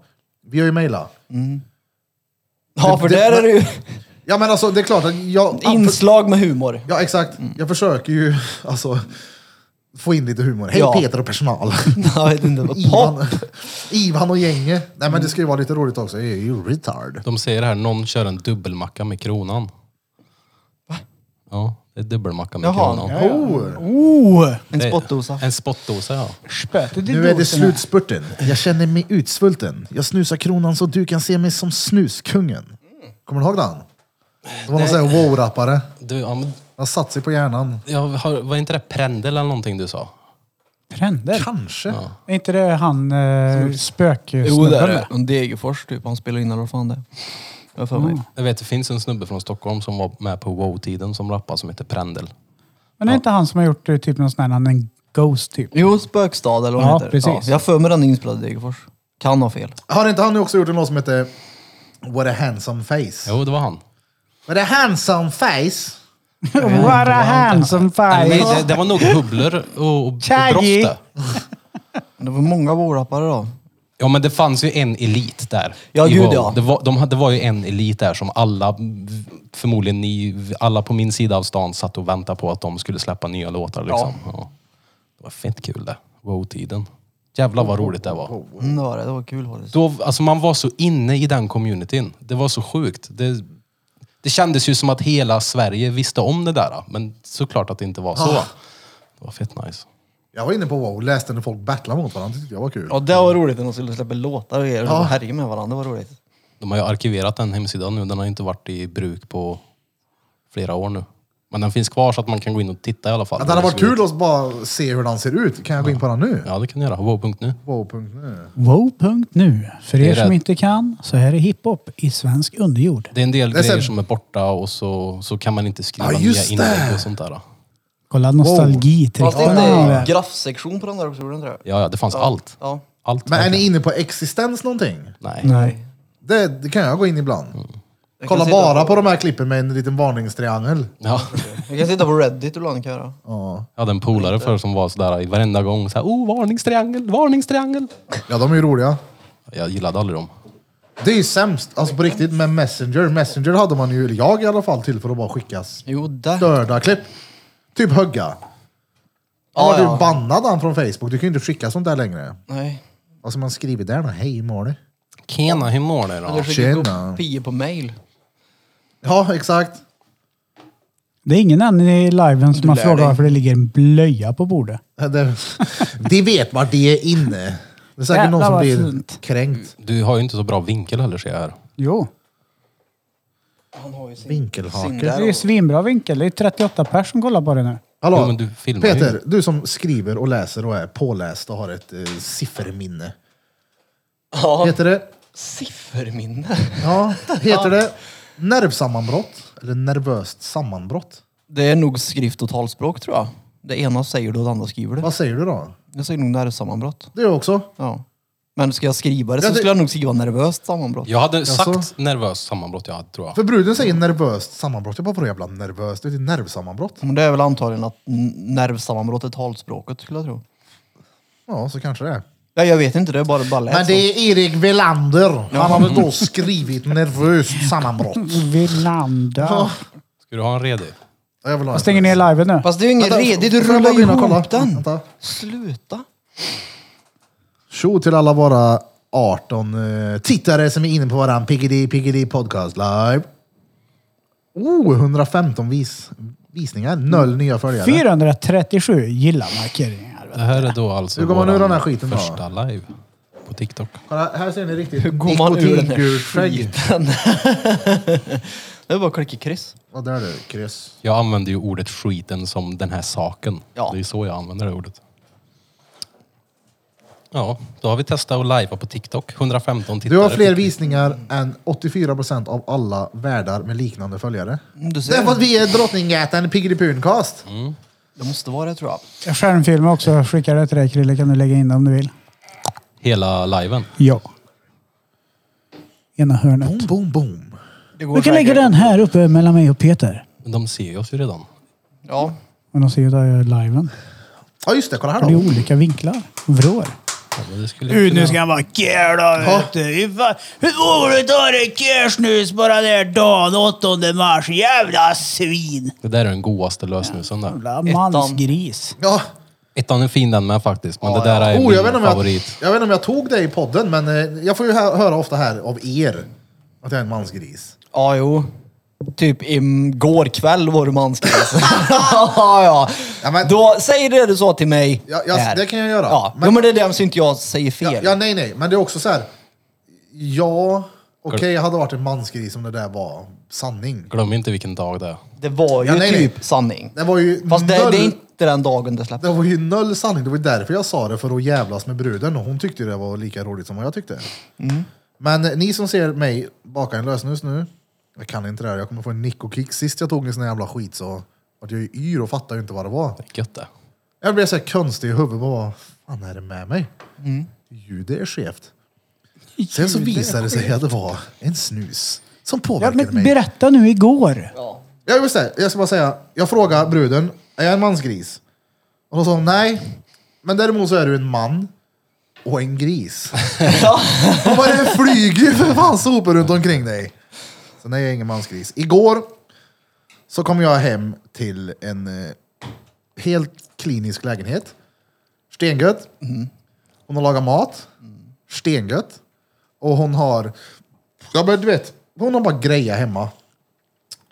[SPEAKER 2] vi har ju mejlat.
[SPEAKER 5] ja, för
[SPEAKER 2] det-
[SPEAKER 5] där är det ju
[SPEAKER 2] Ja, men alltså det är klart att jag...
[SPEAKER 5] inslag med humor.
[SPEAKER 2] Ja, exakt. Jag försöker ju, alltså, få in lite humor. Hej
[SPEAKER 5] Ja.
[SPEAKER 2] Peter och personal!
[SPEAKER 5] Jag vet inte. vad- Pop.
[SPEAKER 2] Ivan, Ivan och gänget. Nej men det ska ju vara lite roligt också. Jag är ju retard.
[SPEAKER 1] De säger här, någon kör en dubbelmacka med kronan. Va? Ja, det är dubbelmacka med
[SPEAKER 5] Jaha.
[SPEAKER 1] kronan.
[SPEAKER 2] Oh,
[SPEAKER 3] Oh!
[SPEAKER 5] En
[SPEAKER 1] Det är-
[SPEAKER 5] spottdosa.
[SPEAKER 1] En spottdosa ja.
[SPEAKER 3] Spötet i
[SPEAKER 2] nu är det
[SPEAKER 3] dosen här.
[SPEAKER 2] slutspurten. Jag känner mig utsvulten. Jag snusar kronan så du kan se mig som snuskungen. Kommer du ihåg den? Det var någon sån här wow-rappare.
[SPEAKER 1] Du, ja, men,
[SPEAKER 2] Han satt sig på hjärnan.
[SPEAKER 1] jag har, var inte det Prendel eller någonting du sa?
[SPEAKER 3] Trender.
[SPEAKER 2] Kanske.
[SPEAKER 3] Är inte det han eh,
[SPEAKER 5] Jo, det är
[SPEAKER 3] spöksnubben?
[SPEAKER 5] det. En Degerfors typ. Han spelar in eller vad fan det är. Jag har för mig.
[SPEAKER 1] Jag vet, det finns en snubbe från Stockholm som var med på Wow-tiden som rappade som heter Prendel.
[SPEAKER 3] Men är det inte han som har gjort eh, typ någon sån här, han är en ghost typ?
[SPEAKER 5] Jo, Spökstad eller vad den
[SPEAKER 3] Ja,
[SPEAKER 5] heter.
[SPEAKER 3] precis.
[SPEAKER 5] Ja, jag har för mig den är inspelad i Degerfors. Kan ha fel.
[SPEAKER 2] Har inte han också gjort en låt som heter What a handsome face?
[SPEAKER 1] Jo, det var han.
[SPEAKER 2] What a handsome face!
[SPEAKER 3] What a handsome
[SPEAKER 1] Nej, men
[SPEAKER 3] face!
[SPEAKER 1] det, det var nog Hubbler och, och, och
[SPEAKER 3] Tjagi.
[SPEAKER 1] Drofte.
[SPEAKER 5] Det var många wow-rappare då.
[SPEAKER 1] Ja, men det fanns ju en elit där.
[SPEAKER 5] Ja,
[SPEAKER 1] i
[SPEAKER 5] gud,
[SPEAKER 1] Wow.
[SPEAKER 5] ja.
[SPEAKER 1] Det var, de, hade- det var ju en elit där som alla, förmodligen ni, alla på min sida av stan satt och väntade på att de skulle släppa nya låtar. Liksom. Ja. Det var fett kul det. Wow-tiden. Jävlar vad roligt det var.
[SPEAKER 5] Mm, det var det. Det var kul faktiskt.
[SPEAKER 1] Då, alltså man var så inne i den communityn. Det var så sjukt. Det, det kändes ju som att hela Sverige visste om det där. Men såklart att det inte var så.
[SPEAKER 2] Ah.
[SPEAKER 1] Det var fett nice.
[SPEAKER 2] Jag var inne på wow och läste när folk battlade mot varandra. Det tyckte jag var kul.
[SPEAKER 5] Ja, det var roligt när de skulle släppa låtar och grejer. och Härja med varandra, det var roligt.
[SPEAKER 1] De har ju arkiverat den hemsidan nu. Den har ju inte varit i bruk på flera år nu. Men den finns kvar så att man kan gå in och titta i alla fall.
[SPEAKER 2] Att det hade
[SPEAKER 1] Hur
[SPEAKER 2] varit
[SPEAKER 1] ser
[SPEAKER 2] kul
[SPEAKER 1] ut.
[SPEAKER 2] att bara se hur den ser ut. Kan jag gå in på den nu?
[SPEAKER 1] Ja, det kan du göra. Wow.nu.
[SPEAKER 2] Wow.nu.
[SPEAKER 3] Wow.nu. För
[SPEAKER 1] Det
[SPEAKER 3] er
[SPEAKER 1] är
[SPEAKER 3] som
[SPEAKER 1] rätt.
[SPEAKER 3] inte kan så här är hiphop i svensk underjord.
[SPEAKER 1] Det är en del
[SPEAKER 2] Det är så-
[SPEAKER 1] grejer som är borta och så, så kan man inte skriva
[SPEAKER 2] Ja,
[SPEAKER 1] nya
[SPEAKER 2] just
[SPEAKER 1] inlägg
[SPEAKER 2] det.
[SPEAKER 1] och sånt där.
[SPEAKER 3] Kolla nostalgi till
[SPEAKER 5] Fanns det inte
[SPEAKER 3] ja.
[SPEAKER 5] en graffsektion på den där också? gjorde den det?
[SPEAKER 1] Ja, ja, det fanns allt.
[SPEAKER 5] Ja.
[SPEAKER 1] Allt.
[SPEAKER 2] Men är
[SPEAKER 1] verkligen.
[SPEAKER 2] ni inne på existens någonting?
[SPEAKER 1] Nej.
[SPEAKER 3] Nej.
[SPEAKER 2] Det, det kan jag gå in ibland.
[SPEAKER 1] Mm.
[SPEAKER 5] Jag kan
[SPEAKER 2] Kolla
[SPEAKER 5] sitta
[SPEAKER 2] bara
[SPEAKER 5] på-
[SPEAKER 2] på de här klippen med en liten varningstriangel.
[SPEAKER 1] Ja.
[SPEAKER 5] Jag kan sitta på Reddit ibland kan jag göra.
[SPEAKER 2] Ja,
[SPEAKER 1] Jag hade en polare förr som var sådär i varenda gång. Såhär, oh, varningstriangel, varningstriangel.
[SPEAKER 2] ja de är ju roliga.
[SPEAKER 1] Jag gillade aldrig dem.
[SPEAKER 2] Det är ju sämst, alltså på riktigt, med Messenger. Messenger hade man ju, eller jag i alla fall, till för att bara skicka
[SPEAKER 5] Jo, där.
[SPEAKER 2] störda klipp. Typ hugga. Ja,
[SPEAKER 5] Ja,
[SPEAKER 2] var
[SPEAKER 5] ja.
[SPEAKER 2] du bannad han från Facebook? Du kan ju inte skicka sånt där längre.
[SPEAKER 5] Nej.
[SPEAKER 2] Alltså man skriver där då, hej hur mår du?
[SPEAKER 1] Kena, hur mår ni
[SPEAKER 5] Eller
[SPEAKER 1] då?
[SPEAKER 5] skicka
[SPEAKER 2] tjena.
[SPEAKER 5] kopior på mail.
[SPEAKER 2] Ja, exakt.
[SPEAKER 3] Det är ingen än i liven som har
[SPEAKER 5] lär
[SPEAKER 3] frågat
[SPEAKER 5] dig.
[SPEAKER 3] varför det ligger en blöja på bordet.
[SPEAKER 2] Det, de vet vart de är inne. Det är säkert
[SPEAKER 3] Jävlar
[SPEAKER 2] någon som
[SPEAKER 3] vad
[SPEAKER 2] blir
[SPEAKER 3] fint.
[SPEAKER 2] kränkt.
[SPEAKER 1] Du har ju inte så bra vinkel heller ser jag här.
[SPEAKER 3] Jo.
[SPEAKER 5] Han har ju sin... Sin
[SPEAKER 2] Vinkelhake.
[SPEAKER 5] där.
[SPEAKER 3] Det är ju svinbra vinkel. Det är 38 pers som kollar på det nu.
[SPEAKER 2] Hallå,
[SPEAKER 1] Jo, men du filmar ju.
[SPEAKER 2] Peter, du som skriver och läser och är påläst och har ett eh, sifferminne.
[SPEAKER 5] Ja,
[SPEAKER 2] Heter det,
[SPEAKER 5] sifferminne.
[SPEAKER 2] ja, heter det nervsammanbrott eller nervöst sammanbrott?
[SPEAKER 5] Det är nog skrift och talspråk tror jag. Det ena säger du och det andra skriver du.
[SPEAKER 2] Vad säger du då?
[SPEAKER 5] Jag säger nog nervsammanbrott.
[SPEAKER 2] Det är jag också.
[SPEAKER 5] Ja. Men ska jag skriva det
[SPEAKER 2] Ja,
[SPEAKER 5] så
[SPEAKER 2] det-
[SPEAKER 5] skulle jag nog skriva nervöst sammanbrott.
[SPEAKER 1] Jag hade
[SPEAKER 2] Jaså?
[SPEAKER 1] sagt nervöst sammanbrott jag hade, tror jag.
[SPEAKER 2] För bruden säger nervöst sammanbrott. Jag bara, vadå jävla nervöst? Det är ett nervsammanbrott.
[SPEAKER 5] Men det är väl antagligen att n- nervsammanbrott är talspråket skulle jag tro.
[SPEAKER 2] Ja, så kanske det är.
[SPEAKER 5] Ja, jag vet inte, det är bara, bara lät
[SPEAKER 2] Men det är Erik Velander. Han hade då skrivit nervöst sammanbrott.
[SPEAKER 3] Vilanda.
[SPEAKER 1] Ska du ha en redig?
[SPEAKER 2] Jag vill ha en
[SPEAKER 3] Jag stänger ner liven nu.
[SPEAKER 5] Fast det är ju inget
[SPEAKER 2] Vänta,
[SPEAKER 5] redigt, du
[SPEAKER 2] får jag
[SPEAKER 5] rullar
[SPEAKER 2] bara
[SPEAKER 5] ju
[SPEAKER 2] in och kolla?
[SPEAKER 5] ihop den.
[SPEAKER 2] Vänta.
[SPEAKER 5] Sluta.
[SPEAKER 2] Tjo till alla våra 18 eh, tittare som är inne på våran Piggity Piggity Podcast Live. Oh, 115 vis, visningar. Noll nya följare.
[SPEAKER 3] 437 gilla-markeringar.
[SPEAKER 1] Det här är då alltså
[SPEAKER 2] Hur går man
[SPEAKER 1] våran
[SPEAKER 2] ur den här skiten då?
[SPEAKER 1] första live på TikTok.
[SPEAKER 2] Kolla, här ser ni riktigt
[SPEAKER 5] Hur går man ur den här
[SPEAKER 2] nikotingult skägg.
[SPEAKER 5] skiten? det är bara att klicka kryss.
[SPEAKER 2] Ja, där är det. Kryss.
[SPEAKER 1] Jag använder ju ordet skiten som den här saken.
[SPEAKER 5] Ja.
[SPEAKER 1] Det är ju så jag använder det ordet. Ja, då har vi testat att livea på TikTok. 115 tittare.
[SPEAKER 2] Du har fler
[SPEAKER 1] fick vi.
[SPEAKER 2] visningar än 84% av alla värdar med liknande följare.
[SPEAKER 5] Mm, Du
[SPEAKER 2] Det är för
[SPEAKER 5] ser,
[SPEAKER 2] att vi är Drottninggatan Piggity Puncast.
[SPEAKER 5] det måste vara det tror jag.
[SPEAKER 3] Jag skärmfilmar också. Jag skickar det till dig Krille. Kan du lägga in det om du vill?
[SPEAKER 1] Hela liven.
[SPEAKER 3] Ja. Ena hörnet.
[SPEAKER 2] Boom, boom, boom.
[SPEAKER 5] Det går
[SPEAKER 3] Du kan lägga
[SPEAKER 5] säkert.
[SPEAKER 3] den här uppe mellan mig och Peter.
[SPEAKER 1] Men de ser ju oss ju redan.
[SPEAKER 5] Ja.
[SPEAKER 3] Men de ser ju där jag är liven.
[SPEAKER 2] Ja, just det. Kolla här
[SPEAKER 3] Det är
[SPEAKER 2] då.
[SPEAKER 3] olika vinklar. Vrår.
[SPEAKER 1] Ja, men Alltså, det skulle jag
[SPEAKER 3] Ut,
[SPEAKER 1] kunna-
[SPEAKER 3] nu ska han bara gäla vet du. Hur fan- hur vågar du ta dig kersnus på den där dagen 8 mars? Jävla svin!
[SPEAKER 1] Det där är den godaste lösnusen där.
[SPEAKER 3] Jävla
[SPEAKER 5] Ettan.
[SPEAKER 3] mansgris.
[SPEAKER 2] Ja.
[SPEAKER 1] Ettan är fin den med faktiskt, men det där är
[SPEAKER 2] Oh,
[SPEAKER 1] min
[SPEAKER 2] jag, vet inte om jag,
[SPEAKER 1] favorit.
[SPEAKER 2] jag vet inte om jag tog det i podden, men eh, jag får ju hö- höra ofta här av er att jag är en mansgris.
[SPEAKER 5] ja, jo. Typ igår kväll var du mansgris. ja, ja.
[SPEAKER 2] Ja, men-
[SPEAKER 5] Då säger det du sa till mig.
[SPEAKER 2] Ja, jag-
[SPEAKER 5] här.
[SPEAKER 2] det kan jag göra.
[SPEAKER 5] Ja. Men...
[SPEAKER 2] Men-
[SPEAKER 5] Jo, men det är det så inte jag säger fel.
[SPEAKER 2] Ja, ja, nej, nej, men det är också så här. Ja, okej, jag hade varit en mansgris om det där var sanning.
[SPEAKER 1] Glöm inte vilken dag det är.
[SPEAKER 5] Det var ju
[SPEAKER 2] Ja, nej, nej.
[SPEAKER 5] typ sanning.
[SPEAKER 2] Det var ju
[SPEAKER 5] Fast det,
[SPEAKER 2] noll,
[SPEAKER 5] det är inte den dagen det släpptes.
[SPEAKER 2] det var ju noll sanning. Det var ju därför jag sa det, för att jävlas med bruden. Och hon tyckte det var lika roligt som vad jag tyckte.
[SPEAKER 5] Mm.
[SPEAKER 2] Men eh, ni som ser mig baka en lösnus nu, jag kan inte det här. Jag kommer få en nick och kick. Sist jag tog en sån här jävla skit så vart jag ju yr och fattade ju inte vad det var.
[SPEAKER 1] Gött det.
[SPEAKER 2] Jag blev så här konstig i huvudet. bara, Vad fan är det med mig?
[SPEAKER 3] Mm.
[SPEAKER 2] Ljudet är skevt. Sen så visade det sig att det var en snus som
[SPEAKER 3] Ja,
[SPEAKER 2] påverkade
[SPEAKER 3] men
[SPEAKER 2] mig.
[SPEAKER 3] berätta nu igår.
[SPEAKER 5] Ja.
[SPEAKER 2] Jag, vill säga, jag ska bara säga, jag frågade bruden, är jag en mansgris? Och då sa hon nej, men däremot så är du en man och en gris.
[SPEAKER 5] Ja.
[SPEAKER 2] Och bara, det flyger ju för fan sopor runt omkring dig. Så nej, jag är ingen mansgris. Igår så kom jag hem till en eh, helt klinisk lägenhet. Stengött. Hon har lagat mat. Stengött. Och hon har, ja men du vet, hon har bara grejer hemma.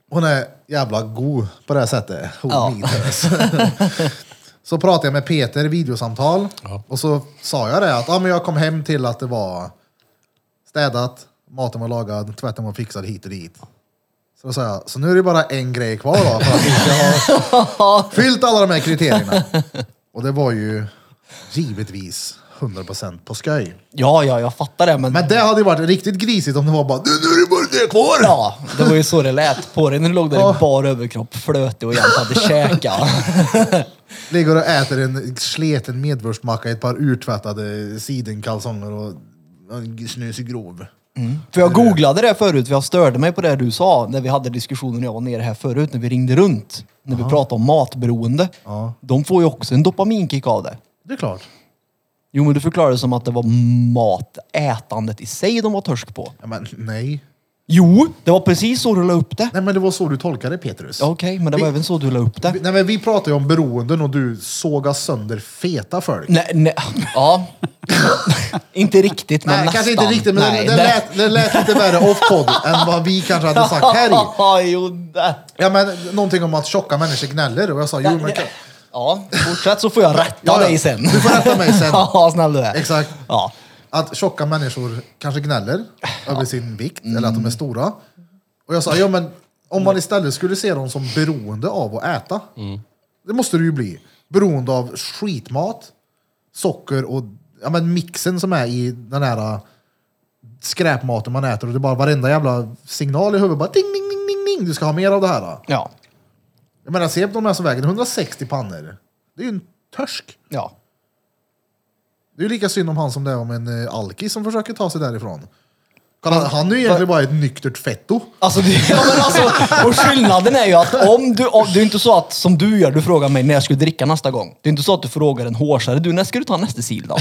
[SPEAKER 2] Hon är jävla god på det här sättet. Hon
[SPEAKER 5] Ja.
[SPEAKER 2] min tös. så pratade jag med Peter i videosamtal.
[SPEAKER 1] Ja.
[SPEAKER 2] Och så sa jag det att ja, men jag kom hem till att det var städat, maten var lagad, tvätten var fixad hit och dit. Så då sa jag, så nu är det bara en grej kvar då för att vi ska ha fyllt alla de här kriterierna. Och det var ju givetvis 100% på skoj.
[SPEAKER 5] ja, ja, jag fattar det. Men,
[SPEAKER 2] Men det hade ju varit riktigt grisigt om det var bara, nu nu är det bara det kvar!
[SPEAKER 5] Ja, det var ju så det lät på dig när du låg där i bar överkropp, flötig och jämt hade käkat.
[SPEAKER 2] Ligger och äter en sleten medvurstmacka i ett par urtvättade sidenkalsonger och en snus i grov.
[SPEAKER 5] För jag googlade det förut, för jag störde mig på det du sa när vi hade diskussionen när jag var nere här förut, när vi ringde runt. När vi pratade om matberoende.
[SPEAKER 2] Ja.
[SPEAKER 5] De får ju också en dopaminkick av det.
[SPEAKER 2] Det är klart.
[SPEAKER 5] Jo, men du förklarade det som att det var matätandet i sig de var törsk på.
[SPEAKER 2] Ja, men nej.
[SPEAKER 5] Jo, det var precis så du la upp det.
[SPEAKER 2] Nej men det var så du tolkade Petrus.
[SPEAKER 5] Ja, Okej, men det var
[SPEAKER 2] Vi-
[SPEAKER 5] även så du la upp det.
[SPEAKER 2] Vi- Nej, men vi pratar ju om beroenden och du sågar sönder feta folk.
[SPEAKER 5] Nej, nej, ja. inte riktigt, men
[SPEAKER 2] Nej,
[SPEAKER 5] nästan.
[SPEAKER 2] kanske inte riktigt, men det, det, lät, det lät lite värre off-podd än vad vi kanske hade sagt här i.
[SPEAKER 5] Ja, jo, det.
[SPEAKER 2] Ja, men, någonting om att tjocka människor gnäller och jag sa jo men... kan-
[SPEAKER 5] Ja, fortsätt så får jag rätta
[SPEAKER 2] Ja, ja.
[SPEAKER 5] dig sen.
[SPEAKER 2] Du får rätta mig sen.
[SPEAKER 5] ja, snäll du är.
[SPEAKER 2] Exakt.
[SPEAKER 5] Ja.
[SPEAKER 2] Att tjocka människor kanske gnäller över sin vikt eller att de är stora. Och jag sa jo men om man istället skulle se dem som beroende av att äta. Det måste du ju bli. Beroende av skitmat, socker och ja, men mixen som är i den här äh, skräpmaten man äter. Och det är bara varenda jävla signal i huvudet bara ding, ding, ding, ding, ding. Du ska ha mer av det här. Då.
[SPEAKER 5] Ja.
[SPEAKER 2] Jag menar, se på de här som väger 160 pannor. Det är ju en törsk.
[SPEAKER 5] Ja.
[SPEAKER 2] Det är ju lika synd om han som det är om en eh, alkis som försöker ta sig därifrån. Kolla, han är ju egentligen bara ett nyktert fetto.
[SPEAKER 5] Alltså, det, ja, men alltså, och skillnaden är ju att om du, om, det är inte så att som du gör, du frågar mig när ska du dricka nästa gång. Det är inte så att du frågar en hårsare, du när ska du ta nästa sil då?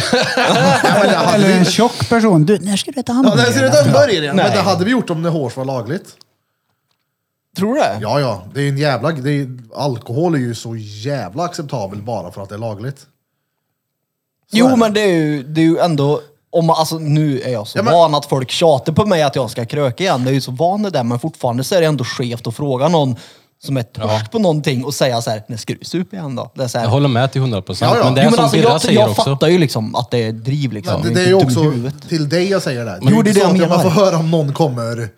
[SPEAKER 3] Eller en tjock person. Du, när ska du äta
[SPEAKER 2] Ja, det ser
[SPEAKER 3] hamburgare?
[SPEAKER 2] ut en börjar igen. Men
[SPEAKER 5] Nej.
[SPEAKER 2] det hade vi gjort om det hårs var lagligt.
[SPEAKER 5] Tror du det?
[SPEAKER 2] Ja, ja. Det är ju en jävla... Det är, alkohol är ju så jävla acceptabel bara för att det är lagligt. Så är
[SPEAKER 5] jo,
[SPEAKER 2] det.
[SPEAKER 5] men det är ju, det är ju ändå... Om, man- alltså, nu är jag så
[SPEAKER 2] Ja, men-
[SPEAKER 5] van att folk tjatar på mig att jag ska kröka igen. Det är ju så van det där, men fortfarande så är det ändå skevt att fråga någon som är torsk på någonting och säga så här, när ska du supa igen då? Det är så här,
[SPEAKER 1] Jag håller med till 100 procent.
[SPEAKER 2] Ja, ja.
[SPEAKER 1] Men det är
[SPEAKER 5] jo, men
[SPEAKER 1] som
[SPEAKER 5] alltså,
[SPEAKER 1] Birra
[SPEAKER 5] jag,
[SPEAKER 1] säger
[SPEAKER 5] jag
[SPEAKER 1] också.
[SPEAKER 5] fattar ju liksom att det är driv liksom.
[SPEAKER 2] Men det,
[SPEAKER 5] Jag
[SPEAKER 2] det är ju
[SPEAKER 5] inte dum i
[SPEAKER 2] också
[SPEAKER 5] huvudet.
[SPEAKER 2] till dig jag säger det. här. Det är
[SPEAKER 5] Jo,
[SPEAKER 2] ju
[SPEAKER 5] det är
[SPEAKER 2] inte så
[SPEAKER 5] det jag
[SPEAKER 2] att Man
[SPEAKER 5] menar.
[SPEAKER 2] får höra om någon kommer...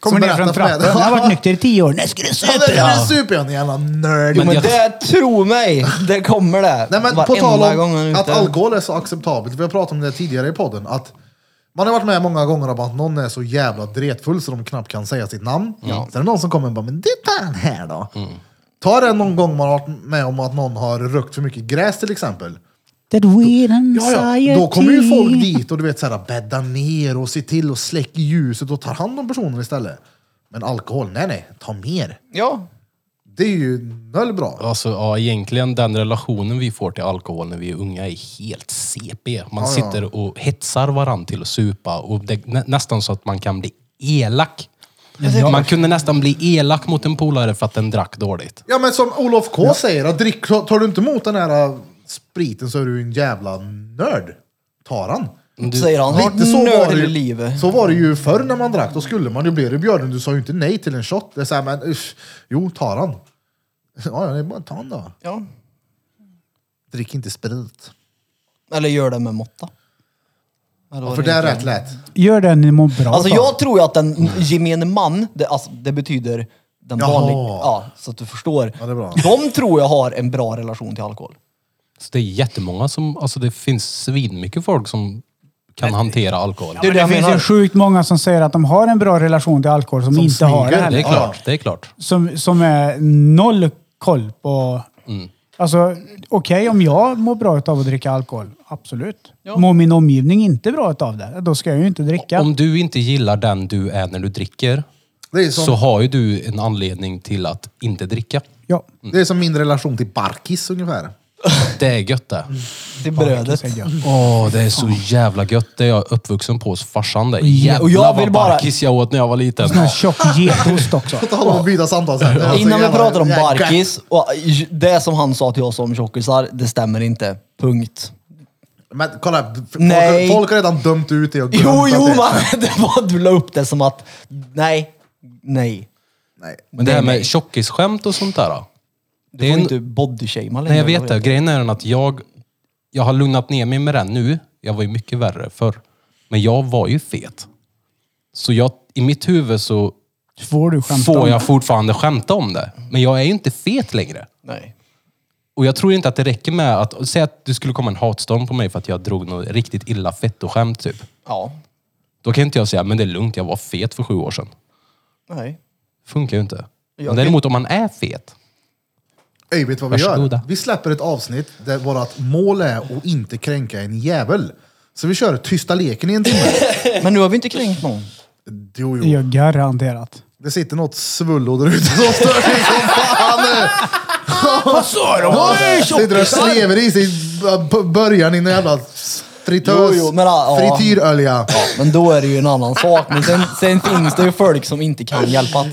[SPEAKER 3] Kommer ner från trappan. Jag har varit nykter i tio år. När ska du
[SPEAKER 2] Ja, det
[SPEAKER 3] supa?
[SPEAKER 2] är
[SPEAKER 3] Ja.
[SPEAKER 2] en superhjärna, jävla nörd.
[SPEAKER 5] Jo, men
[SPEAKER 1] jag-
[SPEAKER 5] det, tro mig, det kommer det.
[SPEAKER 2] Nej, men på
[SPEAKER 5] Varenda
[SPEAKER 2] tal
[SPEAKER 5] gång jag är
[SPEAKER 2] om att
[SPEAKER 5] ute.
[SPEAKER 2] alkohol är så acceptabelt. Vi har pratat om det tidigare i podden. Att man har varit med många gånger om att någon är så jävla dretfull så de knappt kan säga sitt namn. Ja. Sen är det någon som kommer och bara, men det tar den här då.
[SPEAKER 5] Mm.
[SPEAKER 2] Ta det någon gång man har varit med om att någon har rökt för mycket gräs till exempel.
[SPEAKER 3] That weird
[SPEAKER 2] Ja,
[SPEAKER 3] anxiety.
[SPEAKER 2] ja. Då kommer ju folk dit och du vet så här, bädda ner och se till och släcker ljuset och tar hand om personen istället. Men alkohol, nej nej, ta mer.
[SPEAKER 5] Ja,
[SPEAKER 2] Det är ju noll bra.
[SPEAKER 1] Alltså, ja, egentligen den relationen vi får till alkohol när vi är unga är helt CP. Man
[SPEAKER 2] Ja, ja.
[SPEAKER 1] sitter och hetsar varandra till att supa och det, nä, nästan så att man kan bli elak. Man kunde nästan bli elak mot en polare för att den drack dåligt.
[SPEAKER 2] Ja men som Olof K säger, att drick, tar du inte emot den här äh, spriten så är du en jävla nörd. Tar han.
[SPEAKER 5] säger han. Har
[SPEAKER 2] Lite så var,
[SPEAKER 5] nörd
[SPEAKER 2] det
[SPEAKER 5] i
[SPEAKER 2] ju,
[SPEAKER 5] livet.
[SPEAKER 2] så var det ju förr när man drack, då skulle man ju bli bjuden. Du sa ju inte nej till en shot. Det är så här, men usch, jo, tar han. Ja, ja, det är bara ta han då.
[SPEAKER 5] Ja.
[SPEAKER 2] Drick inte sprit.
[SPEAKER 5] Eller gör det med måtta. Eller vad
[SPEAKER 2] För det är
[SPEAKER 5] heter.
[SPEAKER 2] rätt lätt.
[SPEAKER 3] Gör det ni mår bra
[SPEAKER 5] Alltså
[SPEAKER 3] av.
[SPEAKER 5] jag tror ju att den gemene man, det, alltså, det betyder den
[SPEAKER 2] Jaha.
[SPEAKER 5] vanliga, ja, så att du förstår.
[SPEAKER 2] Ja, det är bra.
[SPEAKER 5] De tror jag har en bra relation till alkohol.
[SPEAKER 1] Så det är jättemånga som, alltså det finns svinmycket folk som kan hantera alkohol.
[SPEAKER 5] Det är
[SPEAKER 3] Men
[SPEAKER 5] det
[SPEAKER 3] det
[SPEAKER 5] jag
[SPEAKER 3] finns ju
[SPEAKER 5] menar.
[SPEAKER 3] sjukt många som säger att de har en bra relation till alkohol som, inte har det
[SPEAKER 2] smyger.
[SPEAKER 1] Det är
[SPEAKER 3] heller.
[SPEAKER 1] klart, det är klart.
[SPEAKER 3] Som, som är noll koll på...
[SPEAKER 2] Mm.
[SPEAKER 3] Alltså, okej om jag mår bra av att dricka alkohol. Absolut. Mår min omgivning inte bra av det, då ska jag ju inte dricka.
[SPEAKER 1] Om du inte gillar den du är när du dricker
[SPEAKER 2] Det är,
[SPEAKER 1] så
[SPEAKER 2] som,
[SPEAKER 1] har ju du en anledning till att inte dricka.
[SPEAKER 3] Ja.
[SPEAKER 2] det är som min relation till Barkis ungefär.
[SPEAKER 1] Det är gött det.
[SPEAKER 5] Mm. Till brödet.
[SPEAKER 1] Åh, det är så jävla gött. Det är jag uppvuxen på hos farsan. Det.
[SPEAKER 5] Ja, och jag
[SPEAKER 1] Jävlar vad
[SPEAKER 5] vill bara-
[SPEAKER 1] barkis jag åt när jag var liten.
[SPEAKER 3] Sån här tjock getost också.
[SPEAKER 2] På tal om att byta samtalsämne. Alltså,
[SPEAKER 5] Innan vi
[SPEAKER 2] jävla-
[SPEAKER 5] pratar om
[SPEAKER 2] jäkla-
[SPEAKER 5] barkis, och det som han sa till oss om tjockisar, det stämmer inte. Punkt.
[SPEAKER 2] Men kolla,
[SPEAKER 5] Nej.
[SPEAKER 2] folk, folk har redan dömt ut det och glömt
[SPEAKER 5] Jo,
[SPEAKER 2] att
[SPEAKER 5] jo,
[SPEAKER 2] det-
[SPEAKER 5] men det var, du la upp det som att nej, nej.
[SPEAKER 2] Nej.
[SPEAKER 1] Men det här
[SPEAKER 5] Nej,
[SPEAKER 1] med
[SPEAKER 5] nej.
[SPEAKER 1] tjockisskämt och sånt där. då.
[SPEAKER 5] Du
[SPEAKER 1] är
[SPEAKER 5] får
[SPEAKER 1] en-
[SPEAKER 5] inte bodyshamea längre.
[SPEAKER 1] Nej, jag vet
[SPEAKER 5] vad
[SPEAKER 1] det. Grejen är den att jag, jag har lugnat ner mig med den nu. Jag var ju mycket värre förr. Men jag var ju fet. Så jag, i mitt huvud så
[SPEAKER 3] Får du skämta om
[SPEAKER 1] får
[SPEAKER 3] det?
[SPEAKER 1] jag fortfarande skämta om det. Men jag är ju inte fet längre.
[SPEAKER 5] Nej.
[SPEAKER 1] Och jag tror inte att det räcker med att, säg att du skulle komma en hatstorm på mig för att jag drog något riktigt illa fettoskämt typ.
[SPEAKER 5] Ja.
[SPEAKER 1] Då kan inte jag säga, men det är lugnt, jag var fet för sju år sedan.
[SPEAKER 5] Nej.
[SPEAKER 1] Funkar ju inte.
[SPEAKER 5] Jag-
[SPEAKER 1] Men däremot om man är fet.
[SPEAKER 2] Ey, vet du vad vi
[SPEAKER 1] Varsågoda.
[SPEAKER 2] gör? Vi släpper ett avsnitt där vårt mål är att inte kränka en jävel. Så vi kör tysta leken i en timme.
[SPEAKER 5] Men nu har vi inte kränkt någon.
[SPEAKER 2] Jo,
[SPEAKER 3] Ja,
[SPEAKER 2] jo.
[SPEAKER 3] garanterat.
[SPEAKER 2] Det sitter något svullo där ute som stör sig som fan. Vad sa
[SPEAKER 5] Oj,
[SPEAKER 2] Sitter och slever i sig b- b- början i en jävla fritös,
[SPEAKER 5] Jo, jo, men, ja, ja.
[SPEAKER 2] frityrolja.
[SPEAKER 5] Men då är det ju en annan sak. Men sen, sen finns det ju folk som inte kan hjälpa att-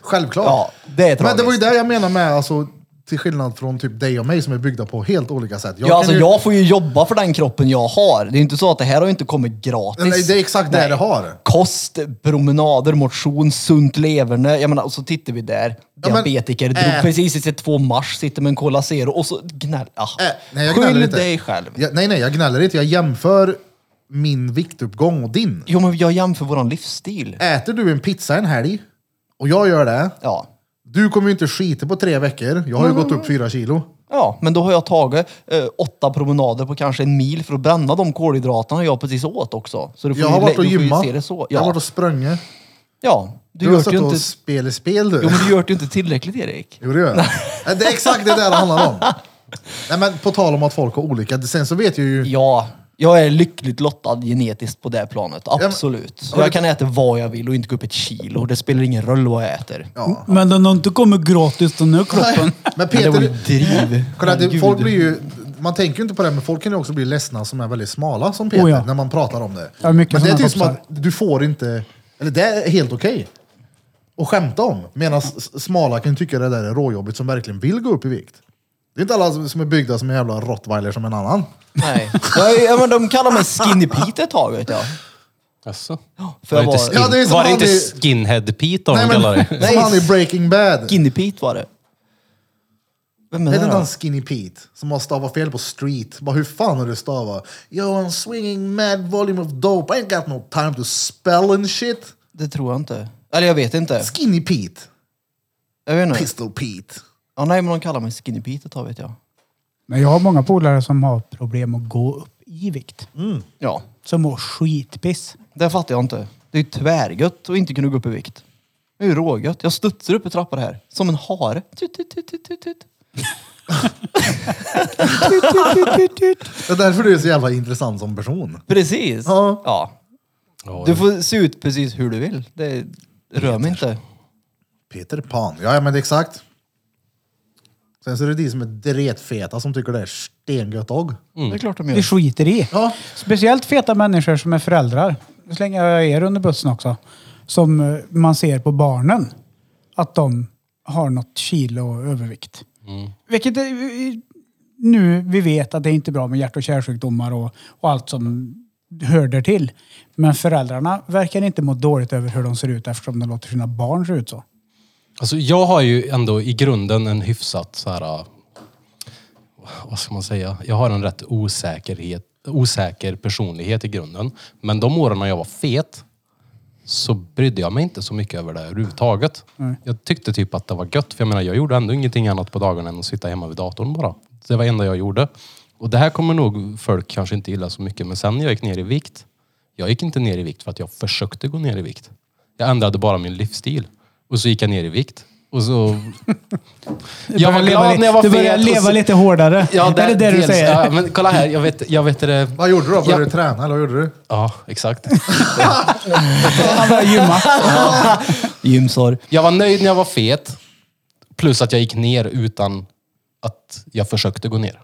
[SPEAKER 2] Självklart.
[SPEAKER 5] Ja, det är
[SPEAKER 2] men det var ju
[SPEAKER 5] tragiskt.
[SPEAKER 2] det jag menar med, alltså, till skillnad från typ dig och mig som är byggda på helt olika sätt. Jag
[SPEAKER 5] Ja,
[SPEAKER 2] kan
[SPEAKER 5] alltså
[SPEAKER 2] ju-
[SPEAKER 5] jag får ju jobba för den kroppen jag har. Det är inte så att det här har ju inte kommit gratis.
[SPEAKER 2] Nej, det är exakt det
[SPEAKER 5] Nej.
[SPEAKER 2] det har.
[SPEAKER 5] Kost, promenader, motion, sunt leverne. Jag menar, och så tittar vi där.
[SPEAKER 2] Ja, men-
[SPEAKER 5] Diabetiker,
[SPEAKER 2] Äh.
[SPEAKER 5] drog precis i sig två mars, sitter med en Cola Zero och så gnäll. Ah.
[SPEAKER 2] Äh, nej, jag gnäller
[SPEAKER 5] Skyll
[SPEAKER 2] inte.
[SPEAKER 5] dig själv.
[SPEAKER 2] Jag, nej, nej, jag gnäller inte. Jag jämför min viktuppgång och din.
[SPEAKER 5] Jo, men jag jämför våran livsstil.
[SPEAKER 2] Äter du en pizza en helg och jag gör det,
[SPEAKER 5] Ja.
[SPEAKER 2] du kommer ju inte skita på tre veckor. Jag har ju gått upp fyra kilo.
[SPEAKER 5] Ja, men då har jag tagit eh, åtta promenader på kanske en mil för att bränna de kolhydraterna jag precis åt också. Så du får
[SPEAKER 2] Jag har
[SPEAKER 5] ju,
[SPEAKER 2] varit och
[SPEAKER 5] du får ju
[SPEAKER 2] gymmat.
[SPEAKER 5] se det så.
[SPEAKER 2] Jag har
[SPEAKER 5] Ja,
[SPEAKER 2] varit och sprungit.
[SPEAKER 5] ja.
[SPEAKER 2] Du
[SPEAKER 5] du,
[SPEAKER 2] har
[SPEAKER 5] gör det
[SPEAKER 2] suttit
[SPEAKER 5] ju
[SPEAKER 2] och
[SPEAKER 5] inte...
[SPEAKER 2] spelat spel du.
[SPEAKER 5] Jo, men du gör det ju inte tillräckligt, Erik.
[SPEAKER 2] Jo, det gör jag. Det är exakt det där det handlar om. Nej, men på tal om att folk har olika. Sen så vet jag ju...
[SPEAKER 5] Ja, Jag är lyckligt lottad genetiskt på det planet, absolut.
[SPEAKER 2] men-
[SPEAKER 5] jag kan äta vad jag vill och inte gå upp ett kilo. Det spelar ingen roll vad jag äter.
[SPEAKER 2] Ja.
[SPEAKER 3] Men den har inte kommit gratis den här kroppen.
[SPEAKER 2] Men
[SPEAKER 5] Men det var ju
[SPEAKER 2] Peter,
[SPEAKER 5] driv.
[SPEAKER 2] kolla, det,
[SPEAKER 5] Gud.
[SPEAKER 2] folk blir ju, man tänker ju inte på det, men folk kan ju också bli ledsna som är väldigt smala som Peter,
[SPEAKER 3] Oh ja.
[SPEAKER 2] när man pratar om det.
[SPEAKER 3] Ja, mycket
[SPEAKER 2] men det är
[SPEAKER 3] såna
[SPEAKER 2] typ som att
[SPEAKER 3] kompisar.
[SPEAKER 2] du får inte, eller det är helt okej att skämta om. Medan s- smala kan tycka det där är råjobbigt som verkligen vill gå upp i vikt. Det är inte alla som som är byggda som en jävla rottweiler som en annan.
[SPEAKER 5] Nej. Jag- Ja, men de kallar mig Skinny Pete ett tag vet jag.
[SPEAKER 1] Jaså?
[SPEAKER 5] För
[SPEAKER 1] Var det
[SPEAKER 5] jag
[SPEAKER 1] inte,
[SPEAKER 5] var...
[SPEAKER 1] skin,
[SPEAKER 2] Ja, det är som
[SPEAKER 1] var det
[SPEAKER 2] han
[SPEAKER 1] inte
[SPEAKER 2] i-
[SPEAKER 1] skinhead Pete då
[SPEAKER 2] Nej,
[SPEAKER 1] de
[SPEAKER 2] men,
[SPEAKER 1] kallar det?
[SPEAKER 2] som han i Breaking Bad.
[SPEAKER 5] Skinny Pete var det. Vem är det
[SPEAKER 2] Hette inte
[SPEAKER 5] då?
[SPEAKER 2] han Skinny Pete? Som har stavat fel på street. Bara hur fan har du stavat? Yo I'm swinging mad volume of dope. I ain't got no time to spell and shit.
[SPEAKER 5] Det tror jag inte. Eller jag vet inte.
[SPEAKER 2] Skinny Pete.
[SPEAKER 5] Jag vet inte.
[SPEAKER 2] Pistol Pete.
[SPEAKER 5] Ja, nej, men de kallar mig Skinny Pete ett tag vet jag.
[SPEAKER 3] Men jag har många polare som har problem att gå upp i vikt.
[SPEAKER 5] Ja,
[SPEAKER 3] Som mår skitpiss.
[SPEAKER 5] det fattar jag inte. Det är ju tvärgött att inte kunna gå upp i vikt. Det är ju rågött. Jag studsar upp i trappor här. Som en hare. Tut, tut, tut, tut, tut, tut.
[SPEAKER 2] Det är därför du är så jävla intressant som person.
[SPEAKER 5] Precis.
[SPEAKER 2] Ja.
[SPEAKER 5] ja.
[SPEAKER 1] Ja,
[SPEAKER 5] Du får se ut precis hur du vill. Det rör mig inte.
[SPEAKER 2] Peter Pan. Ja, ja, men det är exakt. Sen så är det de som är dretfeta som tycker det är stengött och.
[SPEAKER 5] Det är klart de gör.
[SPEAKER 3] Det skiter i.
[SPEAKER 2] Ja.
[SPEAKER 3] Speciellt feta människor som är föräldrar. Nu slänger jag er under bussen också. Som eh, man ser på barnen. Att de har något kilo övervikt. Vilket är, nu vi vet att det är inte bra med hjärt och kärlsjukdomar och, och allt som hör där till. Men föräldrarna verkar inte må dåligt över hur de ser ut eftersom de låter sina barn se ut så.
[SPEAKER 1] Alltså jag har ju ändå i grunden en hyfsat så här. äh, Vad ska man säga? Jag har en rätt osäkerhet, osäker personlighet i grunden. Men de åren när jag var fet så brydde jag mig inte så mycket över det överhuvudtaget. Jag tyckte typ att det var gött. För jag menar, jag gjorde ändå ingenting annat på dagarna än att sitta hemma vid datorn bara. Det var det enda jag gjorde. Och det här kommer nog folk kanske inte gilla så mycket. Men sen när jag gick ner i vikt. Jag gick inte ner i vikt för att jag försökte gå ner i vikt. Jag ändrade bara min livsstil. Och så gick jag ner i vikt. Och så... jag var
[SPEAKER 3] Börjar leva
[SPEAKER 1] glad
[SPEAKER 3] li-
[SPEAKER 1] när jag var
[SPEAKER 3] du
[SPEAKER 1] fet.
[SPEAKER 3] börjar
[SPEAKER 1] och
[SPEAKER 3] leva
[SPEAKER 1] så-
[SPEAKER 3] lite hårdare.
[SPEAKER 1] Ja,
[SPEAKER 3] är det det du
[SPEAKER 1] dels-
[SPEAKER 3] säger?
[SPEAKER 1] Ja, men kolla här. Jag vet, jag vet det.
[SPEAKER 2] Vad gjorde du då? Började
[SPEAKER 1] Ja.
[SPEAKER 2] du träna eller vad gjorde du?
[SPEAKER 1] Ja, exakt.
[SPEAKER 3] Han börjar gymma.
[SPEAKER 5] Gymsar.
[SPEAKER 1] Jag var nöjd när jag var fet. Plus att jag gick ner utan att jag försökte gå ner.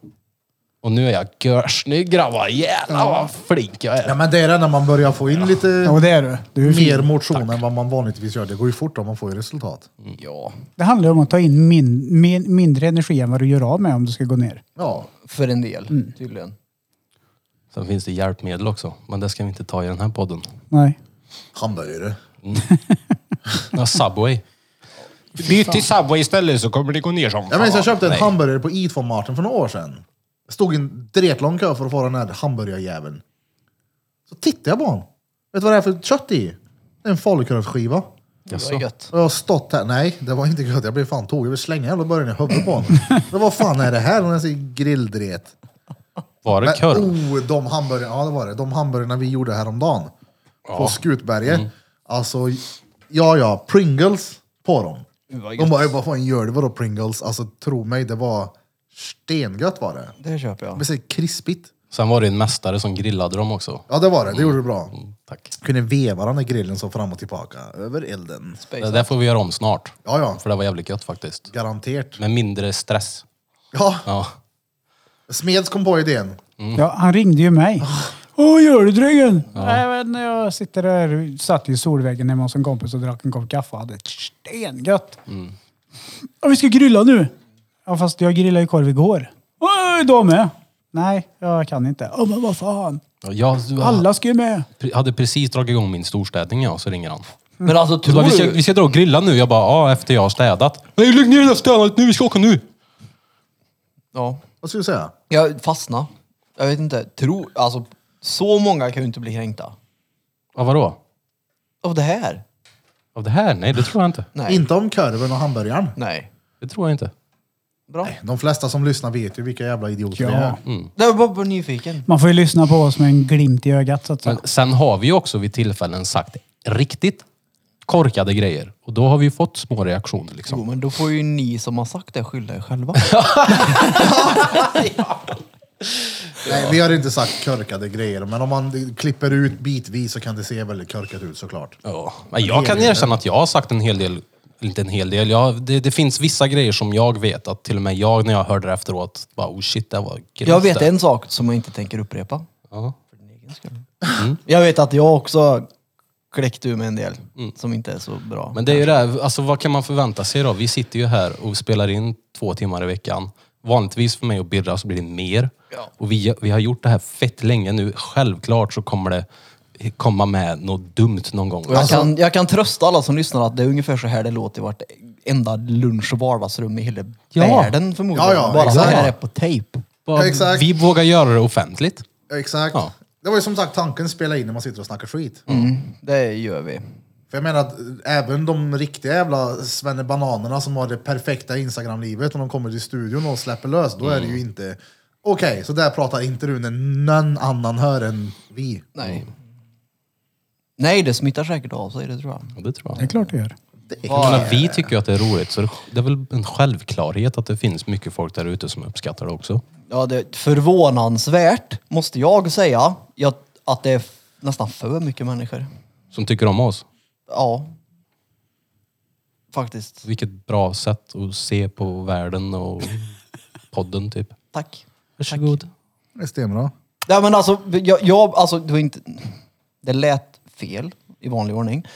[SPEAKER 1] Och nu är jag görsnygg grabbar. Jävlar vad flink jag
[SPEAKER 2] Ja,
[SPEAKER 1] är.
[SPEAKER 2] men det är det när man börjar få in lite
[SPEAKER 3] Ja, och det är du. Du är fin.
[SPEAKER 2] mer motion än vad man vanligtvis gör. Det går ju fort om man får ju resultat.
[SPEAKER 5] Ja.
[SPEAKER 3] Det handlar om att ta in min, min, mindre energi än vad du gör av med om du ska gå ner.
[SPEAKER 2] Ja.
[SPEAKER 5] För en del, tydligen.
[SPEAKER 1] Sen finns det hjälpmedel också. Men det ska vi inte ta i den här podden.
[SPEAKER 3] Nej.
[SPEAKER 2] Hamburgare.
[SPEAKER 1] Ja, Subway. Byt till Subway istället så kommer det gå ner som
[SPEAKER 2] Jag minns jag köpte en
[SPEAKER 1] Nej.
[SPEAKER 2] hamburgare på E2-marten för några år sedan. Det stod i en dretlång kö för att få den här hamburgarjäveln. Så tittade jag på honom. Vet du vad det är för kött i? Det är en falukorvsskiva.
[SPEAKER 5] Det var gött.
[SPEAKER 2] Och jag har stått här. Nej, det var inte gött. Jag blev fan tokig. Jag vill slänga hela burgaren i huvudet på honom. Men vad fan är det här? Den här ser grilldret.
[SPEAKER 1] Var det
[SPEAKER 2] Men,
[SPEAKER 1] korv?
[SPEAKER 2] oh, de hamburgarna. Ja, det var det. De hamburgarna vi gjorde häromdagen. På Skutberget.
[SPEAKER 1] Mm.
[SPEAKER 2] Alltså, ja, ja. Pringles på dem.
[SPEAKER 5] vad
[SPEAKER 2] De bara, vad fan gör du? Vadå Pringles? Alltså, tro mig, det var stengött var det.
[SPEAKER 5] Det köper jag.
[SPEAKER 2] Det blev så krispigt.
[SPEAKER 1] Sen var det en mästare som grillade dem också.
[SPEAKER 2] Ja, det var det. Det gjorde det bra.
[SPEAKER 1] Mm, Tack.
[SPEAKER 2] Kunde veva den där grillen så fram och tillbaka. Över elden.
[SPEAKER 1] Det där får vi göra om snart.
[SPEAKER 2] Ja, ja.
[SPEAKER 1] För det var jävligt gött faktiskt.
[SPEAKER 2] Garanterat.
[SPEAKER 1] Med mindre stress.
[SPEAKER 2] Ja,
[SPEAKER 1] Ja.
[SPEAKER 2] Smeds kom på idén.
[SPEAKER 3] Ja, han ringde ju mig. Åh, gör du drängen? Nej, men jag sitter där, satt i solväggen hemma hos en kompis och drack en kopp kaffe och hade ett stengött.
[SPEAKER 2] Mm.
[SPEAKER 3] Ja, vi ska grilla nu. Ja, fast jag grillade ju korv igår. Oj, då med. Nej, jag kan inte. Ja, men vad fan.
[SPEAKER 1] Och Jag du-
[SPEAKER 3] Alla ska ju med.
[SPEAKER 1] pre- hade precis dragit igång min storstädning ja, så ringer han.
[SPEAKER 5] Men alltså
[SPEAKER 1] Du
[SPEAKER 5] tror
[SPEAKER 1] bara, vi, ska,
[SPEAKER 5] du...
[SPEAKER 1] vi ska dra och grilla nu. Jag bara, ja efter jag har städat. Nej lägg ner det där städandet nu, vi ska åka nu.
[SPEAKER 5] Ja.
[SPEAKER 2] Vad skulle du säga?
[SPEAKER 5] Jag fastnade. Jag vet inte. Tro... Alltså, så många kan ju inte bli kränkta.
[SPEAKER 1] Ja, vadå?
[SPEAKER 5] Av det här?
[SPEAKER 1] Av det här? Nej det tror jag inte.
[SPEAKER 5] Nej.
[SPEAKER 2] Inte om korven och hamburgaren.
[SPEAKER 5] Nej.
[SPEAKER 1] Det tror jag inte.
[SPEAKER 5] Bra.
[SPEAKER 2] De flesta som lyssnar vet ju vilka jävla idioter vi är.
[SPEAKER 3] Ja.
[SPEAKER 1] Mm.
[SPEAKER 5] Det var bara nyfiken.
[SPEAKER 3] Man får ju lyssna på oss med en glimt i ögat så att säga.
[SPEAKER 1] Men sen har vi ju också vid tillfällen sagt riktigt korkade grejer. Och då har vi ju fått små reaktioner liksom.
[SPEAKER 5] Jo, men då får ju ni som har sagt det skylla er själva.
[SPEAKER 2] Nej, vi har inte sagt körkade grejer, men om man klipper ut bitvis så kan det se väldigt körkat ut såklart.
[SPEAKER 1] Ja. Men jag kan erkänna att jag har sagt en hel del, inte en hel del, jag, det, det finns vissa grejer som jag vet att till och med jag när jag hörde det efteråt, bara oh shit det var grymt.
[SPEAKER 5] Jag vet
[SPEAKER 1] det.
[SPEAKER 5] en sak som jag inte tänker upprepa.
[SPEAKER 1] Ja.
[SPEAKER 5] För din egen skull. Jag vet att jag också kläckte ur med en del som inte är så bra.
[SPEAKER 1] Mm. Men det är ju det, här, alltså vad kan man förvänta sig då? Vi sitter ju här och spelar in två timmar i veckan. Vanligtvis för mig och Birra så blir det mer. Och vi, vi har gjort det här fett länge nu. Självklart så kommer det komma med något dumt någon gång. Alltså,
[SPEAKER 5] Och jag, kan, jag kan trösta alla som lyssnar att det är ungefär så här det låter i vartenda lunch och vardagsrum i hela
[SPEAKER 1] Ja.
[SPEAKER 5] världen förmodligen.
[SPEAKER 2] Ja, ja,
[SPEAKER 5] Bara så
[SPEAKER 2] exakt.
[SPEAKER 5] här är på tejp.
[SPEAKER 1] Bara-
[SPEAKER 2] Exakt.
[SPEAKER 1] Vi vågar göra det offentligt.
[SPEAKER 2] Exakt.
[SPEAKER 1] Ja. Mm.
[SPEAKER 2] Det var ju som sagt tanken spela in när man sitter och snackar skit.
[SPEAKER 5] Det gör vi.
[SPEAKER 2] För jag menar att eh, även de riktiga jävla bananerna som har det perfekta Instagram-livet, när de kommer till studion och släpper lös, då är det ju
[SPEAKER 1] Mm.
[SPEAKER 2] inte... Okej, så där pratar inte du när någon annan hör än vi.
[SPEAKER 5] Nej.
[SPEAKER 1] Mm.
[SPEAKER 5] Nej, det smittar säkert av sig, det tror jag.
[SPEAKER 1] Ja, det tror
[SPEAKER 3] Det är
[SPEAKER 1] jag.
[SPEAKER 3] klart det gör.
[SPEAKER 1] jag menar, vi tycker ju att det är roligt, så det- det är väl en självklarhet att det finns mycket folk där ute som uppskattar det också.
[SPEAKER 5] Ja, det är förvånansvärt, måste jag säga, jag, att det är f- nästan för mycket människor.
[SPEAKER 1] Som tycker om oss.
[SPEAKER 5] Ja. Faktiskt.
[SPEAKER 1] Vilket bra sätt att se på världen och podden typ.
[SPEAKER 5] Tack.
[SPEAKER 1] Varsågod.
[SPEAKER 2] Det stämmer då.
[SPEAKER 5] Nej men alltså, jag, jag alltså det var inte... Det lät fel i vanlig ordning.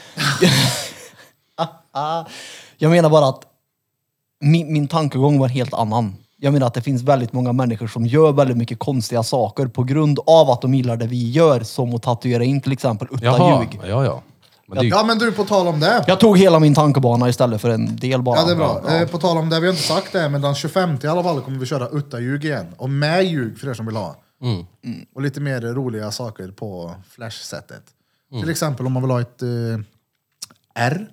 [SPEAKER 5] jag menar bara att min, min tankegång var en helt annan. Jag menar att det finns väldigt många människor som gör väldigt mycket konstiga saker på grund av att de gillar det vi gör. Som att tatuera in till exempel utta
[SPEAKER 1] Jaha,
[SPEAKER 5] ljug.
[SPEAKER 1] ja ja. Men det är ju
[SPEAKER 2] Ja men du, på tal om det.
[SPEAKER 5] Jag tog hela min tankebana istället för en del bara.
[SPEAKER 2] Ja, det är bra.
[SPEAKER 5] Ja.
[SPEAKER 2] Eh, på tal om det, vi har inte sagt det, men den 25 i alla fall kommer vi köra Utta-ljug igen. Och med ljug för er som vill ha.
[SPEAKER 5] Mm.
[SPEAKER 2] Och lite mer roliga saker på Flash-sättet.
[SPEAKER 5] Mm.
[SPEAKER 2] Till exempel om man vill ha ett eh, R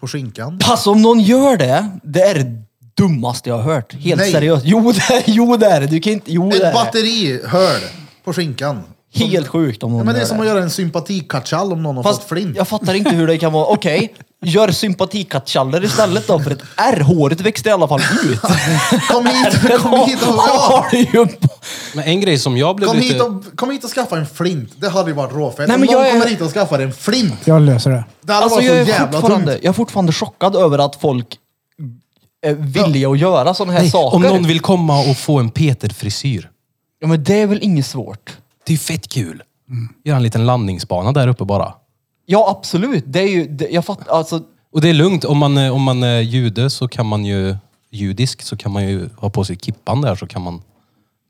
[SPEAKER 2] på skinkan.
[SPEAKER 5] Pass om någon gör det, det är det dummaste jag har hört. Helt
[SPEAKER 2] Nej.
[SPEAKER 5] seriöst. Jo det, är- jo det är det. Du kan inte... Jo det
[SPEAKER 2] Ett
[SPEAKER 5] är det.
[SPEAKER 2] batteri hörd på
[SPEAKER 5] Oh,
[SPEAKER 2] skinkan.
[SPEAKER 5] Helt sjukt om någon
[SPEAKER 2] Ja, men det är
[SPEAKER 5] gör
[SPEAKER 2] som att göra en sympatikatchall om någon har fått
[SPEAKER 5] Fast
[SPEAKER 2] flint.
[SPEAKER 5] jag fattar inte hur det kan vara. Okej, gör sympatikattjaller istället då för ett R. Håret växte i alla fall ut.
[SPEAKER 2] Kom hit, kom hit, och, ja,
[SPEAKER 5] har det ju...
[SPEAKER 1] Men en grej som jag blev
[SPEAKER 2] kom,
[SPEAKER 1] lite...
[SPEAKER 2] hit och, kom hit och skaffa en flint. Det hade ju varit råfett.
[SPEAKER 5] Nej,
[SPEAKER 2] Om
[SPEAKER 5] men
[SPEAKER 2] någon
[SPEAKER 5] jag är-
[SPEAKER 2] kommer hit och skaffar en flint.
[SPEAKER 3] Jag löser det.
[SPEAKER 2] Det hade
[SPEAKER 5] Alltså
[SPEAKER 2] varit så
[SPEAKER 5] jag är,
[SPEAKER 2] jävla tungt.
[SPEAKER 5] fortfarande, jag är fortfarande chockad över att folk är villiga att göra sådana här
[SPEAKER 1] Nej,
[SPEAKER 5] saker.
[SPEAKER 1] om någon vill komma och få en Peter-frisyr.
[SPEAKER 5] Ja, men det är väl inget svårt?
[SPEAKER 1] Det är fett kul. Göra en liten landningsbana där uppe bara.
[SPEAKER 5] Ja, absolut. Det är ju... Det, jag fattar... Alltså...
[SPEAKER 1] Och det är lugnt, om man, eh, om man är jude så kan man ju, judisk, så kan man ju ha på sig kippan där så kan man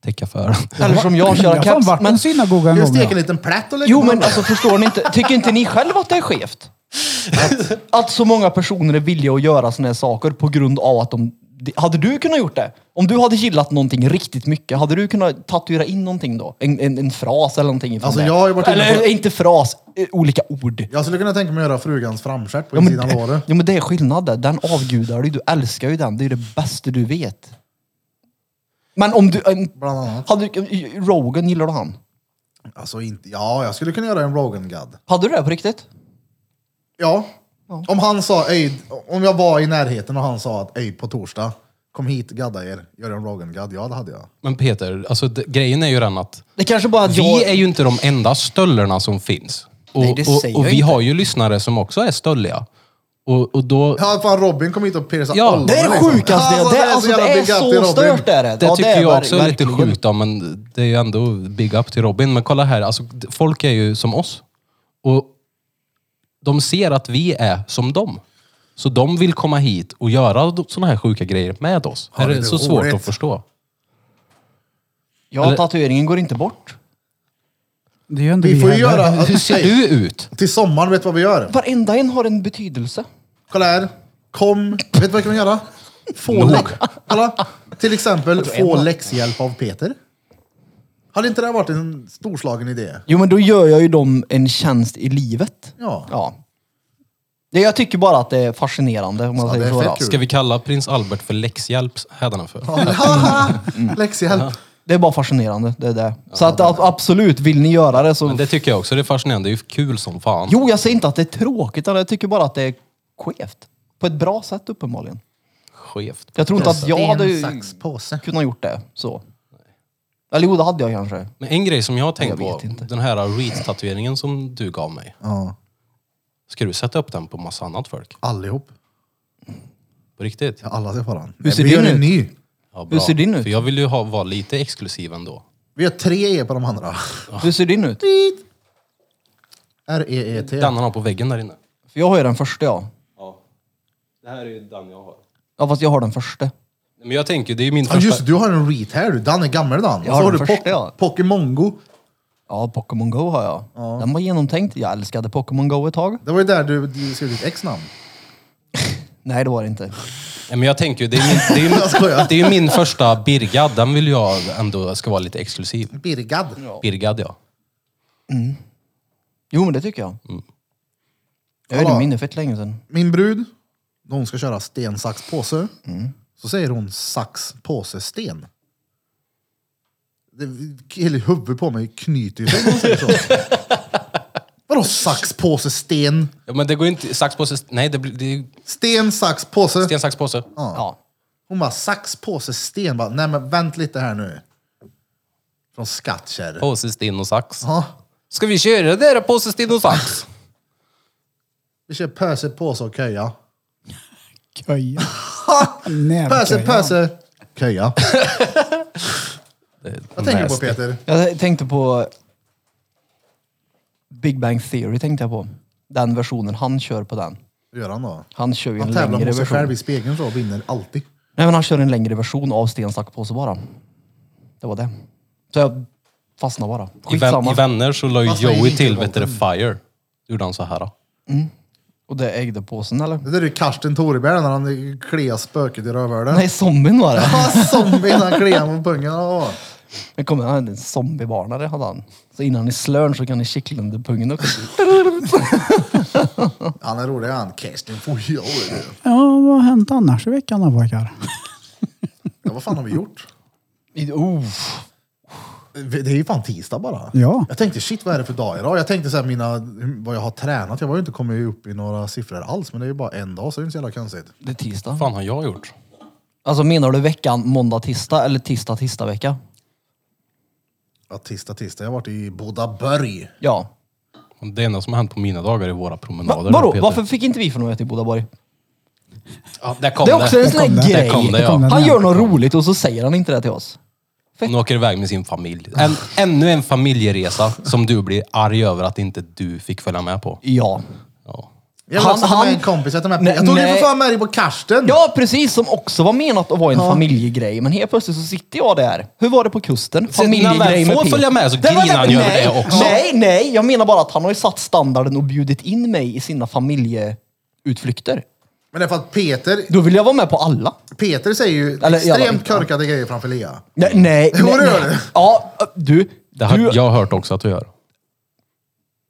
[SPEAKER 1] täcka för
[SPEAKER 5] Eller som jag
[SPEAKER 3] Jag
[SPEAKER 5] kör
[SPEAKER 3] har fan varit
[SPEAKER 5] keps.
[SPEAKER 3] på en
[SPEAKER 5] Men,
[SPEAKER 3] synagoga en
[SPEAKER 2] Jag
[SPEAKER 3] gång.
[SPEAKER 2] steker en
[SPEAKER 3] ja.
[SPEAKER 2] liten plätt och lägger
[SPEAKER 5] jo,
[SPEAKER 2] på
[SPEAKER 5] men
[SPEAKER 2] den.
[SPEAKER 5] alltså förstår ni inte? Tycker inte ni själva att det är skevt? Att, att så många personer är villiga att göra sådana här saker på grund av att de... de- Hade du kunnat gjort det? Om du hade gillat någonting riktigt mycket, hade du kunnat tatuera in någonting då? En, en, en fras eller någonting? ifrån
[SPEAKER 2] Alltså,
[SPEAKER 5] det?
[SPEAKER 2] jag har ju varit inne
[SPEAKER 5] eller
[SPEAKER 2] på-
[SPEAKER 5] inte fras, eh, olika ord.
[SPEAKER 2] Jag skulle kunna tänka mig att göra frugans framstjärt på
[SPEAKER 5] Ja men,
[SPEAKER 2] insidan av låret.
[SPEAKER 5] ja men det är skillnad där. Den avgudar du. Du älskar ju den. Det är ju det bästa du vet. Men om du... En,
[SPEAKER 2] Bland annat.
[SPEAKER 5] hade, du- Rogan, gillar du han?
[SPEAKER 2] Alltså inte, ja, jag skulle kunna göra en Rogan God.
[SPEAKER 5] Hade du det på riktigt?
[SPEAKER 2] Ja. Om han sa, "Ey, om jag var i närheten och han sa att ey på torsdag, kom hit, gadda er, gör en Rogan God. Ja, det hade jag.
[SPEAKER 1] Men Peter, alltså, d- grejen är ju den att
[SPEAKER 5] Det kanske bara att jag...
[SPEAKER 1] vi är ju inte de enda stöllerna som finns. Och,
[SPEAKER 5] Nej, det säger
[SPEAKER 1] och, och
[SPEAKER 5] jag
[SPEAKER 1] vi
[SPEAKER 5] inte.
[SPEAKER 1] har ju lyssnare som också är stölliga. Och, och då,
[SPEAKER 2] Ja, fan Robin kom hit och piercade
[SPEAKER 1] Ja,
[SPEAKER 2] ollonet,
[SPEAKER 5] Det är det
[SPEAKER 2] liksom.
[SPEAKER 5] sjukaste jag...
[SPEAKER 2] Alltså,
[SPEAKER 5] Det,
[SPEAKER 2] så
[SPEAKER 5] alltså,
[SPEAKER 2] jävla
[SPEAKER 5] det är
[SPEAKER 2] big up till
[SPEAKER 5] så
[SPEAKER 2] Robin.
[SPEAKER 5] stört det är det.
[SPEAKER 1] Det
[SPEAKER 5] Ja,
[SPEAKER 1] tycker
[SPEAKER 5] är
[SPEAKER 1] jag
[SPEAKER 5] ver-
[SPEAKER 1] också är lite
[SPEAKER 5] verkligen.
[SPEAKER 1] sjukt, då, men det är ju ändå big up till Robin. Men kolla här, alltså, d- folk är ju som oss. Och de ser att vi är som dem. Så de vill komma hit och göra sådana här sjuka grejer med oss.
[SPEAKER 2] Ja,
[SPEAKER 1] är
[SPEAKER 2] det
[SPEAKER 1] det,
[SPEAKER 2] är
[SPEAKER 1] så svårt
[SPEAKER 2] roligt.
[SPEAKER 1] att förstå?
[SPEAKER 5] Ja,
[SPEAKER 1] Eller-
[SPEAKER 5] tatueringen går inte bort.
[SPEAKER 3] Det är ju ändå
[SPEAKER 2] Vi får ju
[SPEAKER 3] heller.
[SPEAKER 2] göra...
[SPEAKER 1] Hur ser
[SPEAKER 2] ey,
[SPEAKER 1] du ut?
[SPEAKER 2] Till sommaren, vet du vad vi gör?
[SPEAKER 5] Varenda en har en betydelse.
[SPEAKER 2] Kolla här. Kom. Vet du vad jag kan göra? Få lä- Kolla. Till exempel få läxhjälp av Peter. Hade inte det här varit en storslagen idé?
[SPEAKER 5] Jo, men då gör jag ju dem en tjänst i livet.
[SPEAKER 2] Ja.
[SPEAKER 5] ja. Det, jag tycker bara att det är fascinerande om man
[SPEAKER 2] Ja,
[SPEAKER 5] säger
[SPEAKER 2] det är
[SPEAKER 5] så. alltså.
[SPEAKER 2] fett
[SPEAKER 5] då.
[SPEAKER 2] kul.
[SPEAKER 1] Ska vi kalla prins Albert för läxhjälp hädanför?
[SPEAKER 5] Mm.
[SPEAKER 2] Haha, Läxhjälp.
[SPEAKER 5] Det är bara fascinerande, det är det. Så att ab- absolut, vill ni göra det så...
[SPEAKER 1] Men det tycker jag också, det är fascinerande. Det är ju kul som fan.
[SPEAKER 5] Jo, jag säger inte att det är tråkigt, utan jag tycker bara att det är skevt. På ett bra sätt uppenbarligen.
[SPEAKER 1] Skevt.
[SPEAKER 5] Jag tror inte att jag hade
[SPEAKER 2] Sten, sax, påse.
[SPEAKER 5] kunnat gjort det så. Eller jo, det hade jag kanske.
[SPEAKER 1] Men en grej som jag har tänkt
[SPEAKER 5] Jag vet
[SPEAKER 1] på,
[SPEAKER 5] inte.
[SPEAKER 1] den här reet-tatueringen som du gav mig.
[SPEAKER 2] Ja.
[SPEAKER 1] Ska du sätta upp den på massa annat folk?
[SPEAKER 2] Allihop.
[SPEAKER 1] På riktigt?
[SPEAKER 2] Ja, Alla ser på den.
[SPEAKER 5] Hur ser
[SPEAKER 2] vi gör
[SPEAKER 5] din
[SPEAKER 2] en
[SPEAKER 5] ut?
[SPEAKER 2] ny.
[SPEAKER 1] Ja,
[SPEAKER 5] Hur ser din ut?
[SPEAKER 1] För jag vill ju ha, vara lite exklusiv ändå.
[SPEAKER 2] Vi har tre E på de andra.
[SPEAKER 5] Hur ser din ut?
[SPEAKER 2] R-E-E-T.
[SPEAKER 1] Den han har på väggen där inne.
[SPEAKER 5] För jag har ju den första ja.
[SPEAKER 1] Ja. Det här är ju den jag har.
[SPEAKER 5] Ja fast jag har den första.
[SPEAKER 1] Men jag tänker, det är ju min
[SPEAKER 2] Ja
[SPEAKER 1] första...
[SPEAKER 2] just det, du har en reet här du. Dan är gammal Dan. Och så
[SPEAKER 5] har
[SPEAKER 2] har du
[SPEAKER 5] den
[SPEAKER 2] po-
[SPEAKER 5] första, ja.
[SPEAKER 2] Pokémon Go.
[SPEAKER 5] Ja, Pokémon Go har jag. Den var genomtänkt. Jag älskade Pokémon Go ett tag.
[SPEAKER 2] Det var ju där du, du skrev ditt ex-namn.
[SPEAKER 5] Nej, det var det inte.
[SPEAKER 1] Nej, men jag tänker ju, det är min, det är,
[SPEAKER 2] Jag skojar.
[SPEAKER 1] min- det är ju min första Birgad. Den vill jag ändå ska vara lite exklusiv.
[SPEAKER 2] Birgad.
[SPEAKER 1] Birgad ja.
[SPEAKER 5] Jo, men det tycker jag. Jag har ju
[SPEAKER 2] Mm. Kolla.
[SPEAKER 5] det minne fett länge sedan.
[SPEAKER 2] Min brud, när hon ska köra sten, sax, påse,
[SPEAKER 5] Mm.
[SPEAKER 2] så säger hon sax, påse, sten. Det, hela huvudet på mig knyter ju sig när hon säger så. Vadå sax, påse, sten?
[SPEAKER 1] ja. Men det går ju inte... Sax, påse... Nej, det blir... Det är ju
[SPEAKER 2] Sten, sax, påse.
[SPEAKER 1] sten, sax, påse.
[SPEAKER 5] Ja.
[SPEAKER 2] Hon bara sax, påse, sten. Bara, Nej men vänt lite här nu. Från skattkärr.
[SPEAKER 1] Påse, sten och sax.
[SPEAKER 2] Ja.
[SPEAKER 1] Ska vi köra det där påse, sten och sax?
[SPEAKER 2] Vi kör pöse, påse och köja.
[SPEAKER 3] Köja. Nävköja.
[SPEAKER 2] Pöse, pöse, köja. Vad tänker du på
[SPEAKER 1] Nasty.
[SPEAKER 2] Peter?
[SPEAKER 5] Jag tänkte på... Big Bang Theory tänkte jag på. Den versionen han kör på den.
[SPEAKER 2] Göran då?
[SPEAKER 5] Han kör ju en
[SPEAKER 2] Han tävlar
[SPEAKER 5] längre
[SPEAKER 2] mot sig
[SPEAKER 5] version.
[SPEAKER 2] själv i spegeln så och vinner alltid.
[SPEAKER 5] Nej, men han kör en längre version av Sten, sax, påse bara. Det var det. Så jag fastnade bara.
[SPEAKER 1] I, vän,
[SPEAKER 5] Skitsamma.
[SPEAKER 1] I Vänner så la ju
[SPEAKER 2] Fast det är
[SPEAKER 1] Joey
[SPEAKER 2] inte
[SPEAKER 1] till, vet du,
[SPEAKER 2] vapen.
[SPEAKER 1] Fire. Då gjorde han så här. då.
[SPEAKER 5] Och det ägde påsen eller?
[SPEAKER 2] Det där är ju Karsten Torebjer när han kliar spöket i rövhålet.
[SPEAKER 5] Nej, zombien var det.
[SPEAKER 2] Ja, Zombien han kliar på pungen. Ja.
[SPEAKER 5] Men kom, han hade en zombievarnare hade han. Så innan ni slörn så kan ni kittla under pungen också.
[SPEAKER 2] Han är rolig han. Karsten får jag det.
[SPEAKER 3] Ja, vad har hänt annars i veckan då pojkar?
[SPEAKER 2] Ja, vad fan har vi gjort?
[SPEAKER 5] I- oh.
[SPEAKER 2] Det är ju fan tisdag bara.
[SPEAKER 3] Ja.
[SPEAKER 2] Jag tänkte shit vad är det för dag idag? Jag tänkte så här, mina, vad jag har tränat. Jag var ju inte kommit upp i några siffror alls. Men det är ju bara en dag så det är inte så jävla konstigt.
[SPEAKER 5] Det är tisdag.
[SPEAKER 1] Vad fan har jag gjort?
[SPEAKER 5] Alltså menar du veckan måndag, tisdag eller tisdag, tisdag vecka?
[SPEAKER 2] Ja, tisdag, tisdag. Jag har varit i Bodaberg.
[SPEAKER 5] Ja.
[SPEAKER 1] Det enda som har hänt på mina dagar är våra
[SPEAKER 5] Va,
[SPEAKER 1] promenader.
[SPEAKER 5] vadå?
[SPEAKER 1] Peter.
[SPEAKER 5] Varför fick inte vi från till Bodaborg?
[SPEAKER 1] Ja, där kom
[SPEAKER 5] Det
[SPEAKER 1] det.
[SPEAKER 5] är också en sån
[SPEAKER 3] kom
[SPEAKER 5] här
[SPEAKER 3] det.
[SPEAKER 1] Där kom
[SPEAKER 5] grej.
[SPEAKER 1] det,
[SPEAKER 3] kom
[SPEAKER 1] ja.
[SPEAKER 3] det.
[SPEAKER 5] Han gör något roligt och så säger han inte det till oss.
[SPEAKER 1] Hon åker iväg med sin familj. En, ännu en familjeresa som du blir arg över att inte du fick följa med på.
[SPEAKER 5] Ja.
[SPEAKER 1] Ja.
[SPEAKER 2] Jag vill
[SPEAKER 5] Han-
[SPEAKER 2] också ta med
[SPEAKER 5] han-
[SPEAKER 2] en kompis. Jag, tar med,
[SPEAKER 5] Nej,
[SPEAKER 2] jag tog ju
[SPEAKER 5] nej.
[SPEAKER 2] för fan med dig på Karsten.
[SPEAKER 5] Ja, precis. Som också var menat att vara en familjegrej. Men helt plötsligt så sitter jag där. Hur var det på kusten?
[SPEAKER 1] Sen när han väl
[SPEAKER 5] Familjegrej med
[SPEAKER 1] får
[SPEAKER 5] Peter.
[SPEAKER 1] följa med så
[SPEAKER 5] Det var
[SPEAKER 1] grinar han
[SPEAKER 5] det-
[SPEAKER 1] ju över
[SPEAKER 5] nej,
[SPEAKER 1] det också.
[SPEAKER 5] Nej, nej. Jag menar bara att han har ju satt standarden och bjudit in mig i sina familjeutflykter.
[SPEAKER 2] Men det är för att Peter,
[SPEAKER 5] Då vill jag vara med på
[SPEAKER 1] Mm.
[SPEAKER 5] alla.
[SPEAKER 2] Peter säger ju
[SPEAKER 5] Eller, jävlar,
[SPEAKER 2] extremt
[SPEAKER 5] inte.
[SPEAKER 2] korkade grejer framför Lea.
[SPEAKER 5] Nej, nej.
[SPEAKER 2] Jo,
[SPEAKER 5] nej,
[SPEAKER 2] det gör
[SPEAKER 5] nej.
[SPEAKER 2] du.
[SPEAKER 5] Ja, du.
[SPEAKER 1] Det har,
[SPEAKER 5] du
[SPEAKER 1] jag har hört också att du gör.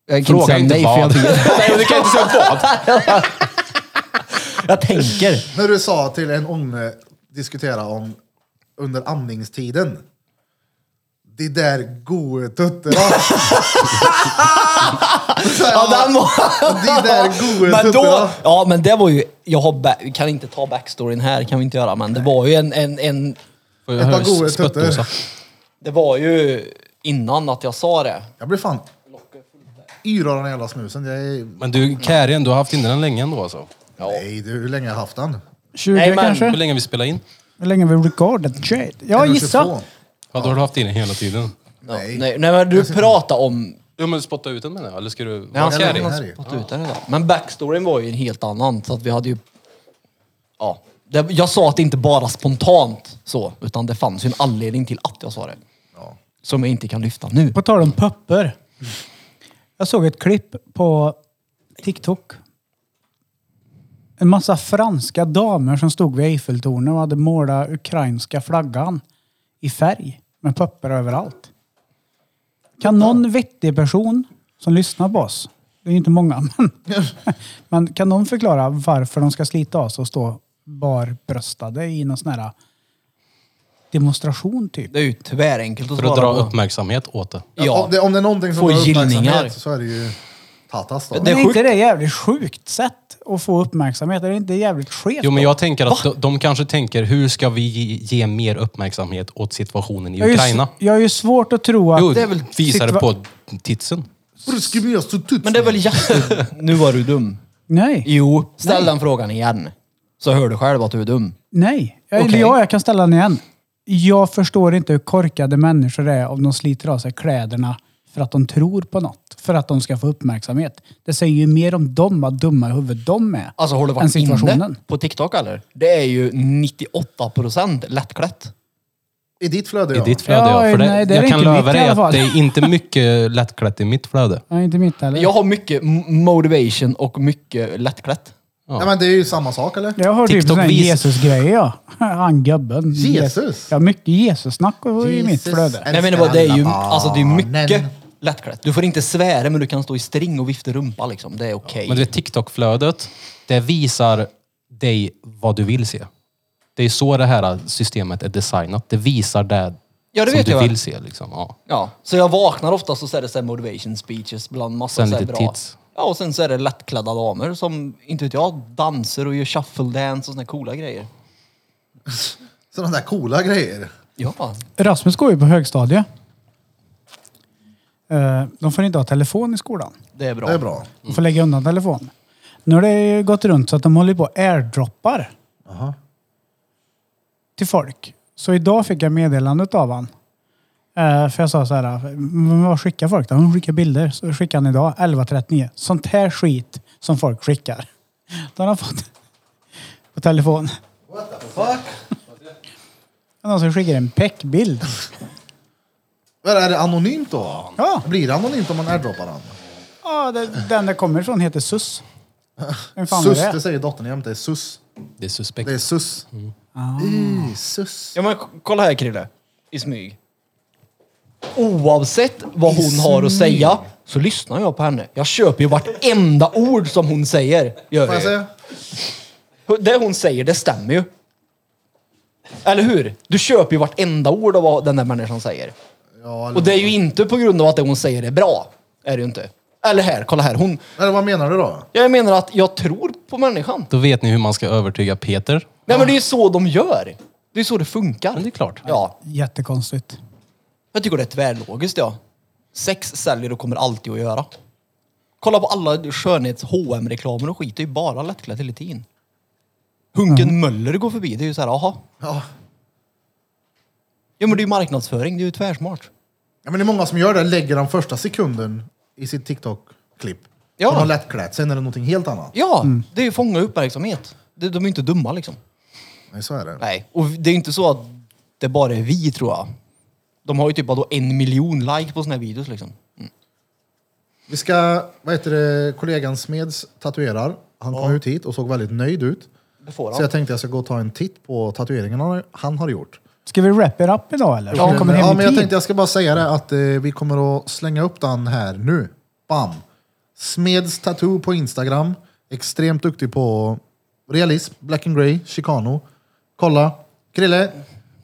[SPEAKER 5] jag kan inte
[SPEAKER 1] Fråga
[SPEAKER 5] säga
[SPEAKER 1] inte
[SPEAKER 5] nej för jag
[SPEAKER 1] vad.
[SPEAKER 5] vet.
[SPEAKER 1] Nej, du kan inte säga vad.
[SPEAKER 5] Jag tänker.
[SPEAKER 2] När du sa till en unge, diskutera om under amningstiden. De där goe tuttarna. Så här,
[SPEAKER 5] Ja, den var...
[SPEAKER 2] De där goe
[SPEAKER 5] Men då,
[SPEAKER 2] tuttarna.
[SPEAKER 5] ja men det var ju, jag har ba- vi kan inte ta backstoryn här, kan vi inte göra, men det var ju en, en, en
[SPEAKER 1] Får
[SPEAKER 2] Ett
[SPEAKER 1] jag
[SPEAKER 2] par
[SPEAKER 1] höra
[SPEAKER 2] goda
[SPEAKER 1] spöttosa?
[SPEAKER 5] det var ju innan att jag sa det.
[SPEAKER 2] Jag blir fan yr av den här jävla snusen. Jag är...
[SPEAKER 1] Men du, Karin, du har haft in den länge ändå alltså.
[SPEAKER 2] Nej, du, hur länge har jag haft den?
[SPEAKER 3] 20
[SPEAKER 5] Nej, men-
[SPEAKER 1] Hur
[SPEAKER 3] kanske?
[SPEAKER 1] länge har vi spelat in?
[SPEAKER 3] Hur länge har vi recordat? Jade? Ja, gissa.
[SPEAKER 2] 122.
[SPEAKER 1] Ja, då har du haft in den hela tiden.
[SPEAKER 5] Nej.
[SPEAKER 2] Nej.
[SPEAKER 5] Nej, men du pratar om...
[SPEAKER 1] Ja, men spotta ut den menar jag. Eller ska du...
[SPEAKER 5] Nej, han
[SPEAKER 1] Vad
[SPEAKER 5] skulle
[SPEAKER 1] ska
[SPEAKER 2] Harry.
[SPEAKER 5] kunna
[SPEAKER 1] det?
[SPEAKER 2] Harry.
[SPEAKER 5] spotta ut den idag. Men backstoryn var ju en helt annan, så att vi hade ju... Ja. Det, jag sa att det inte bara spontant så, utan det fanns ju en anledning till att jag sa det.
[SPEAKER 2] Ja.
[SPEAKER 5] Som jag inte kan lyfta nu.
[SPEAKER 3] På tal om papper. Jag såg ett klipp på TikTok. En massa franska damer som stod vid Eiffeltornet och hade målat ukrainska flaggan i färg med papper överallt. Kan någon vettig person som lyssnar på oss, det är ju inte många, men, men kan någon förklara varför de ska slita av sig och stå barbröstade i någon sån här demonstration typ?
[SPEAKER 5] Det är ju tvärenkelt att
[SPEAKER 1] För att
[SPEAKER 5] svara
[SPEAKER 1] dra
[SPEAKER 5] på.
[SPEAKER 1] uppmärksamhet åt det.
[SPEAKER 5] Ja.
[SPEAKER 2] Om, det, om det är någonting som
[SPEAKER 5] Få
[SPEAKER 2] har
[SPEAKER 5] gillningar.
[SPEAKER 2] uppmärksamhet så är det ju... Tatas då.
[SPEAKER 5] Det är
[SPEAKER 3] Men är inte
[SPEAKER 5] sjukt.
[SPEAKER 3] det jävligt sjukt sätt att få uppmärksamhet? Är det inte jävligt skevt?
[SPEAKER 1] Jo, men jag tänker att de, de kanske tänker, hur ska vi ge, ge mer uppmärksamhet åt situationen i
[SPEAKER 3] jag, har ju,
[SPEAKER 1] Ukraina?
[SPEAKER 3] s- jag har ju svårt att tro att...
[SPEAKER 1] Jo,
[SPEAKER 5] det är väl
[SPEAKER 1] visar det
[SPEAKER 3] situa-
[SPEAKER 1] på titsen.
[SPEAKER 5] Men det är väl jätte... Nu var du dum.
[SPEAKER 3] Nej,
[SPEAKER 5] Jo, ställ den frågan igen. Så hör du själv att du är dum.
[SPEAKER 3] nej. Jag,
[SPEAKER 5] Okej.
[SPEAKER 3] ja, jag kan ställa den igen. Jag förstår inte hur korkade människor är om de sliter av sig kläderna för att de tror på något. För att de ska få uppmärksamhet. Det säger ju mer om dem, vad dumma i huvudet de är.
[SPEAKER 5] Alltså har du
[SPEAKER 3] än
[SPEAKER 5] varit
[SPEAKER 3] situationen.
[SPEAKER 5] inne på TikTok eller? Det är ju 98% lättklätt.
[SPEAKER 2] I ditt flöde
[SPEAKER 1] I
[SPEAKER 2] ja.
[SPEAKER 1] ditt flöde,
[SPEAKER 3] Ja,
[SPEAKER 1] ja. För det,
[SPEAKER 3] nej, det är
[SPEAKER 1] jag
[SPEAKER 3] det
[SPEAKER 1] kan
[SPEAKER 3] inte
[SPEAKER 1] lova
[SPEAKER 3] mitt i
[SPEAKER 1] dig
[SPEAKER 3] alla
[SPEAKER 1] att
[SPEAKER 3] fall.
[SPEAKER 1] det är inte mycket lättklätt i mitt flöde.
[SPEAKER 3] Ja, inte mitt heller.
[SPEAKER 5] Jag har mycket m- motivation och mycket lättklätt.
[SPEAKER 2] Nej, men det är ju samma sak eller?
[SPEAKER 3] Jag har typ
[SPEAKER 1] TikTok
[SPEAKER 3] sådana
[SPEAKER 1] vis-
[SPEAKER 3] Jesus-grejer ja. Han gubben.
[SPEAKER 2] Jesus?
[SPEAKER 3] Ja, mycket Jesus-snack i mitt
[SPEAKER 2] Jesus
[SPEAKER 3] flöde.
[SPEAKER 2] älskar
[SPEAKER 5] Nej men det, var, det är ju
[SPEAKER 2] alla
[SPEAKER 5] alltså, det är mycket
[SPEAKER 2] barnen.
[SPEAKER 5] lättklätt. Du får inte svära men du kan stå i string och vifta rumpa liksom. Det är okej.
[SPEAKER 1] Men det TikTok-flödet, det visar dig vad du vill se. Det är så det här systemet är designat. Det visar det,
[SPEAKER 5] Ja, det
[SPEAKER 1] som
[SPEAKER 5] vet
[SPEAKER 1] du
[SPEAKER 5] jag, va?
[SPEAKER 1] vill se. Liksom. Ja.
[SPEAKER 5] Ja, så jag vaknar ofta och så är det så här motivation speeches bland massa
[SPEAKER 1] Sen
[SPEAKER 5] så här
[SPEAKER 1] lite
[SPEAKER 5] bra.
[SPEAKER 1] tits.
[SPEAKER 5] Ja, och sen så är det lättklädda damer som, inte vet jag, dansar och gör shuffle dance och såna här coola grejer.
[SPEAKER 2] Sådana där coola grejer.
[SPEAKER 5] Ja.
[SPEAKER 3] Rasmus går ju på högstadiet. Eh, De får inte ha telefon i skolan.
[SPEAKER 5] Det är bra.
[SPEAKER 2] Det är bra.
[SPEAKER 3] De får lägga undan telefon. Nu har det ju gått runt så att de håller på och airdroppar till folk. Så idag fick jag meddelandet av han. Eh, För jag sa så här, "Men vad skickar folk då? De skickar bilder. Så skickar han idag 11.39. Sånt här skit som folk skickar. Då har han fått på telefon.
[SPEAKER 2] What the fuck?
[SPEAKER 3] Någon som skickar alltså en peckbild.
[SPEAKER 2] Men är det anonymt då?
[SPEAKER 3] Ja.
[SPEAKER 2] Blir det anonymt om man airdroppar den?
[SPEAKER 3] Ja, det, den det kommer ifrån heter SUS. Vem fan
[SPEAKER 2] Sus,
[SPEAKER 3] är
[SPEAKER 2] det
[SPEAKER 3] det?
[SPEAKER 2] säger dottern jämt. Det är sus.
[SPEAKER 1] Det är suspekt.
[SPEAKER 2] Det är sus.
[SPEAKER 3] Mm. Ah.
[SPEAKER 2] I, sus.
[SPEAKER 5] Ja men k- kolla här Krille. I smyg. Oavsett vad hon har att säga så lyssnar jag på henne. Jag köper ju vartenda ord som hon säger. Gör
[SPEAKER 2] Får jag
[SPEAKER 5] jag ju.
[SPEAKER 2] säga?
[SPEAKER 5] Det hon säger, det stämmer ju. Eller hur? Du köper ju vartenda ord av vad den där människan säger.
[SPEAKER 2] Ja, eller,
[SPEAKER 5] Och det är ju inte på grund av att det hon säger är bra. Är det ju inte. Eller här, kolla här. Hon,
[SPEAKER 2] eller vad menar du då?
[SPEAKER 5] jag menar att jag tror på människan.
[SPEAKER 1] Då vet ni hur man ska övertyga Peter.
[SPEAKER 5] Nej men det är ju så de gör. Det är så det funkar.
[SPEAKER 1] Men det är klart.
[SPEAKER 5] Ja.
[SPEAKER 3] Jättekonstigt.
[SPEAKER 5] Jag tycker det är tvärlogiskt ja. Sex säljer och kommer alltid att göra. Kolla på alla skönhets hm reklamer och skit. Det är ju bara lättklätt hela tiden. Hunken Möller går förbi. Det är ju så här, aha.
[SPEAKER 2] Ja.
[SPEAKER 5] Ja men det är ju marknadsföring. Det är ju tvärsmart.
[SPEAKER 2] Ja, men det är många som gör det, lägger den första sekunden i sitt TikTok-klipp.
[SPEAKER 5] Ja.
[SPEAKER 2] Ja. De har lättklätt, sen är det någonting helt annat.
[SPEAKER 5] Ja, det är ju fånga uppmärksamhet. De, de är ju inte dumma liksom.
[SPEAKER 2] Nej, så är det.
[SPEAKER 5] Nej, och det är ju inte så att det bara är vi tror jag. De har ju typ då en miljon like på såna här videos liksom.
[SPEAKER 2] Vi ska, vad heter det, kollegan Smeds tatuerar. Han kom ut hit och såg väldigt nöjd ut.
[SPEAKER 5] Det får
[SPEAKER 2] Så
[SPEAKER 5] han.
[SPEAKER 2] jag tänkte jag ska gå och ta en titt på tatueringen han- han har gjort.
[SPEAKER 3] Ska vi wrap it up idag eller? Ja, kommer hem
[SPEAKER 2] ja,
[SPEAKER 3] i
[SPEAKER 2] men jag
[SPEAKER 3] tid?
[SPEAKER 2] tänkte jag ska bara säga det att eh, vi kommer att slänga upp den här nu. Bam! Smeds Tattoo på Instagram. Extremt duktig på realism, black and grey, chicano. Kolla! Krille,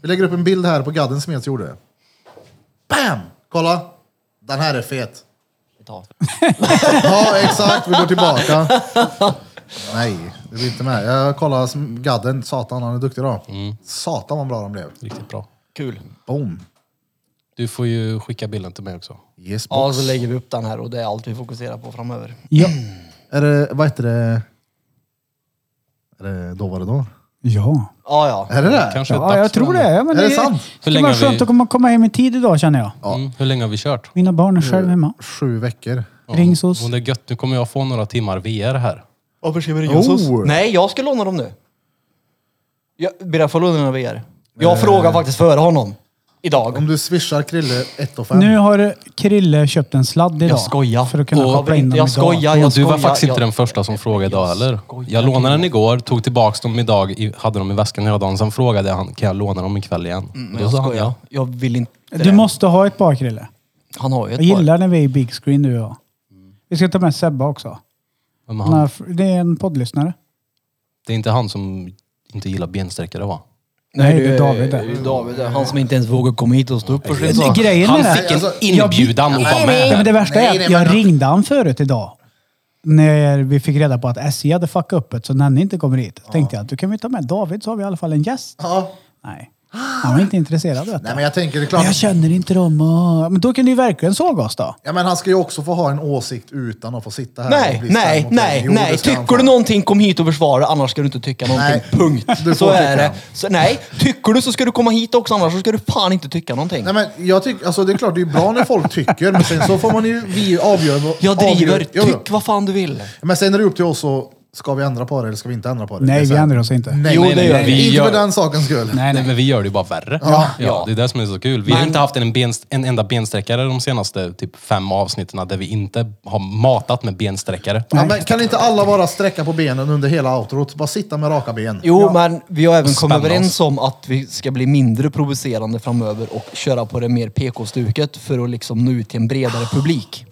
[SPEAKER 2] vi lägger upp en bild här på gadden Smeds gjorde. Bam! Kolla! Den här är fet.
[SPEAKER 5] Vi tar.
[SPEAKER 2] Ja, exakt. Vi går tillbaka. Nej, det blir inte med. Jag kollar sm- gadden. Satan, han är duktig då. Satan vad bra han blev.
[SPEAKER 1] Riktigt bra.
[SPEAKER 5] Kul.
[SPEAKER 2] Boom!
[SPEAKER 1] Du får ju skicka bilden till mig också.
[SPEAKER 2] Yes, box.
[SPEAKER 5] Ja, så lägger vi upp den här och det är allt vi fokuserar på framöver.
[SPEAKER 3] Ja.
[SPEAKER 2] Är det, vad heter det? Är det då var det då?
[SPEAKER 3] Ja.
[SPEAKER 5] Ja, ja.
[SPEAKER 2] Är det det?
[SPEAKER 1] Kanske
[SPEAKER 3] ja
[SPEAKER 1] dags
[SPEAKER 3] jag
[SPEAKER 1] för
[SPEAKER 3] tror
[SPEAKER 1] den.
[SPEAKER 3] det. Ja, men
[SPEAKER 2] Är det sant?
[SPEAKER 3] Det
[SPEAKER 1] Hur
[SPEAKER 3] skulle
[SPEAKER 1] länge
[SPEAKER 3] vara
[SPEAKER 1] har vi-
[SPEAKER 3] skönt att komma, komma hem i tid idag känner jag.
[SPEAKER 1] Mm. Hur länge har vi kört?
[SPEAKER 3] Mina barn är själv hemma.
[SPEAKER 2] Sju veckor.
[SPEAKER 3] Rings oss.
[SPEAKER 1] Och det är gött, nu kommer jag få några timmar VR här.
[SPEAKER 5] Varför ska
[SPEAKER 2] Oh.
[SPEAKER 5] Nej, jag ska låna dem nu. Jag ber jag få låna mina VR? Jag
[SPEAKER 1] Eh.
[SPEAKER 5] frågar faktiskt före honom. Idag.
[SPEAKER 2] Om du swishar Krille 1 och 5.
[SPEAKER 3] Nu har Krille köpt en sladd idag.
[SPEAKER 5] skojar.
[SPEAKER 3] För att kunna
[SPEAKER 1] Och-
[SPEAKER 3] koppla in dem
[SPEAKER 5] Ah, Jag
[SPEAKER 3] idag.
[SPEAKER 5] skojar.
[SPEAKER 1] och du var
[SPEAKER 5] skojar,
[SPEAKER 1] faktiskt inte
[SPEAKER 5] jag-
[SPEAKER 1] den första som frågade idag heller.
[SPEAKER 5] skojar.
[SPEAKER 1] Jag lånade den igår, tog tillbaka dem idag, i- hade dem i väskan hela dagen. Sen frågade han, kan jag låna dem ikväll igen?
[SPEAKER 5] Men
[SPEAKER 1] Då
[SPEAKER 5] Mm, jag
[SPEAKER 1] sa han
[SPEAKER 5] skojar.
[SPEAKER 1] ja.
[SPEAKER 5] Jag vill inte
[SPEAKER 3] Du
[SPEAKER 5] det.
[SPEAKER 3] måste ha ett par Krille.
[SPEAKER 5] Han har ju ett
[SPEAKER 3] Jag gillar när vi är i big screen du och jag. Vi ska ta med Sebba också.
[SPEAKER 1] Men
[SPEAKER 3] Han
[SPEAKER 1] han,
[SPEAKER 3] har- Det är en poddlyssnare.
[SPEAKER 1] det är inte han som inte gillar bensträckare va?
[SPEAKER 3] Nej, det är David
[SPEAKER 5] par.
[SPEAKER 3] där.
[SPEAKER 5] Det är ju David, där. han som inte ens vågar komma hit och stå upp för sin sak.
[SPEAKER 3] Grejen
[SPEAKER 1] Han
[SPEAKER 3] är det-
[SPEAKER 1] fick en
[SPEAKER 2] alltså,
[SPEAKER 1] inbjudan och var
[SPEAKER 3] Ja, men
[SPEAKER 1] med.
[SPEAKER 3] det värsta
[SPEAKER 2] Nej,
[SPEAKER 3] är
[SPEAKER 2] nej,
[SPEAKER 3] att jag
[SPEAKER 2] men-
[SPEAKER 3] ringde han förut idag när vi fick reda på att SJ hade fuckat upp det så Nanne inte kommer hit. Tänkte jag att du kan vi ta med David så har vi i alla fall en gäst.
[SPEAKER 2] Ja.
[SPEAKER 3] Nej, han var inte intresserad
[SPEAKER 2] Nej
[SPEAKER 3] vet du.
[SPEAKER 2] men jag tänker, det är klart.
[SPEAKER 3] Men jag känner inte dem. Och... Men då kan du ju verkligen såga oss då.
[SPEAKER 2] Ja, men han ska ju också få ha en åsikt utan att få sitta här och
[SPEAKER 5] Nej,
[SPEAKER 2] bli stämd
[SPEAKER 5] nej,
[SPEAKER 2] mot
[SPEAKER 5] nej,
[SPEAKER 2] det. Jo,
[SPEAKER 5] nej.
[SPEAKER 2] det ska han
[SPEAKER 5] Tycker du
[SPEAKER 2] få.
[SPEAKER 5] någonting, kom hit och försvara. Annars ska du inte tycka någonting.
[SPEAKER 2] Nej. Du
[SPEAKER 5] Punkt. Så
[SPEAKER 2] får tycka.
[SPEAKER 5] är det. Så, nej, tycker du så ska du komma hit också. Annars så ska du fan inte tycka någonting.
[SPEAKER 2] Nej, men jag tycker, alltså det är klart det är bra när folk tycker, men sen så får man ju, vi avgör. vad-
[SPEAKER 5] jag driver.
[SPEAKER 2] avgör- Jo, jo.
[SPEAKER 5] Tyck vad fan du vill.
[SPEAKER 2] Men sen är det upp till oss och ska vi ändra på det eller ska vi inte ändra på det? det
[SPEAKER 3] Nej,
[SPEAKER 2] är så
[SPEAKER 3] vi
[SPEAKER 2] här-
[SPEAKER 3] ändrar oss inte.
[SPEAKER 2] Nej,
[SPEAKER 5] Jo,
[SPEAKER 2] nej,
[SPEAKER 5] det
[SPEAKER 2] nej,
[SPEAKER 5] gör
[SPEAKER 2] nej.
[SPEAKER 1] vi.
[SPEAKER 2] Inte
[SPEAKER 1] Gör-
[SPEAKER 2] för den sakens skull.
[SPEAKER 3] Nej,
[SPEAKER 1] Nej,
[SPEAKER 3] nej.
[SPEAKER 1] men vi gör det ju bara värre.
[SPEAKER 2] Ja.
[SPEAKER 5] Ja.
[SPEAKER 1] Det är det som är så kul. Vi har
[SPEAKER 5] Men-
[SPEAKER 1] inte haft en, ben, en enda bensträckare de senaste typ fem avsnitten där vi inte har matat med bensträckare.
[SPEAKER 2] Ja, men kan inte alla bara sträcka på benen under hela outrot? Bara sitta med raka ben.
[SPEAKER 5] Jo, men vi har även kommit
[SPEAKER 1] Spänna
[SPEAKER 5] överens
[SPEAKER 1] oss.
[SPEAKER 5] om att vi ska bli mindre provocerande framöver och köra på det mer PK-stuket för att liksom nå ut till en bredare publik.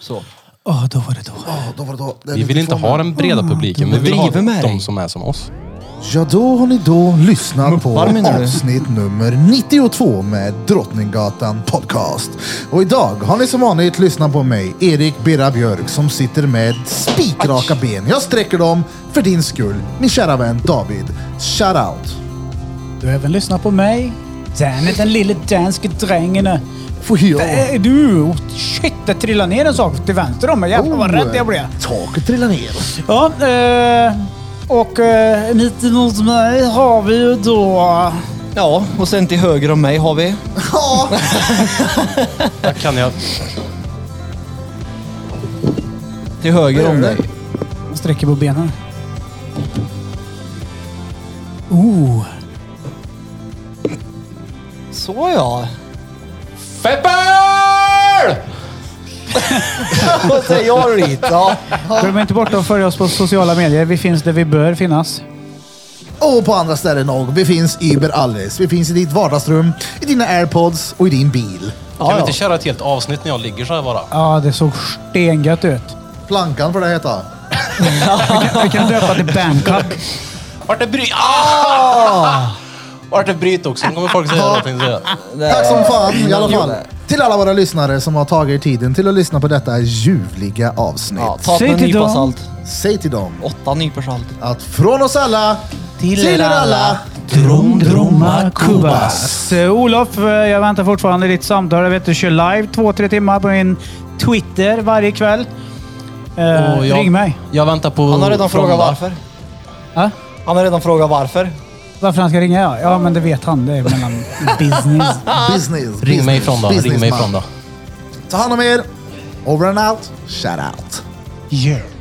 [SPEAKER 5] Så.
[SPEAKER 3] Åh, då var det då.
[SPEAKER 2] Ja, då var det då. Det är
[SPEAKER 1] Vi
[SPEAKER 2] lite
[SPEAKER 1] vill inte
[SPEAKER 2] tvång.
[SPEAKER 1] ha den breda publiken. Vi
[SPEAKER 5] Ah, du
[SPEAKER 1] vill ha
[SPEAKER 5] driver med dig.
[SPEAKER 1] de som är som oss.
[SPEAKER 2] Ja, då har ni då lyssnat
[SPEAKER 5] Muppar,
[SPEAKER 2] på
[SPEAKER 5] menar du?
[SPEAKER 2] avsnitt nummer 92 med Drottninggatan Podcast. Och idag har ni som vanligt lyssnat på mig, Erik Birra Björk, som sitter med spikraka ben. Jag sträcker dem för din skull, min kära vän David. Shout out!
[SPEAKER 3] Du har även lyssnat på mig. Den är den lille danske drängen.
[SPEAKER 2] For you.
[SPEAKER 3] Där är Du, oh, shit, det trillade ner en sak till vänster om mig. Jävlar vad
[SPEAKER 2] Oh.
[SPEAKER 3] rädd jag blev.
[SPEAKER 2] Taket trillar ner.
[SPEAKER 3] Ja, eh, och eh, mitt emot mig har vi ju då...
[SPEAKER 5] Ja, och sen till höger om mig har vi...
[SPEAKER 2] Ja,
[SPEAKER 1] Där kan jag...
[SPEAKER 5] Till höger om dig.
[SPEAKER 3] Jag sträcker på benen. Oh,
[SPEAKER 5] Så ja.
[SPEAKER 1] Feppel!
[SPEAKER 5] Vad säger jag då dit? Ja.
[SPEAKER 3] glöm inte bort att följa oss på sociala medier. Vi finns där vi bör finnas.
[SPEAKER 2] och på andra ställen och. Vi finns överallt. Vi finns i ditt vardagsrum, i dina airpods och i din bil.
[SPEAKER 1] Kan vi inte köra ett helt avsnitt när jag ligger så här bara?
[SPEAKER 3] Ja, det såg stengött ut.
[SPEAKER 2] Plankan får det heta.
[SPEAKER 3] Vi kan döpa till Bangkok.
[SPEAKER 1] Vart är bry... Ah! Vart är brytoxen? Kommer folk säga någonting så.
[SPEAKER 2] Tack som fan i alla fall. Till alla våra lyssnare som har tagit er tiden till att lyssna på detta ljuvliga avsnitt.
[SPEAKER 5] Ja, ta
[SPEAKER 3] Säg
[SPEAKER 5] med en
[SPEAKER 3] till
[SPEAKER 5] nypa
[SPEAKER 3] dem.
[SPEAKER 5] salt.
[SPEAKER 2] Säg till dem
[SPEAKER 5] Åtta nypor salt.
[SPEAKER 2] att från oss alla till, er alla
[SPEAKER 3] Drom Droma Kubas. Eh, Olof, eh, jag väntar fortfarande ditt samtal. Jag vet du kör live två, tre timmar på min Twitter varje kväll. Eh,
[SPEAKER 1] Och jag-
[SPEAKER 3] Ring mig.
[SPEAKER 1] Jag väntar på...
[SPEAKER 5] Han har redan frågat varför.
[SPEAKER 3] Ja?
[SPEAKER 5] Han har redan frågat varför.
[SPEAKER 3] Varför han ska ringa? Ja, ja men det vet han. Det är mellan business.
[SPEAKER 2] business.
[SPEAKER 1] Ring mig
[SPEAKER 2] business,
[SPEAKER 1] ifrån då. Ring mig
[SPEAKER 2] businessman.
[SPEAKER 1] ifrån då.
[SPEAKER 2] Ta hand om er. Over and out. Shout out.
[SPEAKER 3] Yeah.